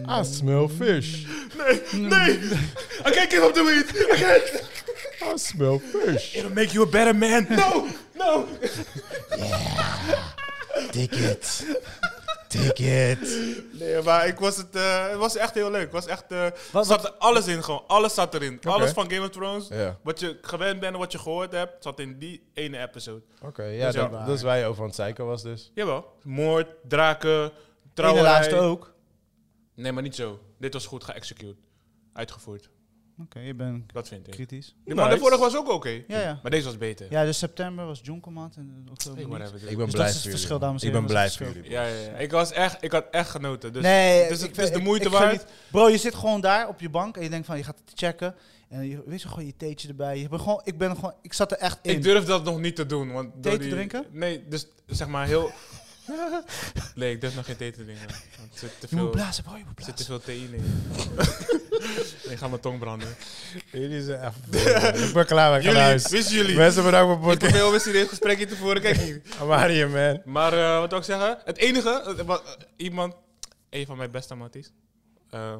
Speaker 1: I smell fish.
Speaker 2: I can't give up the weed! I can't!
Speaker 1: I smell fish.
Speaker 5: It'll make you a better man. No, no.
Speaker 1: Take it. Take it.
Speaker 2: Nee, maar ik was het, eh, het was echt heel leuk. Het was echt, eh,
Speaker 3: Wat-
Speaker 2: zat er alles in gewoon. Alles zat erin. Alles van Game of Thrones.
Speaker 1: Ja.
Speaker 2: Wat je gewend bent en wat je gehoord hebt, zat in die ene episode.
Speaker 1: Oké, ja,
Speaker 2: Ja.
Speaker 1: dat, dat is waar je over aan het zeiken was dus.
Speaker 2: Jawel. Moord, draken,
Speaker 3: In de
Speaker 2: trouwerij.
Speaker 3: laatste ook. Oké,
Speaker 5: Nee, maar niet zo. Dit was goed geëxecuteerd. Uitgevoerd.
Speaker 3: je bent
Speaker 5: Dat vind ik.
Speaker 3: kritisch.
Speaker 5: Nee, Maar de
Speaker 1: Nice.
Speaker 5: vorige was ook oké.
Speaker 3: Ja, ja.
Speaker 5: Maar deze was beter.
Speaker 3: Ja, dus september was John Command en oktober
Speaker 5: Hey,
Speaker 3: niet.
Speaker 5: whatever.
Speaker 1: Ik ben
Speaker 3: Dus dat
Speaker 1: blij
Speaker 3: is het
Speaker 1: voor
Speaker 3: verschil,
Speaker 1: jullie.
Speaker 3: dames en
Speaker 1: Ik ben
Speaker 3: heren, dat
Speaker 1: blij
Speaker 3: is het
Speaker 1: voor
Speaker 3: verschil.
Speaker 1: jullie.
Speaker 5: Ja, ja, ja. Ik, was echt, ik had echt genoten. Dus
Speaker 3: nee,
Speaker 5: dus het
Speaker 3: ik-
Speaker 5: is de
Speaker 3: ik-
Speaker 5: moeite
Speaker 3: ik
Speaker 5: waard.
Speaker 3: geniet- Bro, je zit gewoon daar op je bank en je denkt van je gaat het checken. En je weet je gewoon je theetje erbij. Je bent gewoon, ik ben gewoon, ik zat er echt in.
Speaker 5: ik durf dat nog niet te doen. Want door
Speaker 3: Thee te
Speaker 5: die-
Speaker 3: drinken?
Speaker 5: Nee, dus zeg maar
Speaker 3: *laughs*
Speaker 5: heel... nee, ik durf nog geen thee te drinken. Want er zit te
Speaker 3: je moet
Speaker 5: veel, er
Speaker 3: blazen, bro, je moet
Speaker 5: zit
Speaker 3: blazen.
Speaker 5: te veel theïne in. *laughs* ik ga mijn tong branden.
Speaker 1: Jullie zijn echt... ik ben klaar, ik ga naar
Speaker 2: Jullie,
Speaker 1: huis.
Speaker 2: wist jullie.
Speaker 1: Mensen, bedankt voor
Speaker 2: Ik
Speaker 1: het
Speaker 2: ben
Speaker 1: podcast.
Speaker 2: heel wist dit gesprek hier tevoren. Kijk hier.
Speaker 1: I'm out of here, man.
Speaker 5: Maar eh, wat wil ik zeggen? Het enige, eh, wat, eh, iemand, een van mijn beste matties, eh,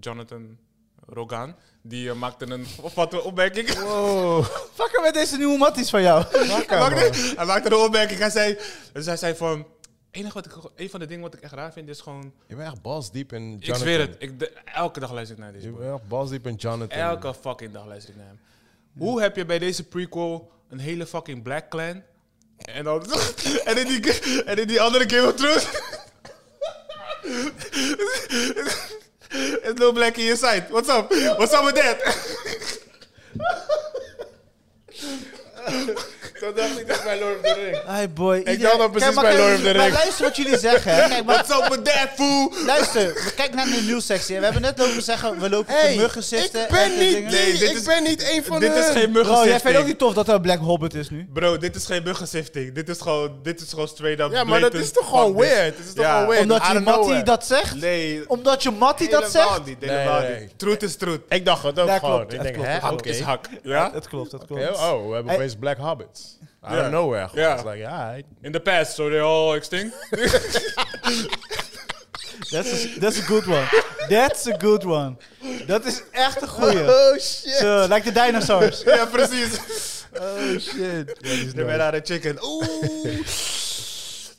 Speaker 5: Jonathan Rogan, die eh, maakte een fatte opmerking.
Speaker 1: Wow.
Speaker 3: Fucker met deze nieuwe matties van jou.
Speaker 1: Wakker,
Speaker 2: Hij
Speaker 1: man.
Speaker 2: maakte, hij maakte een opmerking. Hij zei, dus hij zei van... Enige wat ik, een van de dingen wat ik echt raar vind is gewoon...
Speaker 1: Je bent echt balsdiep in Jonathan.
Speaker 5: Ik zweer het. Ik, de- elke dag luister ik naar deze
Speaker 1: Je
Speaker 5: boy.
Speaker 1: bent echt balsdiep in Jonathan.
Speaker 5: Elke fucking dag luister ik naar hem. Hoe heb je bij deze prequel een hele fucking Black Clan? En, dan, *laughs* en, in die, en in die andere Game of Thrones. *laughs*
Speaker 2: It's no black in your side. What's up? What's up with that?
Speaker 5: *laughs*
Speaker 1: Dat dacht ik dat bij Lord of the Ring.
Speaker 3: Hey boy. iedereen-
Speaker 1: dacht dan precies
Speaker 3: Kijk, maar
Speaker 1: bij
Speaker 3: kijk-
Speaker 1: Lord of the
Speaker 3: maar
Speaker 1: Rings.
Speaker 3: luister wat jullie zeggen. hè. Kijk, maar,
Speaker 2: What's up with that, fool?
Speaker 3: luister, kijk naar de nieuwssectie. hè. We hebben net lopen zeggen, we lopen op de muggen zitten.
Speaker 1: ik
Speaker 3: en
Speaker 1: ben
Speaker 3: dit
Speaker 1: niet,
Speaker 3: ding.
Speaker 2: Nee, dit
Speaker 1: ik
Speaker 2: is-
Speaker 1: ben niet een van
Speaker 2: Dit
Speaker 1: de...
Speaker 2: is geen
Speaker 3: Bro, jij vindt ook
Speaker 2: muggenstichting.
Speaker 3: niet tof dat er een Black Hobbit is nu?
Speaker 2: Bro, dit is geen muggenstichting. Dit is gewoon, dit is gewoon straight up
Speaker 1: Ja, maar dat dus
Speaker 2: blatant
Speaker 1: is toch gewoon
Speaker 2: fuck this.
Speaker 1: weird? Het is toch
Speaker 2: Ja.
Speaker 1: gewoon weird?
Speaker 3: Omdat
Speaker 1: Out
Speaker 3: je
Speaker 1: of nowhere.
Speaker 3: mattie dat zegt?
Speaker 2: Nee,
Speaker 3: Omdat je mattie dat
Speaker 2: helemaal
Speaker 3: zegt?
Speaker 2: niet.
Speaker 1: Nee,
Speaker 2: Helemaal
Speaker 1: nee.
Speaker 2: niet. Truth is truth.
Speaker 1: Ik dacht het ook
Speaker 3: Ja,
Speaker 1: gewoon.
Speaker 3: klopt.
Speaker 1: ik
Speaker 3: Ja,
Speaker 1: denk,
Speaker 3: klopt.
Speaker 1: hè,
Speaker 3: Hak
Speaker 1: oké.
Speaker 2: Is hak. Ja?
Speaker 3: Dat klopt, dat klopt.
Speaker 1: Oké, Oh, we hebben
Speaker 3: Hey.
Speaker 1: opeens Black Hobbits. Out
Speaker 2: Ja.
Speaker 1: of nowhere. Gewoon.
Speaker 5: Ja.
Speaker 1: It's like, ja, hij-
Speaker 5: In the past, so they're all extinct.
Speaker 3: That's a, that's a good one. That's a good one. Dat is echt een goeie.
Speaker 1: Oh, shit.
Speaker 3: Zo, like the dinosaurs.
Speaker 2: Ja, precies.
Speaker 1: Oh, shit. Ja, die is
Speaker 2: De
Speaker 1: dood.
Speaker 2: Nevada Chicken. Oeh.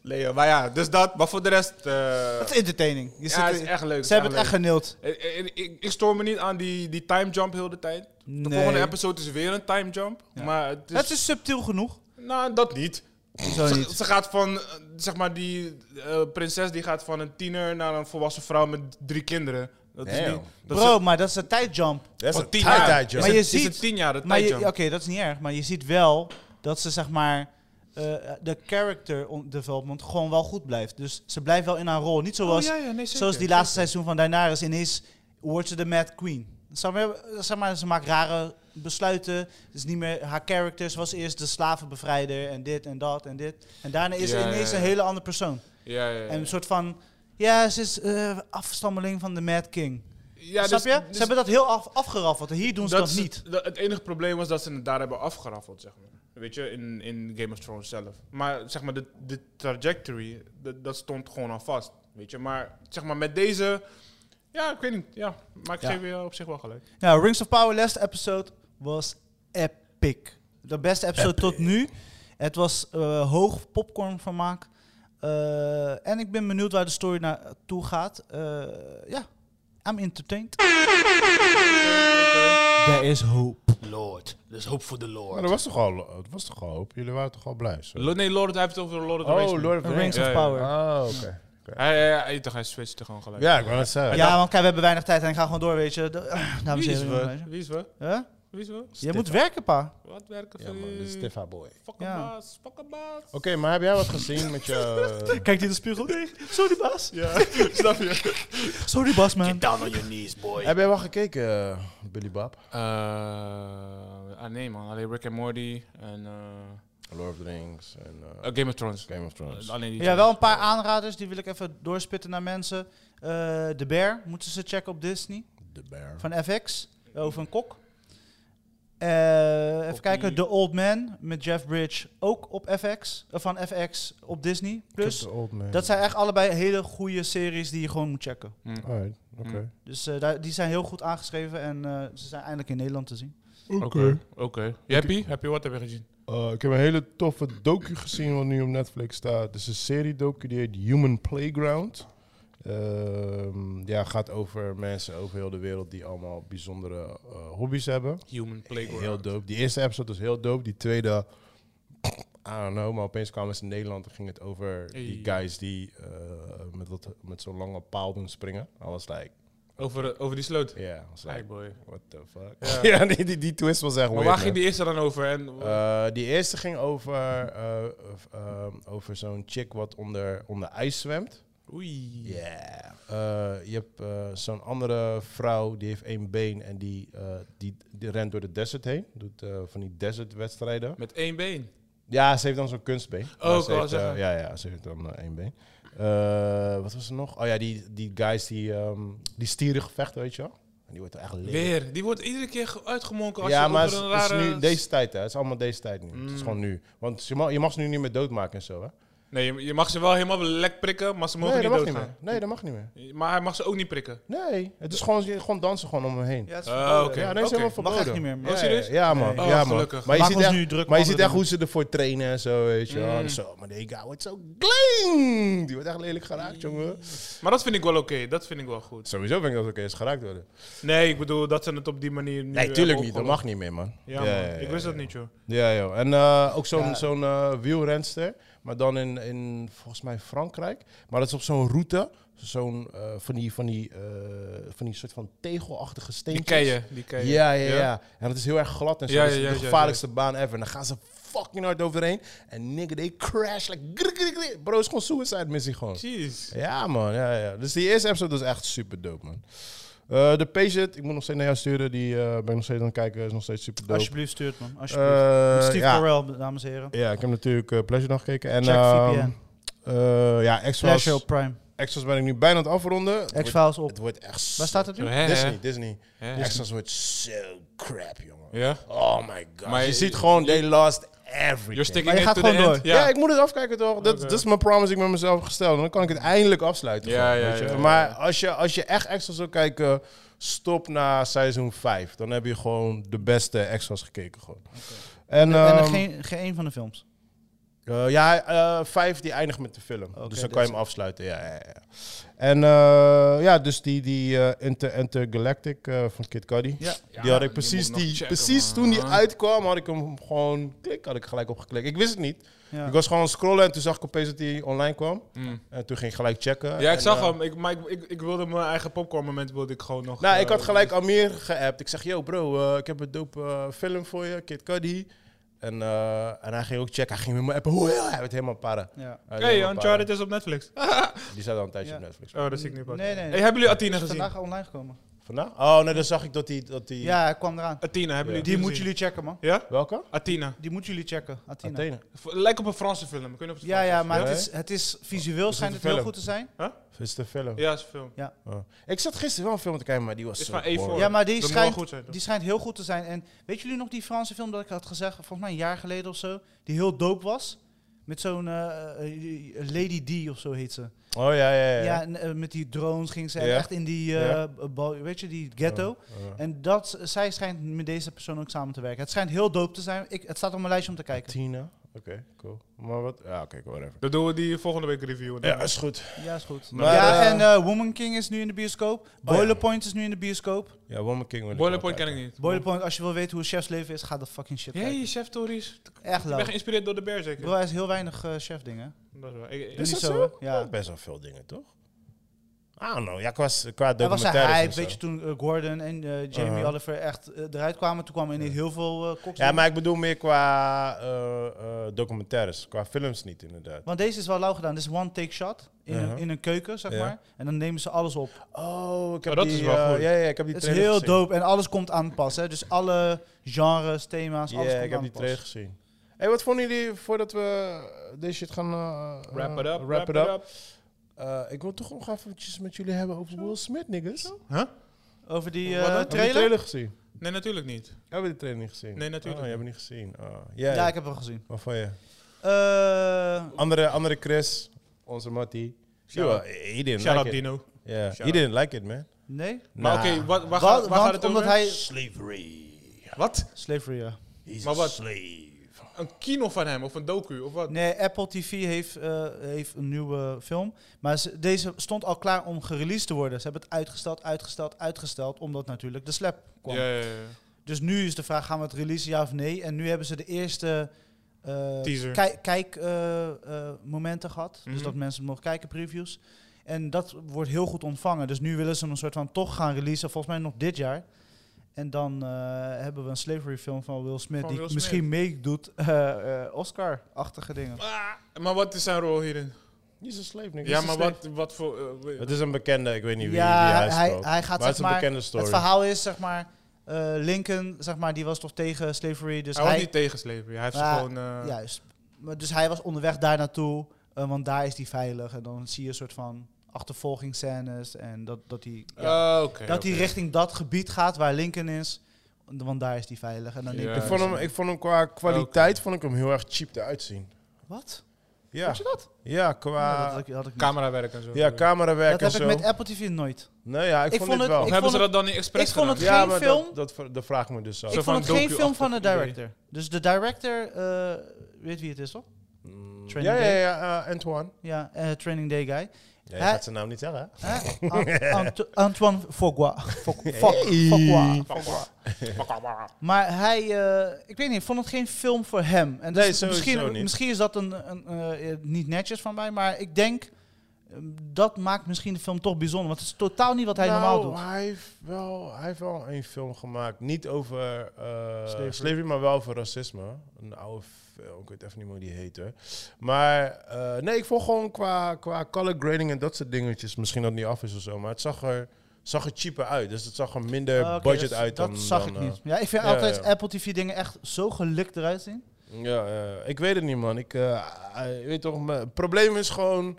Speaker 2: Leo, maar ja, dus dat. Maar voor de rest... eh,
Speaker 3: Dat is entertaining. Je
Speaker 5: ja,
Speaker 3: zit-
Speaker 5: het is echt leuk.
Speaker 3: ze hebben het echt geneeld.
Speaker 5: echt ik, ik, ik stoor me niet aan die, die time jump heel de tijd. De
Speaker 3: Nee.
Speaker 5: volgende episode is weer een time jump. Maar het is,
Speaker 3: Het is subtiel genoeg.
Speaker 5: Nou, Dus- dat niet.
Speaker 3: Zo
Speaker 2: Ze,
Speaker 3: niet.
Speaker 2: ze gaat van, eh, zeg maar, die eh, prinses die gaat van een tiener naar een volwassen vrouw met drie kinderen. Dat Dat is
Speaker 1: Damn.
Speaker 2: niet, dat is
Speaker 3: Bro, maar dat is een tijdjump.
Speaker 1: Dat is
Speaker 5: Van
Speaker 1: een
Speaker 5: tien
Speaker 1: tight
Speaker 5: jaar.
Speaker 1: tight jump.
Speaker 3: Maar je
Speaker 5: Het is een
Speaker 3: ziet...
Speaker 5: tien jaar de
Speaker 3: Maar je- Oké,
Speaker 5: tijdjump.
Speaker 3: dat is niet erg. Maar je ziet wel dat ze, zeg maar, eh, de character on- development gewoon wel goed blijft. Dus ze blijft wel in haar rol. Niet zoals,
Speaker 5: ja, ja, nee, zeker,
Speaker 3: zoals die laatste seizoen van Daenerys. Ineens wordt ze de Mad Queen. Zeg maar, zeg maar, ze maakt rare besluiten. Het is niet meer haar character. Ze was eerst de slavenbevrijder en dit en dat en dit. En daarna is
Speaker 5: Ja,
Speaker 3: ze ineens
Speaker 5: ja, ja.
Speaker 3: een hele andere persoon.
Speaker 5: Ja, ja, ja.
Speaker 3: En een soort van... Ja, ze is eh, afstammeling van de Mad King.
Speaker 5: ja,
Speaker 3: Snap
Speaker 5: dus-
Speaker 3: je?
Speaker 5: dus
Speaker 3: ze hebben dat heel af, afgeraffeld. En hier doen ze dat,
Speaker 2: is
Speaker 3: niet.
Speaker 2: Het, dat- het enige probleem was dat ze het daar hebben afgeraffeld, zeg maar. Weet je, in, in Game of Thrones zelf. Maar zeg maar, de, de trajectory, dat, dat stond gewoon al vast. Weet je, maar zeg maar met deze... Ja, ik weet niet. Ja, maar ik
Speaker 3: Ja.
Speaker 2: geef je op zich wel gelijk.
Speaker 3: Nou, Rings of Power, laatste episode, was epic. De beste episode tot nu. Het was eh, hoog popcornvermaak. Eh en ik ben benieuwd waar de story naartoe gaat. Eh, Ja, I'm entertained. There is hope.
Speaker 4: Lord. Dus hoop voor de
Speaker 1: Maar
Speaker 4: Lord.
Speaker 1: dat was toch al, het was toch al hoop? Jullie waren toch al blij? zo?
Speaker 5: Lo- nee, Lord, hij heeft het over Lord of the
Speaker 1: Oh,
Speaker 5: Rings. nu.
Speaker 1: Lord of the Rings.
Speaker 3: Rings
Speaker 5: Ja,
Speaker 3: of
Speaker 5: ja.
Speaker 3: Power. Ja,
Speaker 1: Oh, oké.
Speaker 5: Hij, hij, hij, hij, hij switchte gewoon gelijk.
Speaker 1: Ja, ik wou het zeggen.
Speaker 3: want kijk, we hebben weinig tijd en ik ga gewoon door, weet je. De- Ah, dames
Speaker 5: Wie
Speaker 3: en
Speaker 5: is
Speaker 3: heren. weet
Speaker 5: we?
Speaker 3: je.
Speaker 5: Wie is we?
Speaker 3: Huh?
Speaker 5: Wie is we?
Speaker 3: Je moet werken, pa.
Speaker 5: Wat werken
Speaker 1: Ja,
Speaker 5: voor
Speaker 1: man, dit is
Speaker 5: die...
Speaker 1: Stiffa boy. Oké,
Speaker 5: Fucking
Speaker 3: Ja.
Speaker 5: baas, fucking baas.
Speaker 1: maar heb jij wat gezien met je...
Speaker 3: Kijk in de spiegel. Nee, sorry, baas.
Speaker 5: *laughs*
Speaker 2: Snap je?
Speaker 3: Sorry, baas, man.
Speaker 4: Get down on your knees, boy.
Speaker 1: heb jij wel gekeken, eh, Billy Bob?
Speaker 5: Eh, ah, nee man, alleen Rick en Morty en eh, oh,
Speaker 1: Lord of the Rings en eh,
Speaker 5: Game of Thrones.
Speaker 1: Game of Thrones.
Speaker 5: Alleen die
Speaker 3: Ja, wel een paar aanraders, die wil ik even doorspitten naar mensen. Eh, De Bear, moeten ze checken op Disney,
Speaker 1: The Bear.
Speaker 3: van FX, over een kok. Eh, even kijken, The Old Man met Jeff Bridge, ook op FX, eh, van FX op Disney. Plus, dat zijn echt allebei hele goede series die je gewoon moet checken.
Speaker 1: Alright, oké.
Speaker 5: Mm.
Speaker 3: Dus eh, daar, die zijn heel goed aangeschreven en eh, ze zijn eindelijk in Nederland te zien.
Speaker 1: Mm.
Speaker 5: Oké. Oké. Je happy? Happy wat heb je gezien?
Speaker 1: Eh, ik heb een hele toffe docu gezien wat nu op Netflix staat. Het is een serie docu die heet Human Playground. Ehm, ja, gaat over mensen over heel de wereld die allemaal bijzondere eh, hobby's hebben.
Speaker 5: Human Playground.
Speaker 1: Heel dope. Die eerste episode was heel dope. Die tweede, I don't know, maar opeens kwamen ze in Nederland en ging het over die
Speaker 5: Hey.
Speaker 1: guys die eh, met, dat, met zo'n lange paal doen springen. I was like,
Speaker 5: Over, eh, over die sloot.
Speaker 1: yeah, I was like,
Speaker 5: Boy.
Speaker 1: what the fuck. *laughs* Ja, die, die, die twist was echt
Speaker 5: Maar
Speaker 1: weird,
Speaker 5: waar
Speaker 1: man.
Speaker 5: ging die eerste dan over? En,
Speaker 1: Eh, die eerste ging over, eh, of, ehm, over zo'n chick wat onder, onder ijs zwemt.
Speaker 5: eh, oei.
Speaker 1: Ja. je hebt eh, zo'n andere vrouw, die heeft één been en die, eh, die, die rent door de desert heen. Doet eh, van die desertwedstrijden.
Speaker 5: Met één been.
Speaker 1: Ja, ze heeft dan zo'n kunstbeen.
Speaker 5: Oh,
Speaker 1: Maar
Speaker 5: ik
Speaker 1: ze
Speaker 5: wou
Speaker 1: heeft, eh,
Speaker 5: zeggen.
Speaker 1: ja, ja, ze heeft dan eh, één been. Eh, wat was er nog? Oh ja, die, die guys die, ehm die stieren gevechten, weet je wel. En die wordt er echt lelijk.
Speaker 5: Weer. Die wordt iedere keer ge- uitgemonken als
Speaker 1: Ja,
Speaker 5: je
Speaker 1: maar het
Speaker 5: over
Speaker 1: is,
Speaker 5: een
Speaker 1: het is
Speaker 5: rare...
Speaker 1: nu deze tijd, hè. Het is allemaal deze tijd nu. Het is gewoon nu. Want je mag, je mag ze nu niet meer doodmaken en zo, hè.
Speaker 5: Nee, je, je mag ze wel helemaal lek prikken, maar ze mogen
Speaker 1: nee, dat
Speaker 5: niet
Speaker 1: mag niet
Speaker 5: doodgaan.
Speaker 1: meer. Nee, dat mag niet meer.
Speaker 5: Maar hij mag ze ook niet prikken.
Speaker 1: Nee, het is gewoon, je- gewoon dansen gewoon om hem heen. Ja,
Speaker 3: Ja, het is
Speaker 5: Oh,
Speaker 3: verboden.
Speaker 5: oké.
Speaker 1: nee, is
Speaker 5: Oké.
Speaker 1: helemaal
Speaker 5: Mag
Speaker 1: verboden.
Speaker 3: Ah, echt niet meer, man.
Speaker 1: Ja,
Speaker 5: Oh, serieus?
Speaker 1: Ja, ja, man.
Speaker 3: Nee.
Speaker 1: ja,
Speaker 5: Oh,
Speaker 1: man.
Speaker 5: gelukkig.
Speaker 1: Maar je
Speaker 3: Maken
Speaker 1: ziet
Speaker 3: we
Speaker 1: echt,
Speaker 3: ons nu druk
Speaker 1: maar je
Speaker 3: om
Speaker 1: ziet
Speaker 3: andere
Speaker 1: echt hoe ze ervoor trainen en zo, weet je wel. En Zo, maar die guy wordt zo gling. Die wordt echt lelijk geraakt, jongen.
Speaker 5: Maar dat vind ik wel oké. Dat vind ik wel goed.
Speaker 1: Sowieso vind ik dat oké is geraakt worden.
Speaker 5: Nee, ik bedoel dat ze het op die manier nu
Speaker 1: Nee, tuurlijk
Speaker 5: hebben
Speaker 1: niet. Dat
Speaker 5: opgelost.
Speaker 1: mag niet meer, man.
Speaker 5: Ja, man. ik wist dat niet, joh.
Speaker 1: Ja, joh. En eh, ook zo'n
Speaker 3: Ja.
Speaker 1: zo'n eh, wielrenster, maar dan in, in volgens mij Frankrijk. Maar dat is op zo'n route, zo'n eh, van, die, van, die, eh, van die soort van tegelachtige
Speaker 5: Die
Speaker 1: steentjes.
Speaker 5: keien, die keien.
Speaker 1: Ja, ja, ja,
Speaker 5: Ja?
Speaker 1: En dat is heel erg glad en zo.
Speaker 5: Ja,
Speaker 1: dat is
Speaker 5: ja, ja,
Speaker 1: de
Speaker 5: ja,
Speaker 1: gevaarlijkste baan ever. En dan gaan ze fucking hard overheen. En nigga, they crash like... grik, grik, grik. Bro, het is gewoon suicide missie gewoon.
Speaker 5: Jeez.
Speaker 1: Ja, man. Ja, ja. Dus die eerste episode was echt super dope, man. Eh, de Patient, ik moet nog steeds naar jou sturen. Die eh, ben ik nog steeds aan het kijken. Is nog steeds super dope.
Speaker 3: Alsjeblieft, stuurt man. Alsjeblieft. Met
Speaker 1: Eh,
Speaker 3: Steve
Speaker 1: ja.
Speaker 3: Carell, dames en heren.
Speaker 1: ja, ik heb natuurlijk eh Pleasure nog gekeken. En,
Speaker 3: Check
Speaker 1: ehm,
Speaker 3: VPN.
Speaker 1: eh, ja, Extras.
Speaker 3: Pleasure op Prime.
Speaker 1: Extras ben ik nu bijna aan het afronden. Het wordt-
Speaker 3: X-Files op.
Speaker 1: Het wordt echt...
Speaker 3: Waar staat het nu?
Speaker 5: Hè, hè?
Speaker 1: Disney, Disney.
Speaker 5: Hè?
Speaker 1: Extras wordt zo crap, jongen.
Speaker 5: Ja?
Speaker 1: Oh my god.
Speaker 5: Maar
Speaker 1: je,
Speaker 5: je-
Speaker 1: ziet gewoon, they lost everything.
Speaker 5: You're sticking
Speaker 3: Maar je
Speaker 5: it
Speaker 3: gaat
Speaker 5: to the
Speaker 3: gewoon
Speaker 5: end.
Speaker 3: door.
Speaker 1: Ja.
Speaker 5: Ja.
Speaker 1: ik moet het afkijken toch? Dat, dat is mijn promise die ik met mezelf heb gesteld. En dan kan ik het eindelijk afsluiten.
Speaker 5: Ja,
Speaker 1: gewoon,
Speaker 5: ja,
Speaker 1: weet je.
Speaker 5: ja, ja,
Speaker 1: Maar
Speaker 5: ja.
Speaker 1: Als, je, als je echt extras wil kijken, stop na seizoen 5. Dan heb je gewoon de beste extras gekeken. Gewoon. En,
Speaker 3: En
Speaker 1: ehm,
Speaker 3: geen, geen een van de films.
Speaker 1: Eh, ja, eh, vijf die eindigt met de film.
Speaker 3: Oké,
Speaker 1: dus dan
Speaker 3: dit
Speaker 1: kan je hem afsluiten. Ja, ja, ja. En eh, ja, dus die, die eh, Inter Intergalactic eh, van Kid Cudi.
Speaker 2: Ja.
Speaker 1: die had ik
Speaker 2: die
Speaker 1: precies,
Speaker 2: moet ik nog
Speaker 1: die,
Speaker 2: checken,
Speaker 1: precies
Speaker 2: man.
Speaker 1: toen die uitkwam, had ik hem gewoon klik, had ik gelijk opgeklikt. Ik wist het niet.
Speaker 3: Ja.
Speaker 1: Ik was gewoon scrollen en toen zag ik opeens dat hij online kwam. En toen ging ik gelijk checken.
Speaker 5: mm. Ja, ik
Speaker 1: En,
Speaker 5: zag
Speaker 1: eh,
Speaker 5: hem. Ik, maar ik, ik, ik wilde mijn eigen popcorn moment wilde ik gewoon nog...
Speaker 1: Nou,
Speaker 5: eh,
Speaker 1: ik had gelijk Amir geappt. Ik zeg, yo bro, eh, ik heb een dope eh, film voor je, Kid Cudi. En, eh, en hij ging ook checken. Hij ging met me appen. Hoe hij werd helemaal para.
Speaker 3: Ja.
Speaker 1: Hij werd
Speaker 5: Hey,
Speaker 1: helemaal
Speaker 5: Uncharted is op Netflix. Oh,
Speaker 1: para. Die staat al een tijdje
Speaker 3: Ja.
Speaker 1: op Netflix.
Speaker 5: dat zie ik nu pas.
Speaker 3: Nee, nee.
Speaker 5: Hey, hebben jullie
Speaker 3: Die
Speaker 5: Athena
Speaker 3: is
Speaker 5: gezien?
Speaker 3: vandaag online gekomen.
Speaker 1: Vandaag? Oh, nee, dan zag ik dat die... Dat die...
Speaker 3: Ja, hij kwam eraan.
Speaker 5: Athena, hebben
Speaker 1: Ja.
Speaker 5: jullie
Speaker 3: Die
Speaker 5: gezien?
Speaker 3: moeten jullie checken, man.
Speaker 5: Ja?
Speaker 1: Welke?
Speaker 5: Athena.
Speaker 3: Die moeten jullie checken, Athena.
Speaker 1: Athene.
Speaker 5: V- Lijkt op een Franse film. Ik weet niet of het
Speaker 3: Ja,
Speaker 5: Frans
Speaker 3: ja,
Speaker 5: is.
Speaker 3: maar
Speaker 1: Ja,
Speaker 3: het
Speaker 1: hè?
Speaker 3: is, het is visueel
Speaker 1: Is het
Speaker 3: zijn
Speaker 1: een
Speaker 3: het heel
Speaker 1: film?
Speaker 3: goed te zijn.
Speaker 1: Is de film.
Speaker 5: Ja, is een film.
Speaker 1: Oh. Ik zat gisteren wel een film te kijken, maar die was
Speaker 5: Is
Speaker 1: zo
Speaker 5: van A4.
Speaker 1: boring.
Speaker 3: Ja, maar
Speaker 5: Dat
Speaker 3: die
Speaker 5: moet
Speaker 3: schijnt,
Speaker 5: wel goed zijn, toch?
Speaker 3: die schijnt heel goed te zijn. En weet jullie nog die Franse film dat ik had gezegd, volgens mij een jaar geleden of zo, die heel dope was? Met zo'n eh, eh, Lady D of zo heet ze.
Speaker 1: Oh, ja, ja, ja.
Speaker 3: Ja, en, eh, met die drones ging ze
Speaker 1: Ja.
Speaker 3: echt in die, eh,
Speaker 1: Ja.
Speaker 3: bal- weet je, die ghetto.
Speaker 1: Ja.
Speaker 3: En dat, zij schijnt met deze persoon ook samen te werken. Het schijnt heel dope te zijn. Ik, het staat op mijn lijstje om te kijken.
Speaker 1: Tina. Oké, cool. Maar wat... Ja, oké, cool, whatever.
Speaker 5: Dan doen we die volgende week reviewen.
Speaker 1: Ja, is goed.
Speaker 3: Ja, is goed.
Speaker 1: Maar,
Speaker 3: ja,
Speaker 1: eh, Oh
Speaker 3: en eh, Woman King is nu in de bioscoop. Boiler
Speaker 1: ja.
Speaker 3: Point is nu in de bioscoop.
Speaker 1: Ja, Woman King wil ik
Speaker 5: Boiler
Speaker 1: wel
Speaker 5: Point ken ik
Speaker 1: kijken.
Speaker 5: niet.
Speaker 3: Boiler Point, als je wil weten hoe chefsleven is, ga dat fucking shit
Speaker 5: Jee,
Speaker 3: kijken.
Speaker 5: chef Tories.
Speaker 3: Echt
Speaker 5: Ik ben
Speaker 3: lauw.
Speaker 5: geïnspireerd door de bear zeker.
Speaker 3: Bro, hij is heel weinig eh, chefdingen.
Speaker 5: Dat is waar. Ik- ik-
Speaker 3: Doe
Speaker 1: Is
Speaker 3: niet
Speaker 1: dat
Speaker 3: zo,
Speaker 1: zo?
Speaker 3: hè? Ja.
Speaker 1: Ja, best wel veel dingen, toch? I don't know. Ja, qua, qua
Speaker 3: Hij was een
Speaker 1: documentaires en
Speaker 3: hype,
Speaker 1: zo.
Speaker 3: weet je, toen eh, Gordon en eh, Jamie
Speaker 1: Uh-huh.
Speaker 3: Oliver echt eh, eruit kwamen. Toen kwamen ineens heel veel eh koks.
Speaker 1: Ja, maar ik bedoel meer qua eh, eh, documentaires. Qua films niet, inderdaad.
Speaker 3: Want deze is wel lauw gedaan. Dit is one take shot in,
Speaker 1: Uh-huh.
Speaker 3: een, in een keuken, zeg
Speaker 1: Ja.
Speaker 3: maar. En dan nemen ze alles op.
Speaker 1: Oh, ik heb
Speaker 5: Oh, dat
Speaker 1: die...
Speaker 5: is wel
Speaker 1: eh,
Speaker 5: goed.
Speaker 1: Ja, ja, ik heb die
Speaker 3: Het is
Speaker 1: trailer
Speaker 3: heel
Speaker 1: gezien.
Speaker 3: dope en alles komt aan pas. Hè? Dus alle genres, thema's,
Speaker 1: Ja,
Speaker 3: alles komt
Speaker 1: ik heb
Speaker 3: aan
Speaker 1: die
Speaker 3: pas.
Speaker 1: trailer gezien. hey, wat vonden jullie voordat we deze shit gaan... eh,
Speaker 5: Wrap it
Speaker 1: eh,
Speaker 5: up.
Speaker 1: wrap it up. Eh, ik wil toch nog even met jullie hebben over Will Smith, niggas. Hebben
Speaker 3: Over die
Speaker 5: Wat dan?
Speaker 3: eh,
Speaker 1: jullie
Speaker 3: trailer?
Speaker 1: die trailer gezien?
Speaker 5: Nee, natuurlijk niet.
Speaker 1: Hebben we die trailer niet gezien?
Speaker 5: Nee, natuurlijk
Speaker 1: Oh, je
Speaker 5: niet.
Speaker 1: hebt hem niet gezien. Oh,
Speaker 3: Ja,
Speaker 1: jij?
Speaker 3: ik heb hem gezien.
Speaker 1: Wat van je?
Speaker 3: Eh,
Speaker 1: Andere, andere Chris, onze Mattie.
Speaker 5: Shout
Speaker 1: Yo,
Speaker 5: out.
Speaker 1: he didn't
Speaker 5: Shout
Speaker 1: like
Speaker 5: out
Speaker 1: it.
Speaker 5: Dino.
Speaker 1: Yeah,
Speaker 5: Shout
Speaker 1: he
Speaker 5: out.
Speaker 1: didn't like it, man.
Speaker 3: nee.
Speaker 5: Maar
Speaker 1: Nah.
Speaker 5: oké, wat waar,
Speaker 3: Wa-
Speaker 5: gaat, waar
Speaker 3: want
Speaker 5: gaat het
Speaker 3: omdat
Speaker 5: over?
Speaker 3: hij...
Speaker 1: Slavery.
Speaker 5: Wat?
Speaker 3: Slavery, ja.
Speaker 1: He's
Speaker 5: Maar
Speaker 1: a
Speaker 5: wat?
Speaker 1: slave.
Speaker 5: Een kino van hem of een docu of wat?
Speaker 3: Nee, Apple TV heeft, eh, heeft een nieuwe film. Maar ze- deze stond al klaar om gereleased te worden. Ze hebben het uitgesteld, uitgesteld, uitgesteld. Omdat natuurlijk de slap kwam.
Speaker 5: Ja, ja, ja.
Speaker 3: Dus nu is de vraag, gaan we het releasen ja of nee? En nu hebben ze de eerste eh,
Speaker 5: Teaser.
Speaker 3: kijkmomenten eh, gehad. Dus
Speaker 5: Mhm.
Speaker 3: dat mensen mogen kijken, previews. En dat wordt heel goed ontvangen. Dus nu willen ze hem een soort van toch gaan releasen, volgens mij nog dit jaar. En dan eh, hebben we een slavery film van Will Smith,
Speaker 5: Van
Speaker 3: die
Speaker 5: Will Smith.
Speaker 3: misschien meedoet eh, eh, Oscar-achtige dingen.
Speaker 5: Ah, maar wat is zijn rol hierin?
Speaker 1: He's a slave, niggas.
Speaker 5: Ja,
Speaker 1: He's a
Speaker 5: maar
Speaker 1: slave.
Speaker 5: wat, wat voor... eh, we-
Speaker 1: Het is een bekende, ik weet niet wie, wie
Speaker 3: Ja,
Speaker 1: hij,
Speaker 3: hij,
Speaker 1: speelt.
Speaker 3: hij gaat
Speaker 1: maar het
Speaker 3: zeg
Speaker 1: is een
Speaker 3: maar...
Speaker 1: bekende story.
Speaker 3: Het verhaal is, zeg maar, eh, Lincoln, zeg maar, die was toch tegen slavery. Dus
Speaker 5: hij
Speaker 3: hij,
Speaker 5: was niet tegensleven. Hij heeft ze
Speaker 3: Maar-
Speaker 5: gewoon... eh,
Speaker 3: Juist. Maar dus hij was onderweg daar naartoe, eh, want daar is hij veilig. En dan zie je een soort van achtervolgingsscènes en dat, dat hij... ja,
Speaker 1: Ah,
Speaker 5: eh, oké,
Speaker 3: dat hij
Speaker 5: oké.
Speaker 3: richting dat gebied gaat waar Lincoln is, want daar is hij veilig. En dan neemt
Speaker 5: Ja.
Speaker 1: ik,
Speaker 3: hij-
Speaker 1: vond hem, ik vond hem qua kwaliteit vond ik hem heel erg cheap eruit zien.
Speaker 3: Wat?
Speaker 1: Ja.
Speaker 3: Vond je dat?
Speaker 1: Ja,
Speaker 3: Ja, dat
Speaker 1: qua
Speaker 3: had ik, had ik niet.
Speaker 5: Camerawerk en zo.
Speaker 1: ja, camerawerk
Speaker 3: Dat heb
Speaker 1: en
Speaker 3: ik
Speaker 1: zo.
Speaker 3: met Apple TV nooit.
Speaker 1: nee, ja, ik,
Speaker 3: ik
Speaker 1: vond, dit
Speaker 3: vond het-
Speaker 1: wel.
Speaker 5: Of
Speaker 3: ik
Speaker 5: hebben
Speaker 3: vond
Speaker 5: ze dat dan niet expres
Speaker 3: ik vond het-
Speaker 1: ja,
Speaker 3: geen
Speaker 1: maar
Speaker 3: film.
Speaker 1: dat, dat, ver- dat vraag ik me dus af.
Speaker 5: Zo
Speaker 3: ik
Speaker 5: van
Speaker 3: vond het geen film van de
Speaker 5: docu-achtig idee.
Speaker 3: director. Dus de director, eh, weet wie het is toch?
Speaker 1: Mm,
Speaker 3: Training
Speaker 1: Ja, ja,
Speaker 3: Day.
Speaker 1: ja, eh, Antoine.
Speaker 3: Ja, eh, Training Day Guy.
Speaker 1: Ja, je
Speaker 3: Hij-
Speaker 1: gaat zijn naam niet zeggen, hè? *laughs*
Speaker 3: Hè? Ant- Ant- Antoine Fogwa. Fog- Fog- Fogwa. Fogwa. Maar hij, eh, ik weet niet, ik vond het geen film voor hem. En dus
Speaker 1: Nee, sowieso
Speaker 3: misschien,
Speaker 1: niet.
Speaker 3: misschien is dat een, een eh, niet netjes van mij, maar ik denk eh, dat maakt misschien de film toch bijzonder. Want het is totaal niet wat hij
Speaker 1: Nou,
Speaker 3: normaal doet.
Speaker 1: Hij heeft, wel, hij heeft wel een film gemaakt. Niet over eh,
Speaker 3: Slavery.
Speaker 1: slavery. maar wel over racisme. Een oude film, ik weet even niet meer hoe die heet. hoor. Maar eh, nee, ik vond gewoon qua, qua color grading en dat soort dingetjes. Misschien dat het niet af is of zo. Maar het zag er, zag er cheaper uit. Dus het zag er minder
Speaker 3: Ah, oké,
Speaker 1: budget
Speaker 3: dat,
Speaker 1: uit
Speaker 3: Dat
Speaker 1: dan...
Speaker 3: zag
Speaker 1: dan,
Speaker 3: ik
Speaker 1: eh,
Speaker 3: niet. Ja, ik vind
Speaker 1: ja,
Speaker 3: altijd
Speaker 1: ja.
Speaker 3: Apple TV dingen echt zo gelikt eruit zien.
Speaker 1: Ja, eh, ik weet het niet, man. Ik eh, eh, je weet toch, mijn- het probleem is gewoon.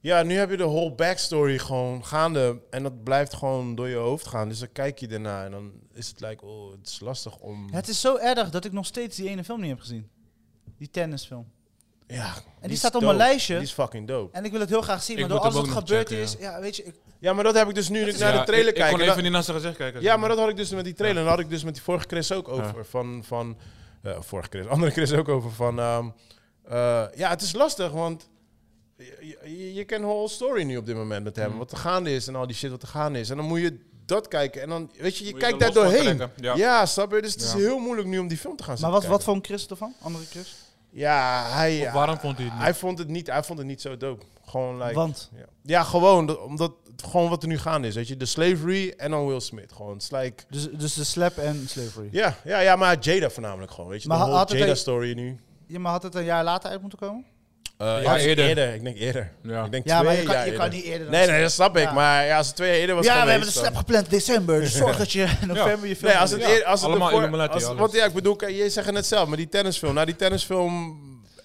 Speaker 1: Ja, nu heb je de whole backstory gewoon gaande. En dat blijft gewoon door je hoofd gaan. Dus dan kijk je daarna en dan is het like, oh, het is lastig om.
Speaker 3: Het is zo erg dat ik nog steeds die ene film niet heb gezien. Die tennisfilm.
Speaker 1: ja, en
Speaker 3: die staat op mijn lijstje.
Speaker 1: Die is fucking dope.
Speaker 3: En ik wil het heel graag zien,
Speaker 5: Ik
Speaker 3: maar door
Speaker 5: moet
Speaker 3: alles
Speaker 5: hem
Speaker 3: wat
Speaker 5: ook nog
Speaker 3: gebeurd
Speaker 5: checken,
Speaker 3: is... Ja, weet je, ik-
Speaker 1: Ja, maar dat heb ik dus nu ik naar de trailer
Speaker 5: ik,
Speaker 1: kijk.
Speaker 5: Ik kon
Speaker 1: en dan-
Speaker 5: even niet naar zijn gezicht kijken.
Speaker 1: Ja, maar dat had ik dus met die trailer. En daar had ik dus met die vorige Chris ook over. Van, van eh, vorige Chris, andere Chris ook over. Van, ehm, Eh, ja, het is lastig, want je- je je kent whole story nu op dit moment met hem.
Speaker 2: Mm.
Speaker 1: Wat er gaande is en al die shit wat er gaande is. En dan moet je dat kijken. En dan, weet je, je
Speaker 2: Moet je
Speaker 1: kijkt
Speaker 2: er
Speaker 1: daar
Speaker 2: los van
Speaker 1: doorheen.
Speaker 2: trekken,
Speaker 1: Ja.
Speaker 2: ja.
Speaker 1: snap je? Dus het is
Speaker 2: Ja.
Speaker 1: heel moeilijk nu om die film te gaan
Speaker 3: Maar
Speaker 1: zitten
Speaker 3: wat, wat
Speaker 1: kijken.
Speaker 3: vond Chris ervan? Andere Chris?
Speaker 1: Ja, hij... eh,
Speaker 2: Of waarom vond hij het niet?
Speaker 1: Hij vond het niet, hij vond het niet zo dope. Gewoon like...
Speaker 3: Want?
Speaker 1: Ja, ja gewoon, dat- omdat gewoon wat er nu gaande is, weet je. De slavery en dan Will Smith. Gewoon, het is like...
Speaker 3: Dus, dus de slap en slavery. Ja.
Speaker 1: Ja, ja, ja, maar Jada voornamelijk gewoon, weet je.
Speaker 3: Maar
Speaker 1: de
Speaker 3: ha-
Speaker 1: whole
Speaker 3: had het een-
Speaker 1: Jada-story nu.
Speaker 3: maar had het een jaar later uit moeten komen?
Speaker 1: Eh,
Speaker 2: Ja,
Speaker 1: ik denk
Speaker 2: eerder.
Speaker 1: Ik denk eerder.
Speaker 2: Ja.
Speaker 1: Ik denk
Speaker 3: Ja,
Speaker 1: twee
Speaker 3: maar je kan,
Speaker 1: jaar
Speaker 3: je kan
Speaker 1: eerder.
Speaker 3: niet eerder dan
Speaker 1: Nee, nee, dat snap ik.
Speaker 3: Ja.
Speaker 1: Maar ja, als het twee jaar eerder was
Speaker 3: Ja, we
Speaker 1: geweest, eh.
Speaker 3: hebben de
Speaker 1: dan-
Speaker 3: slap gepland december.
Speaker 1: *laughs*
Speaker 3: Dus zorg dat je in november je film...
Speaker 1: Nee, als het
Speaker 3: doet.
Speaker 1: eer- als het
Speaker 2: Allemaal
Speaker 1: ervoor-
Speaker 2: Illuminati,
Speaker 1: als-
Speaker 2: alles.
Speaker 1: Want ja, ik bedoel, kijk, je zegt het net zelf, maar die tennisfilm, nou die tennisfilm,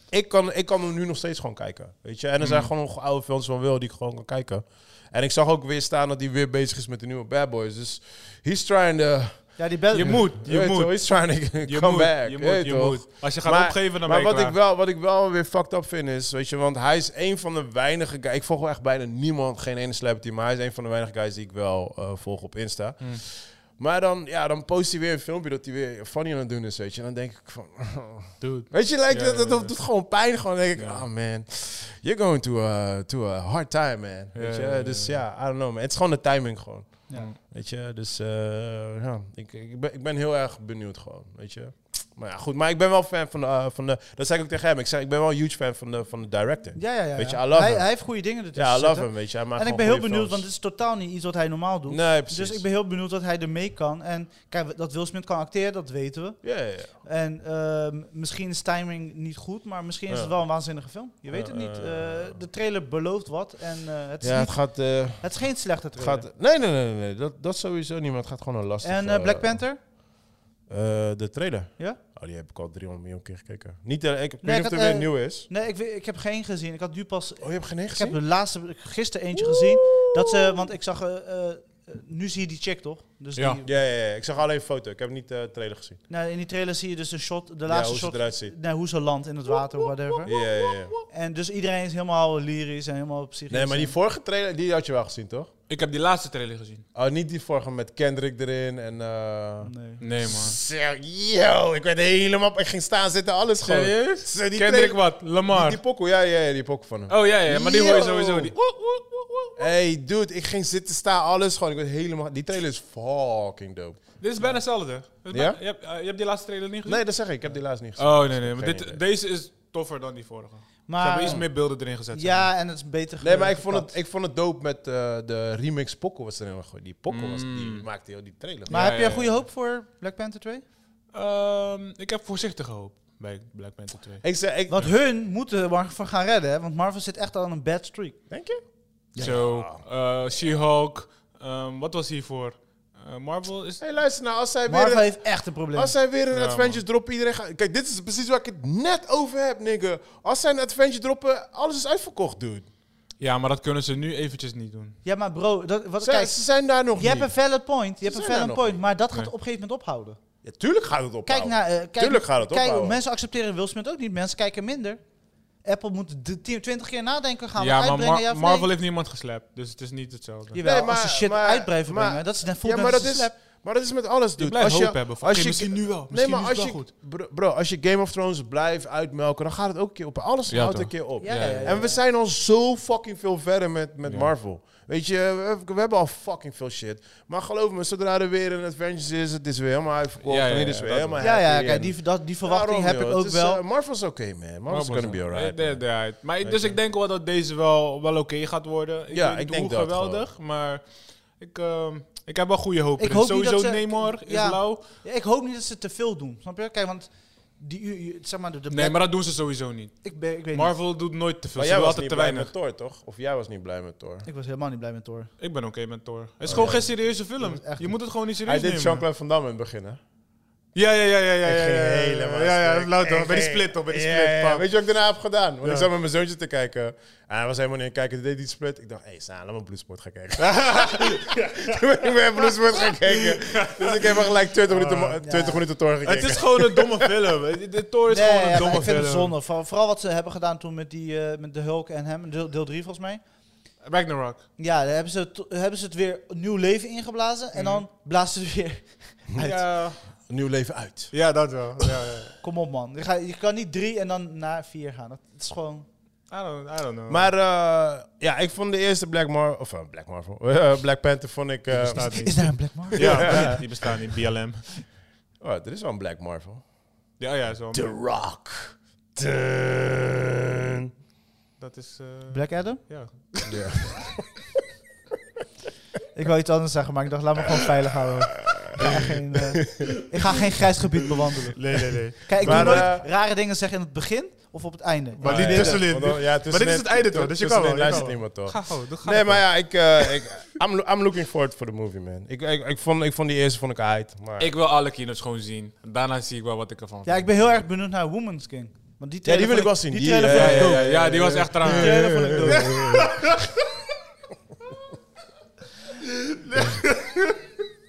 Speaker 1: ik kan, ik kan hem nu nog steeds gewoon kijken, weet je. En er
Speaker 2: Mm.
Speaker 1: zijn gewoon nog oude films van Will die ik gewoon kan kijken. En ik zag ook weer staan dat hij weer bezig is met de nieuwe Bad Boys. Dus he's trying to,
Speaker 3: Ja, die
Speaker 5: *laughs*
Speaker 3: bellen.
Speaker 2: Je moet, je
Speaker 1: weet
Speaker 2: moet.
Speaker 1: toch, he's trying to
Speaker 2: Je
Speaker 1: come
Speaker 2: moet,
Speaker 1: back.
Speaker 2: je
Speaker 1: weet
Speaker 2: moet, je
Speaker 1: toch?
Speaker 2: moet. Als je gaat opgeven, dan
Speaker 1: maar
Speaker 2: ben je
Speaker 1: wat ik
Speaker 2: klaar.
Speaker 1: wel, wat ik wel weer fucked up vind is, weet je, want hij is een van de weinige guys. Ik volg wel echt bijna niemand, geen ene celebrity, maar hij is een van de weinige guys die ik wel eh, volg op Insta.
Speaker 2: Hmm.
Speaker 1: Maar dan, ja, dan post hij weer een filmpje dat hij weer funny aan het doen is, weet je. En dan denk ik van, *laughs*
Speaker 2: Dude.
Speaker 1: weet je, like,
Speaker 2: Ja,
Speaker 1: dat,
Speaker 2: ja,
Speaker 1: dat,
Speaker 2: ja.
Speaker 1: dat doet gewoon pijn. Gewoon denk ik, oh man, you're going to a, to a hard time, man. Weet je,
Speaker 2: ja, ja,
Speaker 1: dus ja, I don't know, man. Het is gewoon de timing gewoon.
Speaker 3: Ja.
Speaker 1: Weet je, dus eh, ja, ik, ik, ben, ik ben heel erg benieuwd gewoon, weet je. Maar ja, goed, maar ik ben wel fan van de, eh, van de dat zei ik ook tegen hem, ik zei, ik ben wel een huge fan van de, van de director.
Speaker 3: Ja, ja, ja.
Speaker 1: Weet je,
Speaker 3: ja.
Speaker 1: I love
Speaker 3: hij,
Speaker 1: him.
Speaker 3: hij heeft goede dingen ertussen
Speaker 1: ja, I love
Speaker 3: zitten.
Speaker 1: hem, weet je. Hij maakt
Speaker 3: En ik ben
Speaker 1: gewoon
Speaker 3: heel
Speaker 1: goede
Speaker 3: benieuwd, want
Speaker 1: films.
Speaker 3: het is totaal niet iets wat hij normaal doet.
Speaker 1: Nee, precies.
Speaker 3: Dus ik ben heel benieuwd wat hij ermee kan. En kijk, dat Will Smith kan acteren, dat weten we.
Speaker 1: Ja, ja, ja.
Speaker 3: En ehm, misschien is timing niet goed, maar misschien is
Speaker 1: Ja.
Speaker 3: het wel een waanzinnige film. Je weet het
Speaker 1: Ja,
Speaker 3: niet.
Speaker 1: eh,
Speaker 3: Eh, de trailer belooft wat en eh, het, is
Speaker 1: Ja, het
Speaker 3: niet,
Speaker 1: gaat, eh, het
Speaker 3: het is geen slechte trailer.
Speaker 1: gaat nee, nee, nee, nee, nee, dat, dat sowieso niet, maar het gaat gewoon een lastig...
Speaker 3: en eh,
Speaker 1: eh,
Speaker 3: Black Panther?
Speaker 1: eh, de trailer.
Speaker 3: Ja?
Speaker 1: Oh, die heb ik al 300 miljoen keer gekeken. Niet, eh, ik, ik
Speaker 3: Nee,
Speaker 1: weet niet
Speaker 3: ik
Speaker 1: of er
Speaker 3: had,
Speaker 1: weer
Speaker 3: eh,
Speaker 1: nieuw is.
Speaker 3: Nee, ik, weet- ik heb geen gezien. Ik had nu pas...
Speaker 1: Oh, je hebt geen één
Speaker 3: Ik
Speaker 1: gezien?
Speaker 3: heb de laatste... Gisteren eentje gezien. Dat ze... Want ik zag... eh, eh, nu zie je die check toch? Dus
Speaker 2: Ja.
Speaker 3: die,
Speaker 1: Ja, ja, ja, ik zag alleen een foto, ik heb niet eh, de trailer gezien.
Speaker 3: nou, in die trailer zie je dus een shot, de
Speaker 1: Ja,
Speaker 3: laatste
Speaker 1: hoe ze
Speaker 3: shot,
Speaker 1: eruit ziet.
Speaker 3: naar hoe ze landt in het water, whatever.
Speaker 1: Ja, ja, ja.
Speaker 3: En dus iedereen is helemaal lyrisch en helemaal psychisch.
Speaker 1: Nee, maar die vorige trailer, die had je wel gezien, toch?
Speaker 2: Ik heb die laatste trailer gezien.
Speaker 1: Oh, niet die vorige met Kendrick erin en... eh
Speaker 3: Nee.
Speaker 2: Nee, man.
Speaker 1: Zo, Yo, ik werd helemaal... Ik ging staan zitten, alles gewoon.
Speaker 2: Serieus?
Speaker 1: Zo, die
Speaker 2: Kendrick
Speaker 1: trailer-
Speaker 2: wat? Lamar.
Speaker 1: Die pokoe, ja, ja, ja, die pokoe van hem.
Speaker 2: oh ja, ja, maar die hoor je
Speaker 1: Yo.
Speaker 2: sowieso. Die,
Speaker 1: Hey, dude, ik ging zitten staan, alles gewoon. Ik werd helemaal... Die trailer is fucking dope.
Speaker 2: Dit is bijna hetzelfde. Dit is
Speaker 1: Ja?
Speaker 2: bijna- je, hebt, eh, je hebt die laatste trailer niet gezien?
Speaker 1: Nee, dat zeg ik. Ik heb die laatst niet gezien.
Speaker 2: Oh nee, nee. Maar
Speaker 1: Geen
Speaker 2: dit,
Speaker 1: idee.
Speaker 2: deze is toffer dan die vorige. Ze
Speaker 3: Maar,
Speaker 1: Ah.
Speaker 2: hebben iets meer beelden erin gezet. zeg maar.
Speaker 3: ja, en het is beter
Speaker 1: Nee, maar ik
Speaker 3: gekant.
Speaker 1: vond het, ik vond het dope met eh, de remix pokoe was erin gegooid. Die pokoe was, die maakte heel die trailer.
Speaker 3: Maar
Speaker 2: Ja,
Speaker 3: heb
Speaker 2: ja,
Speaker 3: je
Speaker 2: ja.
Speaker 3: goede hoop voor Black Panther 2?
Speaker 2: Ehm, ik heb voorzichtige hoop bij Black Panther 2.
Speaker 1: Ik zei, ik...
Speaker 3: Want hun moeten Marvel gaan redden, hè? want Marvel zit echt aan een bad streak.
Speaker 1: Denk je?
Speaker 2: Zo, eh, She-Hulk. ehm, wat was hiervoor? Eh Marvel is...
Speaker 1: Hey, luister nou, als zij weer...
Speaker 3: Marvel heeft echt een probleem.
Speaker 1: Als zij weer een
Speaker 2: Ja,
Speaker 1: adventure droppen, iedereen gaat... Kijk, dit is precies waar ik het net over heb, nigga. Als zij een adventure droppen, alles is uitverkocht, dude.
Speaker 2: Ja, maar dat kunnen ze nu eventjes niet doen.
Speaker 3: Ja, maar bro, dat, wat,
Speaker 1: Zij-
Speaker 3: kijk,
Speaker 1: ze zijn daar nog
Speaker 3: je hebt
Speaker 1: niet.
Speaker 3: een valid point, je hebt een
Speaker 1: zijn
Speaker 3: valid
Speaker 1: daar nog
Speaker 3: point, maar dat gaat
Speaker 2: Nee.
Speaker 3: op een gegeven moment ophouden.
Speaker 1: Ja, tuurlijk gaat het
Speaker 3: Kijk
Speaker 1: ophouden.
Speaker 3: naar... eh, kijk,
Speaker 1: Nou, Tuurlijk gaat het
Speaker 3: kijk,
Speaker 1: ophouden.
Speaker 3: Mensen accepteren Will Smith ook niet, mensen kijken minder. Apple moet de 10, 20 keer nadenken,
Speaker 1: Nou,
Speaker 3: gaan we
Speaker 2: ja, maar
Speaker 3: uitbrengen,
Speaker 2: Mar-
Speaker 3: ja of
Speaker 2: Marvel
Speaker 3: nee?
Speaker 2: heeft niemand geslapt. Dus het is niet hetzelfde.
Speaker 3: Jawel,
Speaker 1: Nee, maar-
Speaker 3: als ze shit
Speaker 1: maar-
Speaker 3: uit blijven
Speaker 1: maar-
Speaker 3: brengen, dat is net voelt
Speaker 1: ja,
Speaker 3: net
Speaker 1: maar dat
Speaker 3: als een
Speaker 1: is,
Speaker 3: slap.
Speaker 1: maar dat is met alles, dude.
Speaker 2: blijft
Speaker 1: als je,
Speaker 2: hoop hebben van,
Speaker 1: als
Speaker 2: oké,
Speaker 1: je,
Speaker 2: misschien nu wel.
Speaker 1: Nee,
Speaker 2: Misschien
Speaker 1: maar
Speaker 2: is
Speaker 1: als
Speaker 2: het
Speaker 1: je,
Speaker 2: wel
Speaker 1: Bro, bro, als je Game of Thrones blijft uitmelken, dan gaat het ook een keer op. Alles
Speaker 2: Ja,
Speaker 1: houdt een
Speaker 2: toch.
Speaker 1: keer op.
Speaker 3: Ja, ja, ja, ja.
Speaker 1: En we zijn al zo fucking veel verder met, met Marvel. Weet je, we, we hebben al fucking veel shit. Maar geloof me, zodra er weer een Avengers is, het is weer helemaal uitverkocht.
Speaker 2: Ja, ja,
Speaker 1: en het
Speaker 2: ja,
Speaker 1: is weer
Speaker 2: dat-
Speaker 1: helemaal
Speaker 3: Ja, ja,
Speaker 1: happy en-
Speaker 3: kijk, die, dat, die verwachting
Speaker 1: Daarom,
Speaker 3: heb
Speaker 1: joh.
Speaker 3: ik ook
Speaker 1: Het is,
Speaker 3: wel.
Speaker 1: eh, Marvel's oké, man. Marvel's gonna be alright.
Speaker 2: Ja, ja, ja, ja. Maar ik- dus ik denk wel dat deze wel, wel oké gaat worden. Ik
Speaker 1: Ja,
Speaker 2: weet
Speaker 1: ik
Speaker 2: niet
Speaker 1: denk
Speaker 2: hoe
Speaker 1: dat
Speaker 2: geweldig, maar ik, ehm, ik heb wel goede hoop.
Speaker 3: Ik
Speaker 2: erin.
Speaker 3: hoop niet
Speaker 2: Sowieso
Speaker 3: dat ze-
Speaker 2: Neymar is
Speaker 3: ja.
Speaker 2: lauw.
Speaker 3: Ja, ik hoop niet dat ze te veel doen, snap je? Kijk, want die, u- u- zeg maar, de, de
Speaker 2: Nee, maar dat doen ze sowieso niet.
Speaker 3: ik, ben, ik weet niet.
Speaker 2: Marvel doet nooit te veel.
Speaker 1: Maar
Speaker 2: Ze
Speaker 1: jij
Speaker 2: doen
Speaker 1: was
Speaker 2: altijd
Speaker 1: niet
Speaker 2: te
Speaker 1: blij
Speaker 2: weinig.
Speaker 1: met Thor, toch? Of jij was niet blij met Thor?
Speaker 3: Ik was helemaal niet blij met Thor.
Speaker 2: Ik ben oké met Thor. Het is gewoon geen serieuze film.
Speaker 3: Oh, moet
Speaker 2: Je
Speaker 3: echt
Speaker 2: moet, het gewoon niet
Speaker 1: Hij
Speaker 2: serieus
Speaker 1: deed
Speaker 2: nemen.
Speaker 1: Jean-Claude Van Damme in het begin, hè?
Speaker 2: Ja, ja, ja, ja, ja.
Speaker 1: Ik
Speaker 2: ja,
Speaker 1: ging
Speaker 2: ja, Eh, ja,
Speaker 1: helemaal
Speaker 2: Ja, ja,
Speaker 1: stuk.
Speaker 2: laat
Speaker 1: Ik
Speaker 2: toch. Bij die
Speaker 1: ging-
Speaker 2: split toch. Bij die
Speaker 1: Ja,
Speaker 2: split.
Speaker 1: ja, ja.
Speaker 2: pam.
Speaker 1: Weet je wat ik daarna heb gedaan? Want
Speaker 2: Ja.
Speaker 1: ik zat met mijn zoontje te kijken. En hij was helemaal niet aan het kijken. Toen deed die split. Ik dacht, hé, hey, Saan, laat me bloedsport gaan kijken. Toen ben ik weer bloedsport gaan kijken. Dus ik heb wel gelijk 20 minuten, mo- 20 minuten Thor gekeken.
Speaker 2: Het is gewoon een domme film. De Thor is
Speaker 3: Nee,
Speaker 2: gewoon
Speaker 3: ja,
Speaker 2: een
Speaker 3: maar
Speaker 2: domme
Speaker 3: ik vind het
Speaker 2: film.
Speaker 3: zonde. Voor- Vooral wat ze hebben gedaan toen met, die, eh, met de Hulk en hem, deel, deel 3 volgens mij.
Speaker 2: Ragnarok.
Speaker 3: Ja, daar
Speaker 2: Mhm.
Speaker 3: hebben ze, het- hebben ze het weer nieuw leven ingeblazen en dan blazen ze het weer *laughs* uit.
Speaker 2: Ja.
Speaker 1: een nieuw leven uit.
Speaker 6: Ja, dat wel. Ja, ja.
Speaker 3: Kom op, man. Je, gaat- je kan niet drie en dan naar vier gaan. Dat is gewoon...
Speaker 2: I don't, I don't know.
Speaker 1: Maar eh, ja, ik vond de eerste Black Marvel, of eh, Black Marvel, *laughs* eh, Black Panther vond ik... eh,
Speaker 2: bestaat niet.
Speaker 3: Is daar een black market?
Speaker 2: Ja, die bestaan niet. BLM.
Speaker 1: oh, er is wel een Black Marvel.
Speaker 2: Ja, ja, zo.
Speaker 1: The Rock. Dun.
Speaker 2: Dat is... eh,
Speaker 3: Black Adam?
Speaker 2: ja.
Speaker 1: Ja.
Speaker 3: *laughs* Ik wil iets anders zeggen, maar ik dacht, laat me gewoon veilig houden. Ik ga geen, eh, ik ga geen grijs gebied bewandelen.
Speaker 2: Nee, nee, nee.
Speaker 3: Kijk, ik
Speaker 1: Maar,
Speaker 3: doe nooit
Speaker 1: eh,
Speaker 3: rare dingen zeggen in het begin of op het einde.
Speaker 6: Maar
Speaker 1: Ah,
Speaker 6: die
Speaker 1: ja.
Speaker 6: tussenin.
Speaker 1: Want dan- Ja,
Speaker 6: Maar dit is het einde toch? Dus je kan wel. je kan
Speaker 1: luistert
Speaker 6: wel.
Speaker 1: niemand toch?
Speaker 2: Ga gewoon. doe- Ga
Speaker 1: Nee, maar ja, ik, eh, ik, I'm, lo- I'm looking forward for the movie, man. Ik, ik, ik, vond, ik vond die eerste vond ik uit, maar...
Speaker 2: Ik wil alle kino's gewoon zien. Daarna zie ik wel wat ik ervan
Speaker 3: Ja, ik ben heel erg benieuwd naar Woman's King. Want die
Speaker 1: ja,
Speaker 3: trailer
Speaker 1: die eh, wil ik wel
Speaker 3: vond
Speaker 1: zien.
Speaker 3: Die trailer vond
Speaker 2: ja,
Speaker 3: ik
Speaker 2: ja,
Speaker 3: dope.
Speaker 2: ja, ja, die was echt eraan.
Speaker 3: Die trailer vond ik dope.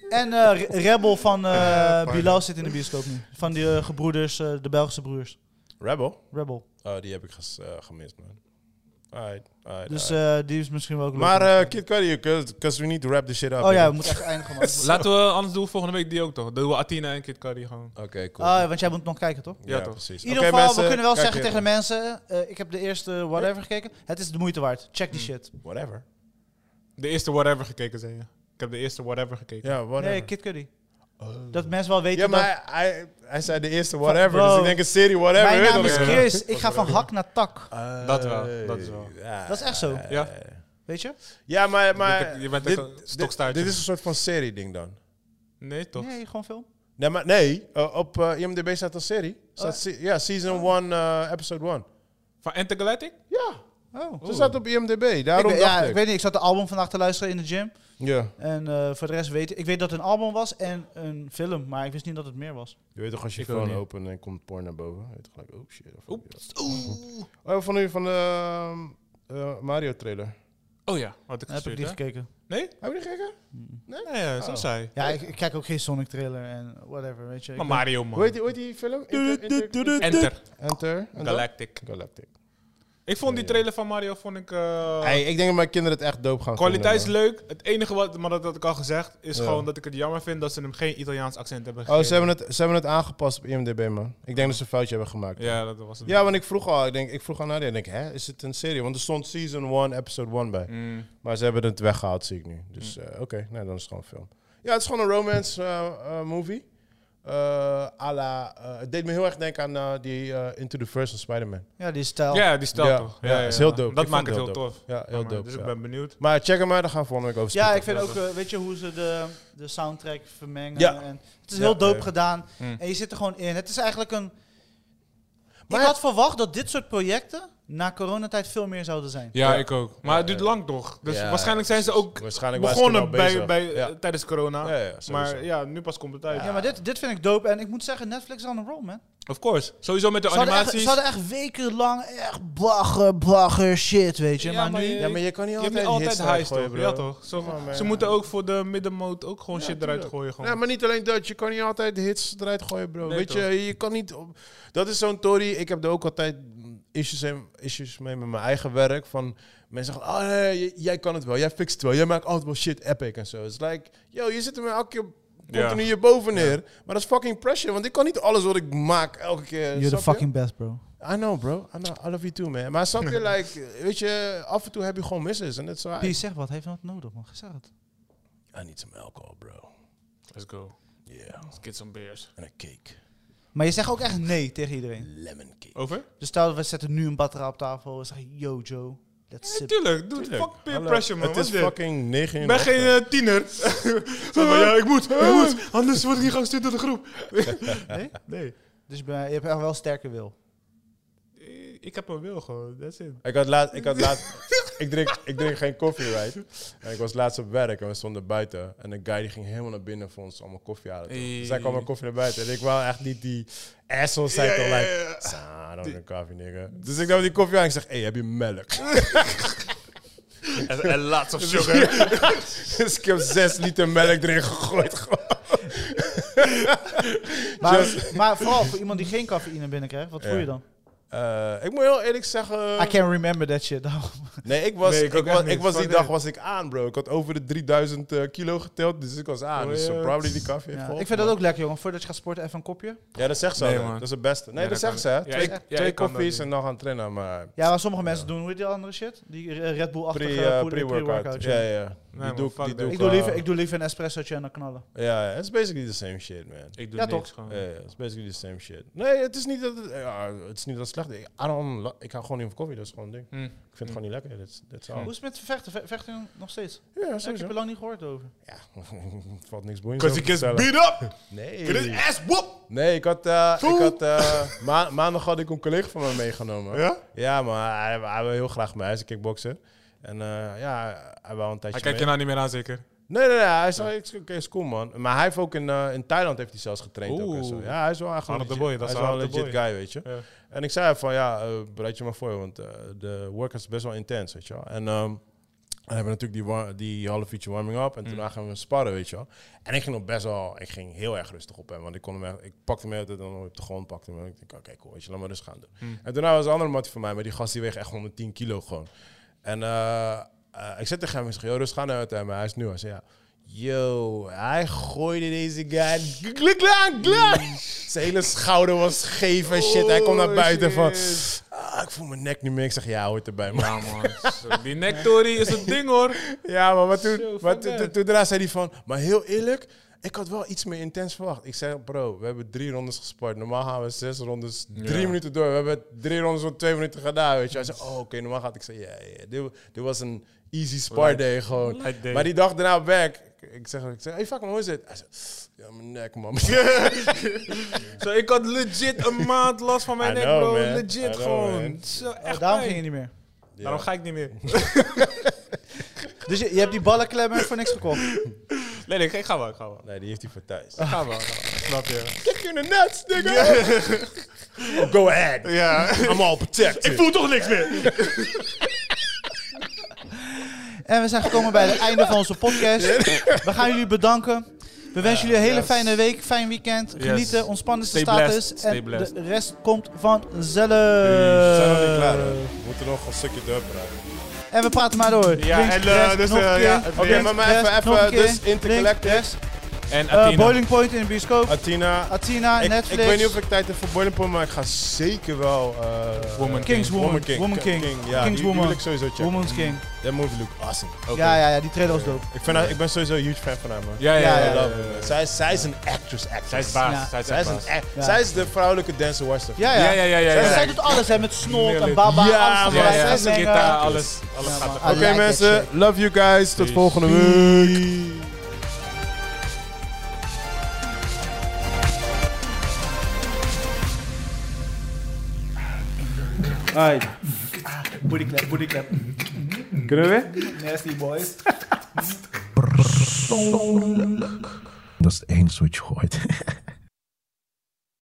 Speaker 3: En eh, Re- Rebel van eh, Bilal zit in de bioscoop nu. Van die eh, gebroeders, eh, de Belgische broers.
Speaker 1: Rebel?
Speaker 3: Rebel.
Speaker 1: Oh, die heb ik ges- eh, gemist, man. Alright, alright,
Speaker 3: Dus
Speaker 1: alright.
Speaker 3: eh, die is misschien wel ook leuk.
Speaker 1: Maar eh, Kid Cudi, because we need to wrap this shit up.
Speaker 3: oh ja, we
Speaker 1: man.
Speaker 3: moeten echt
Speaker 1: *laughs*
Speaker 3: eindigen. man.
Speaker 2: Laten we, anders doen we volgende week die ook toch. Dan doen we Athena en Kid Cudi gewoon.
Speaker 1: Oké, cool.
Speaker 3: Ah, want jij moet nog kijken, toch?
Speaker 1: ja,
Speaker 2: ja, toch.
Speaker 1: precies.
Speaker 3: In ieder
Speaker 1: Oké,
Speaker 3: geval,
Speaker 1: mensen,
Speaker 3: we kunnen wel
Speaker 1: kijk
Speaker 3: zeggen tegen
Speaker 1: even.
Speaker 3: de mensen... eh, ik heb de eerste whatever gekeken. Het is de moeite waard. Check
Speaker 1: Hmm.
Speaker 3: die shit.
Speaker 1: Whatever.
Speaker 2: De eerste whatever gekeken zijn, ja. Ik heb de eerste whatever gekeken.
Speaker 1: Ja, whatever. Oh.
Speaker 3: Nee, Kid Cudi. Dat mensen wel weten
Speaker 1: ja,
Speaker 3: dat...
Speaker 1: maar hij, hij, hij zei de eerste whatever,
Speaker 3: Bro.
Speaker 1: dus ik denk een serie whatever.
Speaker 3: Mijn
Speaker 1: weet
Speaker 3: naam
Speaker 1: je
Speaker 3: is
Speaker 1: toch?
Speaker 3: Chris. Ik ga van hak naar tak.
Speaker 1: Eh,
Speaker 2: Dat wel, dat is wel.
Speaker 1: ja.
Speaker 3: Dat is echt
Speaker 1: eh,
Speaker 3: zo.
Speaker 2: Ja.
Speaker 3: Weet je?
Speaker 1: Ja, maar,
Speaker 2: Je bent
Speaker 1: maar
Speaker 2: ook- je bent
Speaker 1: dit,
Speaker 2: ook een
Speaker 1: dit,
Speaker 2: stokstaartje.
Speaker 1: dit is een soort van serie ding dan.
Speaker 2: Nee, toch?
Speaker 3: Nee, gewoon film.
Speaker 1: Nee, maar nee, eh, op eh, IMDb staat een serie. Staat se- ja, season 1, episode 1.
Speaker 2: Van Intergalactic?
Speaker 1: Oh. Ja,
Speaker 3: Oh.
Speaker 1: ze staat op IMDb.
Speaker 3: Ik
Speaker 1: Daarom
Speaker 3: ben- ja,
Speaker 1: dacht
Speaker 3: ik
Speaker 1: ik.
Speaker 3: weet niet. Ik zat de album vandaag te luisteren in de gym.
Speaker 1: Ja.
Speaker 3: En eh, voor de rest weet ik... Ik weet dat het een album was en een film. Maar ik wist niet dat het meer was.
Speaker 1: Je weet toch, als je
Speaker 2: Ik ook
Speaker 1: phone
Speaker 2: niet.
Speaker 1: opent en komt porn naar boven. Je weet toch gelijk, oh shit. Oeps. Oh, van u, van de ehm, eh, Mario trailer.
Speaker 2: Oh ja, had ik
Speaker 3: Heb ik
Speaker 2: gestuurd,
Speaker 3: niet
Speaker 2: hè?
Speaker 3: gekeken.
Speaker 2: Nee?
Speaker 1: Heb je die gekke?
Speaker 2: Nee, ja, zo
Speaker 1: Oh.
Speaker 2: zei hij.
Speaker 3: Ja, ik, ik kijk ook geen Sonic trailer en whatever, weet je. Ik
Speaker 2: Maar
Speaker 3: ben-
Speaker 2: Mario,
Speaker 1: Hoe heet
Speaker 2: man.
Speaker 1: die, hoe heet die film? Inter, Inter-
Speaker 2: Enter.
Speaker 1: Enter. en dan?
Speaker 2: Galactic.
Speaker 1: Galactic.
Speaker 2: Ik vond die trailer van Mario, vond ik... eh,
Speaker 1: Hey, ik denk dat mijn kinderen het echt doop gaan
Speaker 2: Kwaliteit is
Speaker 1: vinden,
Speaker 2: leuk. Het enige wat, maar dat had ik al gezegd, is
Speaker 1: Ja.
Speaker 2: gewoon dat ik het jammer vind dat ze hem geen Italiaans accent hebben
Speaker 1: man.
Speaker 2: gegeven.
Speaker 1: Oh, ze hebben, het, ze hebben het aangepast op IMDb, man. Ik denk dat ze een foutje hebben gemaakt.
Speaker 2: Ja, dat was het.
Speaker 1: Ja, want ik vroeg al, ik, denk, ik vroeg aan Nadia, ik denk, hè, is het een serie? Want er stond season 1, episode 1 bij.
Speaker 2: Mm.
Speaker 1: Maar ze hebben het weggehaald, zie ik nu. Dus
Speaker 2: Hm.
Speaker 1: eh, oké, nou, dan is het gewoon een film. Ja, het is gewoon een romance eh, eh, movie. Eh à la, eh, het deed me heel erg denken aan eh, die eh, Into the First van Spider-Man.
Speaker 3: Ja, die stijl.
Speaker 2: Ja, die stijl
Speaker 1: Ja,
Speaker 2: toch.
Speaker 1: ja, is heel dope.
Speaker 2: Dat
Speaker 1: Ik
Speaker 2: maakt het
Speaker 1: vond
Speaker 2: heel
Speaker 1: het heel
Speaker 2: tof.
Speaker 1: Ja, heel
Speaker 2: Ja, man,
Speaker 1: dope.
Speaker 2: Dus
Speaker 1: ja.
Speaker 2: ik ben benieuwd.
Speaker 1: Maar check hem uit, dan gaan we volgende week over
Speaker 3: Ja, ik
Speaker 1: spreken.
Speaker 3: vind
Speaker 2: dat
Speaker 3: ook, eh, weet je, hoe ze de, de soundtrack vermengen.
Speaker 1: Ja.
Speaker 3: En het is
Speaker 1: Ja,
Speaker 3: heel dope
Speaker 1: eh.
Speaker 3: gedaan.
Speaker 2: Mm.
Speaker 3: En je zit er gewoon in. Het is eigenlijk een...
Speaker 1: Maar-
Speaker 3: ik had verwacht dat dit soort projecten na coronatijd veel meer zouden zijn.
Speaker 2: Ja,
Speaker 1: Ja.
Speaker 2: ik ook. Maar het duurt
Speaker 1: ja.
Speaker 2: lang toch. Dus
Speaker 1: Ja,
Speaker 2: waarschijnlijk zijn ze ook
Speaker 1: Waarschijnlijk waren ze
Speaker 2: begonnen
Speaker 1: toen al
Speaker 2: bij,
Speaker 1: bezig.
Speaker 2: bij,
Speaker 1: Ja.
Speaker 2: eh, tijdens corona.
Speaker 1: Ja, ja, sowieso.
Speaker 2: maar ja, nu pas komt het uit.
Speaker 3: Ja, maar dit, dit vind ik dope. En ik moet zeggen, Netflix is on a roll, man.
Speaker 2: Of course. Sowieso met de
Speaker 3: Ze hadden, echt, ze
Speaker 2: animaties.
Speaker 3: hadden echt wekenlang echt bagger, bagger shit, weet je.
Speaker 2: Ja,
Speaker 3: maar,
Speaker 2: maar
Speaker 3: nu...
Speaker 2: je-
Speaker 1: ja, maar je kan niet
Speaker 2: Je hebt
Speaker 1: altijd,
Speaker 2: niet altijd
Speaker 1: hits eruit
Speaker 2: highs
Speaker 1: gooien,
Speaker 2: toch?
Speaker 1: bro.
Speaker 2: Ja toch. Zo,
Speaker 1: Ja, maar
Speaker 2: ze
Speaker 1: ja.
Speaker 2: moeten ook voor de middenmoot ook gewoon shit eruit gooien. Gewoon.
Speaker 1: Ja, maar niet alleen dat. Je kan niet altijd de hits eruit gooien, bro.
Speaker 2: Nee,
Speaker 1: Weet je,
Speaker 2: toch?
Speaker 1: je kan niet... op- Dat is zo'n Tory. Ik heb er ook altijd mm, issues, en, issues mee met mijn eigen werk. Van mensen zeggen, oh nee, j- jij kan het wel. Jij fixt het wel. Jij maakt altijd wel shit epic en zo. Het is like, yo, je zit er maar elke keer
Speaker 2: Ja.
Speaker 1: continu hierboven neer. Maar dat is fucking pressure. Want ik kan niet alles wat ik maak elke keer...
Speaker 3: You're the
Speaker 1: snap je?
Speaker 3: fucking best, bro.
Speaker 1: I know, bro. I, know, I love you too, man. Maar snap
Speaker 3: *laughs*
Speaker 1: je, like, weet je, af en toe heb je gewoon misses. En dat is waar.
Speaker 3: Peace, zeg wat. Heeft wat nodig, man. Zeg het.
Speaker 1: I need some alcohol, bro.
Speaker 2: Let's go.
Speaker 1: Yeah.
Speaker 2: Let's get some beers.
Speaker 1: En een cake.
Speaker 3: Maar je zegt ook echt nee tegen iedereen.
Speaker 1: Lemon cake.
Speaker 2: Over?
Speaker 3: Dus stel dat we zetten nu een batterij op tafel en zeggen, yo Joe, let's sip.
Speaker 2: Tuurlijk. Doe fuck peer
Speaker 1: Hallo.
Speaker 2: pressure man.
Speaker 1: Het
Speaker 2: Wat
Speaker 1: is
Speaker 2: dit?
Speaker 1: fucking 9 uur.
Speaker 2: Ik
Speaker 1: in
Speaker 2: ben
Speaker 1: de
Speaker 2: geen
Speaker 1: ochtend.
Speaker 2: eh, tiener.
Speaker 5: *laughs*
Speaker 2: Zeg maar, ja, ik moet, ik
Speaker 5: Ah.
Speaker 2: moet. Anders word ik niet gestuurd door de
Speaker 5: *laughs*
Speaker 2: groep.
Speaker 3: Nee?
Speaker 2: Nee.
Speaker 3: Dus je, bent- je hebt echt wel sterke wil.
Speaker 2: Ik heb een wil gewoon, that's it.
Speaker 1: Ik had laat, ik had laat, ik drink, ik drink geen koffie, right? En ik was laatst op werk en we stonden buiten. En een guy die ging helemaal naar binnen voor ons allemaal koffie halen. toch?
Speaker 2: Hey.
Speaker 1: Dus hij kwam met koffie naar buiten. En ik wou echt niet die asshole zijn, toch? Like, "Sa, I don't drink coffee, nigga. Dus ik nam die koffie aan en ik zeg, hey, heb je melk? *laughs*
Speaker 5: *laughs*
Speaker 2: En, lots *laughs* of sugar.
Speaker 1: dus ik heb zes liter melk erin gegooid. gewoon.
Speaker 3: Maar, maar vooral voor iemand die geen cafeïne binnenkrijgt, wat voel je dan?
Speaker 1: Eh, ik moet heel eerlijk zeggen.
Speaker 3: I can't remember that shit.
Speaker 1: Nee, ik was,
Speaker 5: Nee,
Speaker 1: ik
Speaker 5: ik ook echt
Speaker 1: was,
Speaker 5: niet.
Speaker 1: ik was die
Speaker 5: Fuck nee.
Speaker 1: dag was ik aan, bro. Ik had over de 3000 eh, kilo geteld, dus ik was aan.
Speaker 5: Oh,
Speaker 1: dus eh,
Speaker 5: ja.
Speaker 1: probably die koffie.
Speaker 3: Ja,
Speaker 1: heeft
Speaker 3: ik
Speaker 1: geholpen,
Speaker 3: vind dat
Speaker 1: man.
Speaker 3: ook lekker, jongen. Voordat je gaat sporten, even een kopje.
Speaker 1: Ja, dat zegt ze.
Speaker 5: Nee,
Speaker 1: altijd.
Speaker 5: man.
Speaker 1: dat is het beste. Nee,
Speaker 5: Ja,
Speaker 1: dat,
Speaker 5: dat
Speaker 1: zegt ze.
Speaker 5: kan
Speaker 1: hè.
Speaker 5: niet. Ja,
Speaker 1: twee
Speaker 5: ik- ja,
Speaker 1: twee
Speaker 5: ik kan dat
Speaker 1: koffies
Speaker 5: niet.
Speaker 1: en dan gaan trainen, maar
Speaker 3: Ja, maar sommige mensen doen hoe heet die andere shit. Die eh, Red Bull-achtige
Speaker 1: pre,
Speaker 3: poeder-
Speaker 1: eh, pre-workout.
Speaker 3: pre-workout,
Speaker 1: ja,
Speaker 3: ja.
Speaker 1: ja. Die
Speaker 5: man,
Speaker 1: doe ik-
Speaker 5: fuck
Speaker 1: die
Speaker 5: that.
Speaker 1: doe
Speaker 3: Ik
Speaker 1: ik
Speaker 3: doe
Speaker 1: wel.
Speaker 3: liever- Ik doe liever een espressootje en dan knallen.
Speaker 1: Ja, ja, it's basically the same shit, man.
Speaker 5: Ik doe
Speaker 3: Ja,
Speaker 5: niks
Speaker 3: toch?
Speaker 5: gewoon.
Speaker 1: Ja,
Speaker 2: Eh.
Speaker 1: ja, it's basically the same shit. Nee, het is niet dat het, ja, het is niet dat het slecht is. I don't lo- ik hou gewoon niet van koffie, dat is gewoon een ding.
Speaker 5: Hm.
Speaker 1: Ik vind het gewoon niet lekker. That's, that's all.
Speaker 3: Hoe is het met vechten? Ve- Vechten nog steeds?
Speaker 1: Ja,
Speaker 3: Ja, ik heb
Speaker 1: sowieso.
Speaker 3: er lang niet gehoord over.
Speaker 1: Ja, *laughs* valt niks boeiends
Speaker 2: Because
Speaker 1: over
Speaker 2: he
Speaker 1: te
Speaker 2: gets
Speaker 1: vertellen.
Speaker 2: beat up. Get his
Speaker 1: Nee.
Speaker 2: ass whoop.
Speaker 1: Nee, ik had, eh, ik
Speaker 2: Fool.
Speaker 1: had eh, ma- maandag had ik een collega van me meegenomen.
Speaker 2: Ja?
Speaker 1: Ja, maar hij, hij wil heel graag mij. Hij is een kickboxer. En eh, ja, hij wou een tijdje
Speaker 5: Hij kijkt je
Speaker 1: mee.
Speaker 5: nou niet meer aan, zeker?
Speaker 1: Nee, nee, nee. Hij zei, "It's oké, is cool, man. Maar hij heeft ook in, eh, in Thailand heeft hij zelfs getraind ook en
Speaker 5: Oeh.
Speaker 1: zo. Ja, hij is wel echt een
Speaker 5: Harde
Speaker 1: legit,
Speaker 5: boy, dat
Speaker 1: hij
Speaker 5: is
Speaker 1: is wel een
Speaker 5: een harde
Speaker 1: legit
Speaker 5: boy.
Speaker 1: guy, weet je.
Speaker 5: Ja.
Speaker 1: En ik zei van, ja, eh, bereid je maar voor, want eh, de workout is best wel intens, weet je wel. En ehm, we hebben natuurlijk die, wa- die half uurtje warming up en
Speaker 5: Mm.
Speaker 1: toen gaan we sparren, weet je wel. En ik ging nog best wel, ik ging heel erg rustig op hem, want ik kon hem echt, ik pakte hem altijd dan op de grond, pakte hem en ik denk, oké, cool, weet je, laat maar rustig gaan doen. En daarna was een andere mattie van mij, maar die gast die weegt echt 110 kilo gewoon. En eh, eh, ik zei tegen hem, ik zeg, joh, rustig aan uit hem, hij is nu, hij zei, ja. Yo, hij gooide deze guy. *laughs* Glik, glik, glik. Zijn hele schouder was geef en shit. Hij komt naar
Speaker 2: Oh,
Speaker 1: buiten van.
Speaker 2: shit.
Speaker 1: "Ah, ik voel mijn nek niet meer. Ik zeg, ja, hoort erbij. man."
Speaker 5: Ja, man. Zo,
Speaker 2: *laughs*
Speaker 5: Die nektory is een ding, hoor.
Speaker 1: Ja, maar, wat toen,
Speaker 5: Zo,
Speaker 1: maar
Speaker 5: fuck
Speaker 1: toen,
Speaker 5: that.
Speaker 1: toen- toen daarna zei hij van, maar heel eerlijk, ik had wel iets meer intens verwacht. Ik zei, bro, we hebben drie rondes gespart. Normaal gaan we zes rondes, drie
Speaker 5: Ja.
Speaker 1: minuten door. We hebben drie rondes van twee minuten gedaan, weet je. Hij zei, oh, oké, normaal gaat. Ik zei, ja, ja, dit, dit was een easy spar day gewoon.
Speaker 5: Light day.
Speaker 1: Maar die dag daarna op werk, ik zeg, ik zeg hey, fuck man, hoe is het? Hij zei, ja, mijn nek, man. *laughs*
Speaker 5: Zo, ik had legit een maand last van mijn
Speaker 1: I
Speaker 5: nek,
Speaker 1: know,
Speaker 5: bro.
Speaker 1: man. I
Speaker 5: Legit
Speaker 1: know, man.
Speaker 5: gewoon. Zo,
Speaker 3: Oh,
Speaker 5: echt
Speaker 3: daarom
Speaker 5: pijn.
Speaker 3: ging je niet meer.
Speaker 5: Daarom ga ik niet meer.
Speaker 3: Dus je, je hebt die ballenklemmen voor niks gekocht.
Speaker 5: Nee, nee, ik ga wel, ik ga wel.
Speaker 1: Nee, die heeft hij voor thuis.
Speaker 5: Ik ga wel, ik
Speaker 2: *laughs*
Speaker 5: ga wel. Snap je?
Speaker 1: Kick in the nuts, nigga! oh, go ahead. *laughs*
Speaker 2: Ja.
Speaker 1: I'm all protected.
Speaker 2: Ik voel toch niks meer.
Speaker 3: En we zijn gekomen bij het einde van onze podcast. We gaan jullie bedanken. We wensen jullie een hele
Speaker 5: yes.
Speaker 3: fijne week, fijn weekend.
Speaker 5: Yes.
Speaker 3: Genieten, ontspannen de
Speaker 5: Stay
Speaker 3: status.
Speaker 5: blessed, stay
Speaker 3: En
Speaker 5: blessed.
Speaker 3: de rest komt vanzelf.
Speaker 1: We zijn nog niet klaar, hè? We moeten nog een stukje erop rijden.
Speaker 3: En we praten maar door.
Speaker 2: Ja,
Speaker 3: Links,
Speaker 2: en, eh,
Speaker 3: rechts,
Speaker 2: dus,
Speaker 3: nog een
Speaker 2: eh,
Speaker 3: keer.
Speaker 2: ja, het
Speaker 1: Oké,
Speaker 2: weer.
Speaker 1: maar, maar
Speaker 3: Yes,
Speaker 1: even,
Speaker 3: nog
Speaker 1: even,
Speaker 3: een keer.
Speaker 1: dus Intergalactic,
Speaker 5: En
Speaker 3: Eh,
Speaker 5: Athena.
Speaker 3: Boiling Point in de bioscoop.
Speaker 1: Athena.
Speaker 3: Athena,
Speaker 1: Ik, ik
Speaker 3: Netflix.
Speaker 1: weet niet of ik tijd heb voor Boiling Point, maar ik ga zeker wel... eh
Speaker 5: Woman King.
Speaker 3: Kingswoman.
Speaker 1: Woman King.
Speaker 3: Woman King.
Speaker 1: ja, die- die,
Speaker 3: Kingswoman.
Speaker 1: wil ik sowieso checken. Mm.
Speaker 3: Woman's King.
Speaker 1: That movie look awesome.
Speaker 3: Ja, ja, ja, die trailer was dope.
Speaker 1: Ik, vind haar- ik ben sowieso een huge fan van haar, man.
Speaker 5: Ja, ja,
Speaker 3: Ja,
Speaker 5: ja.
Speaker 1: I
Speaker 5: ja,
Speaker 1: love
Speaker 5: ja,
Speaker 1: her,
Speaker 5: ja.
Speaker 1: man. Zij, zij is een actress, actress.
Speaker 5: Zij is
Speaker 3: Ja.
Speaker 5: baas. Zij is
Speaker 1: Zij is,
Speaker 5: echt
Speaker 1: een
Speaker 5: baas.
Speaker 1: act-
Speaker 3: Ja.
Speaker 1: zij is de vrouwelijke dancer Western.
Speaker 3: Ja, ja.
Speaker 5: Ja, ja, ja, ja.
Speaker 3: En
Speaker 5: ja.
Speaker 3: zij doet alles, hè, met snot en
Speaker 5: Heerlijk.
Speaker 3: baba,
Speaker 1: Ja,
Speaker 3: alles
Speaker 5: Ja,
Speaker 3: tegelijk
Speaker 5: ja, ja.
Speaker 3: mengen.
Speaker 5: Gita, alles. Alles
Speaker 3: Ja,
Speaker 5: gaat er
Speaker 3: man.
Speaker 1: Oké
Speaker 3: I like that
Speaker 1: mensen,
Speaker 3: shit.
Speaker 1: love you guys. Tot
Speaker 5: Peace.
Speaker 1: volgende week.
Speaker 3: Alright. Booty clap, booty clap.
Speaker 5: Kunnen we weer?
Speaker 3: Nasty boys.
Speaker 7: Dat is het enige wat je gooit.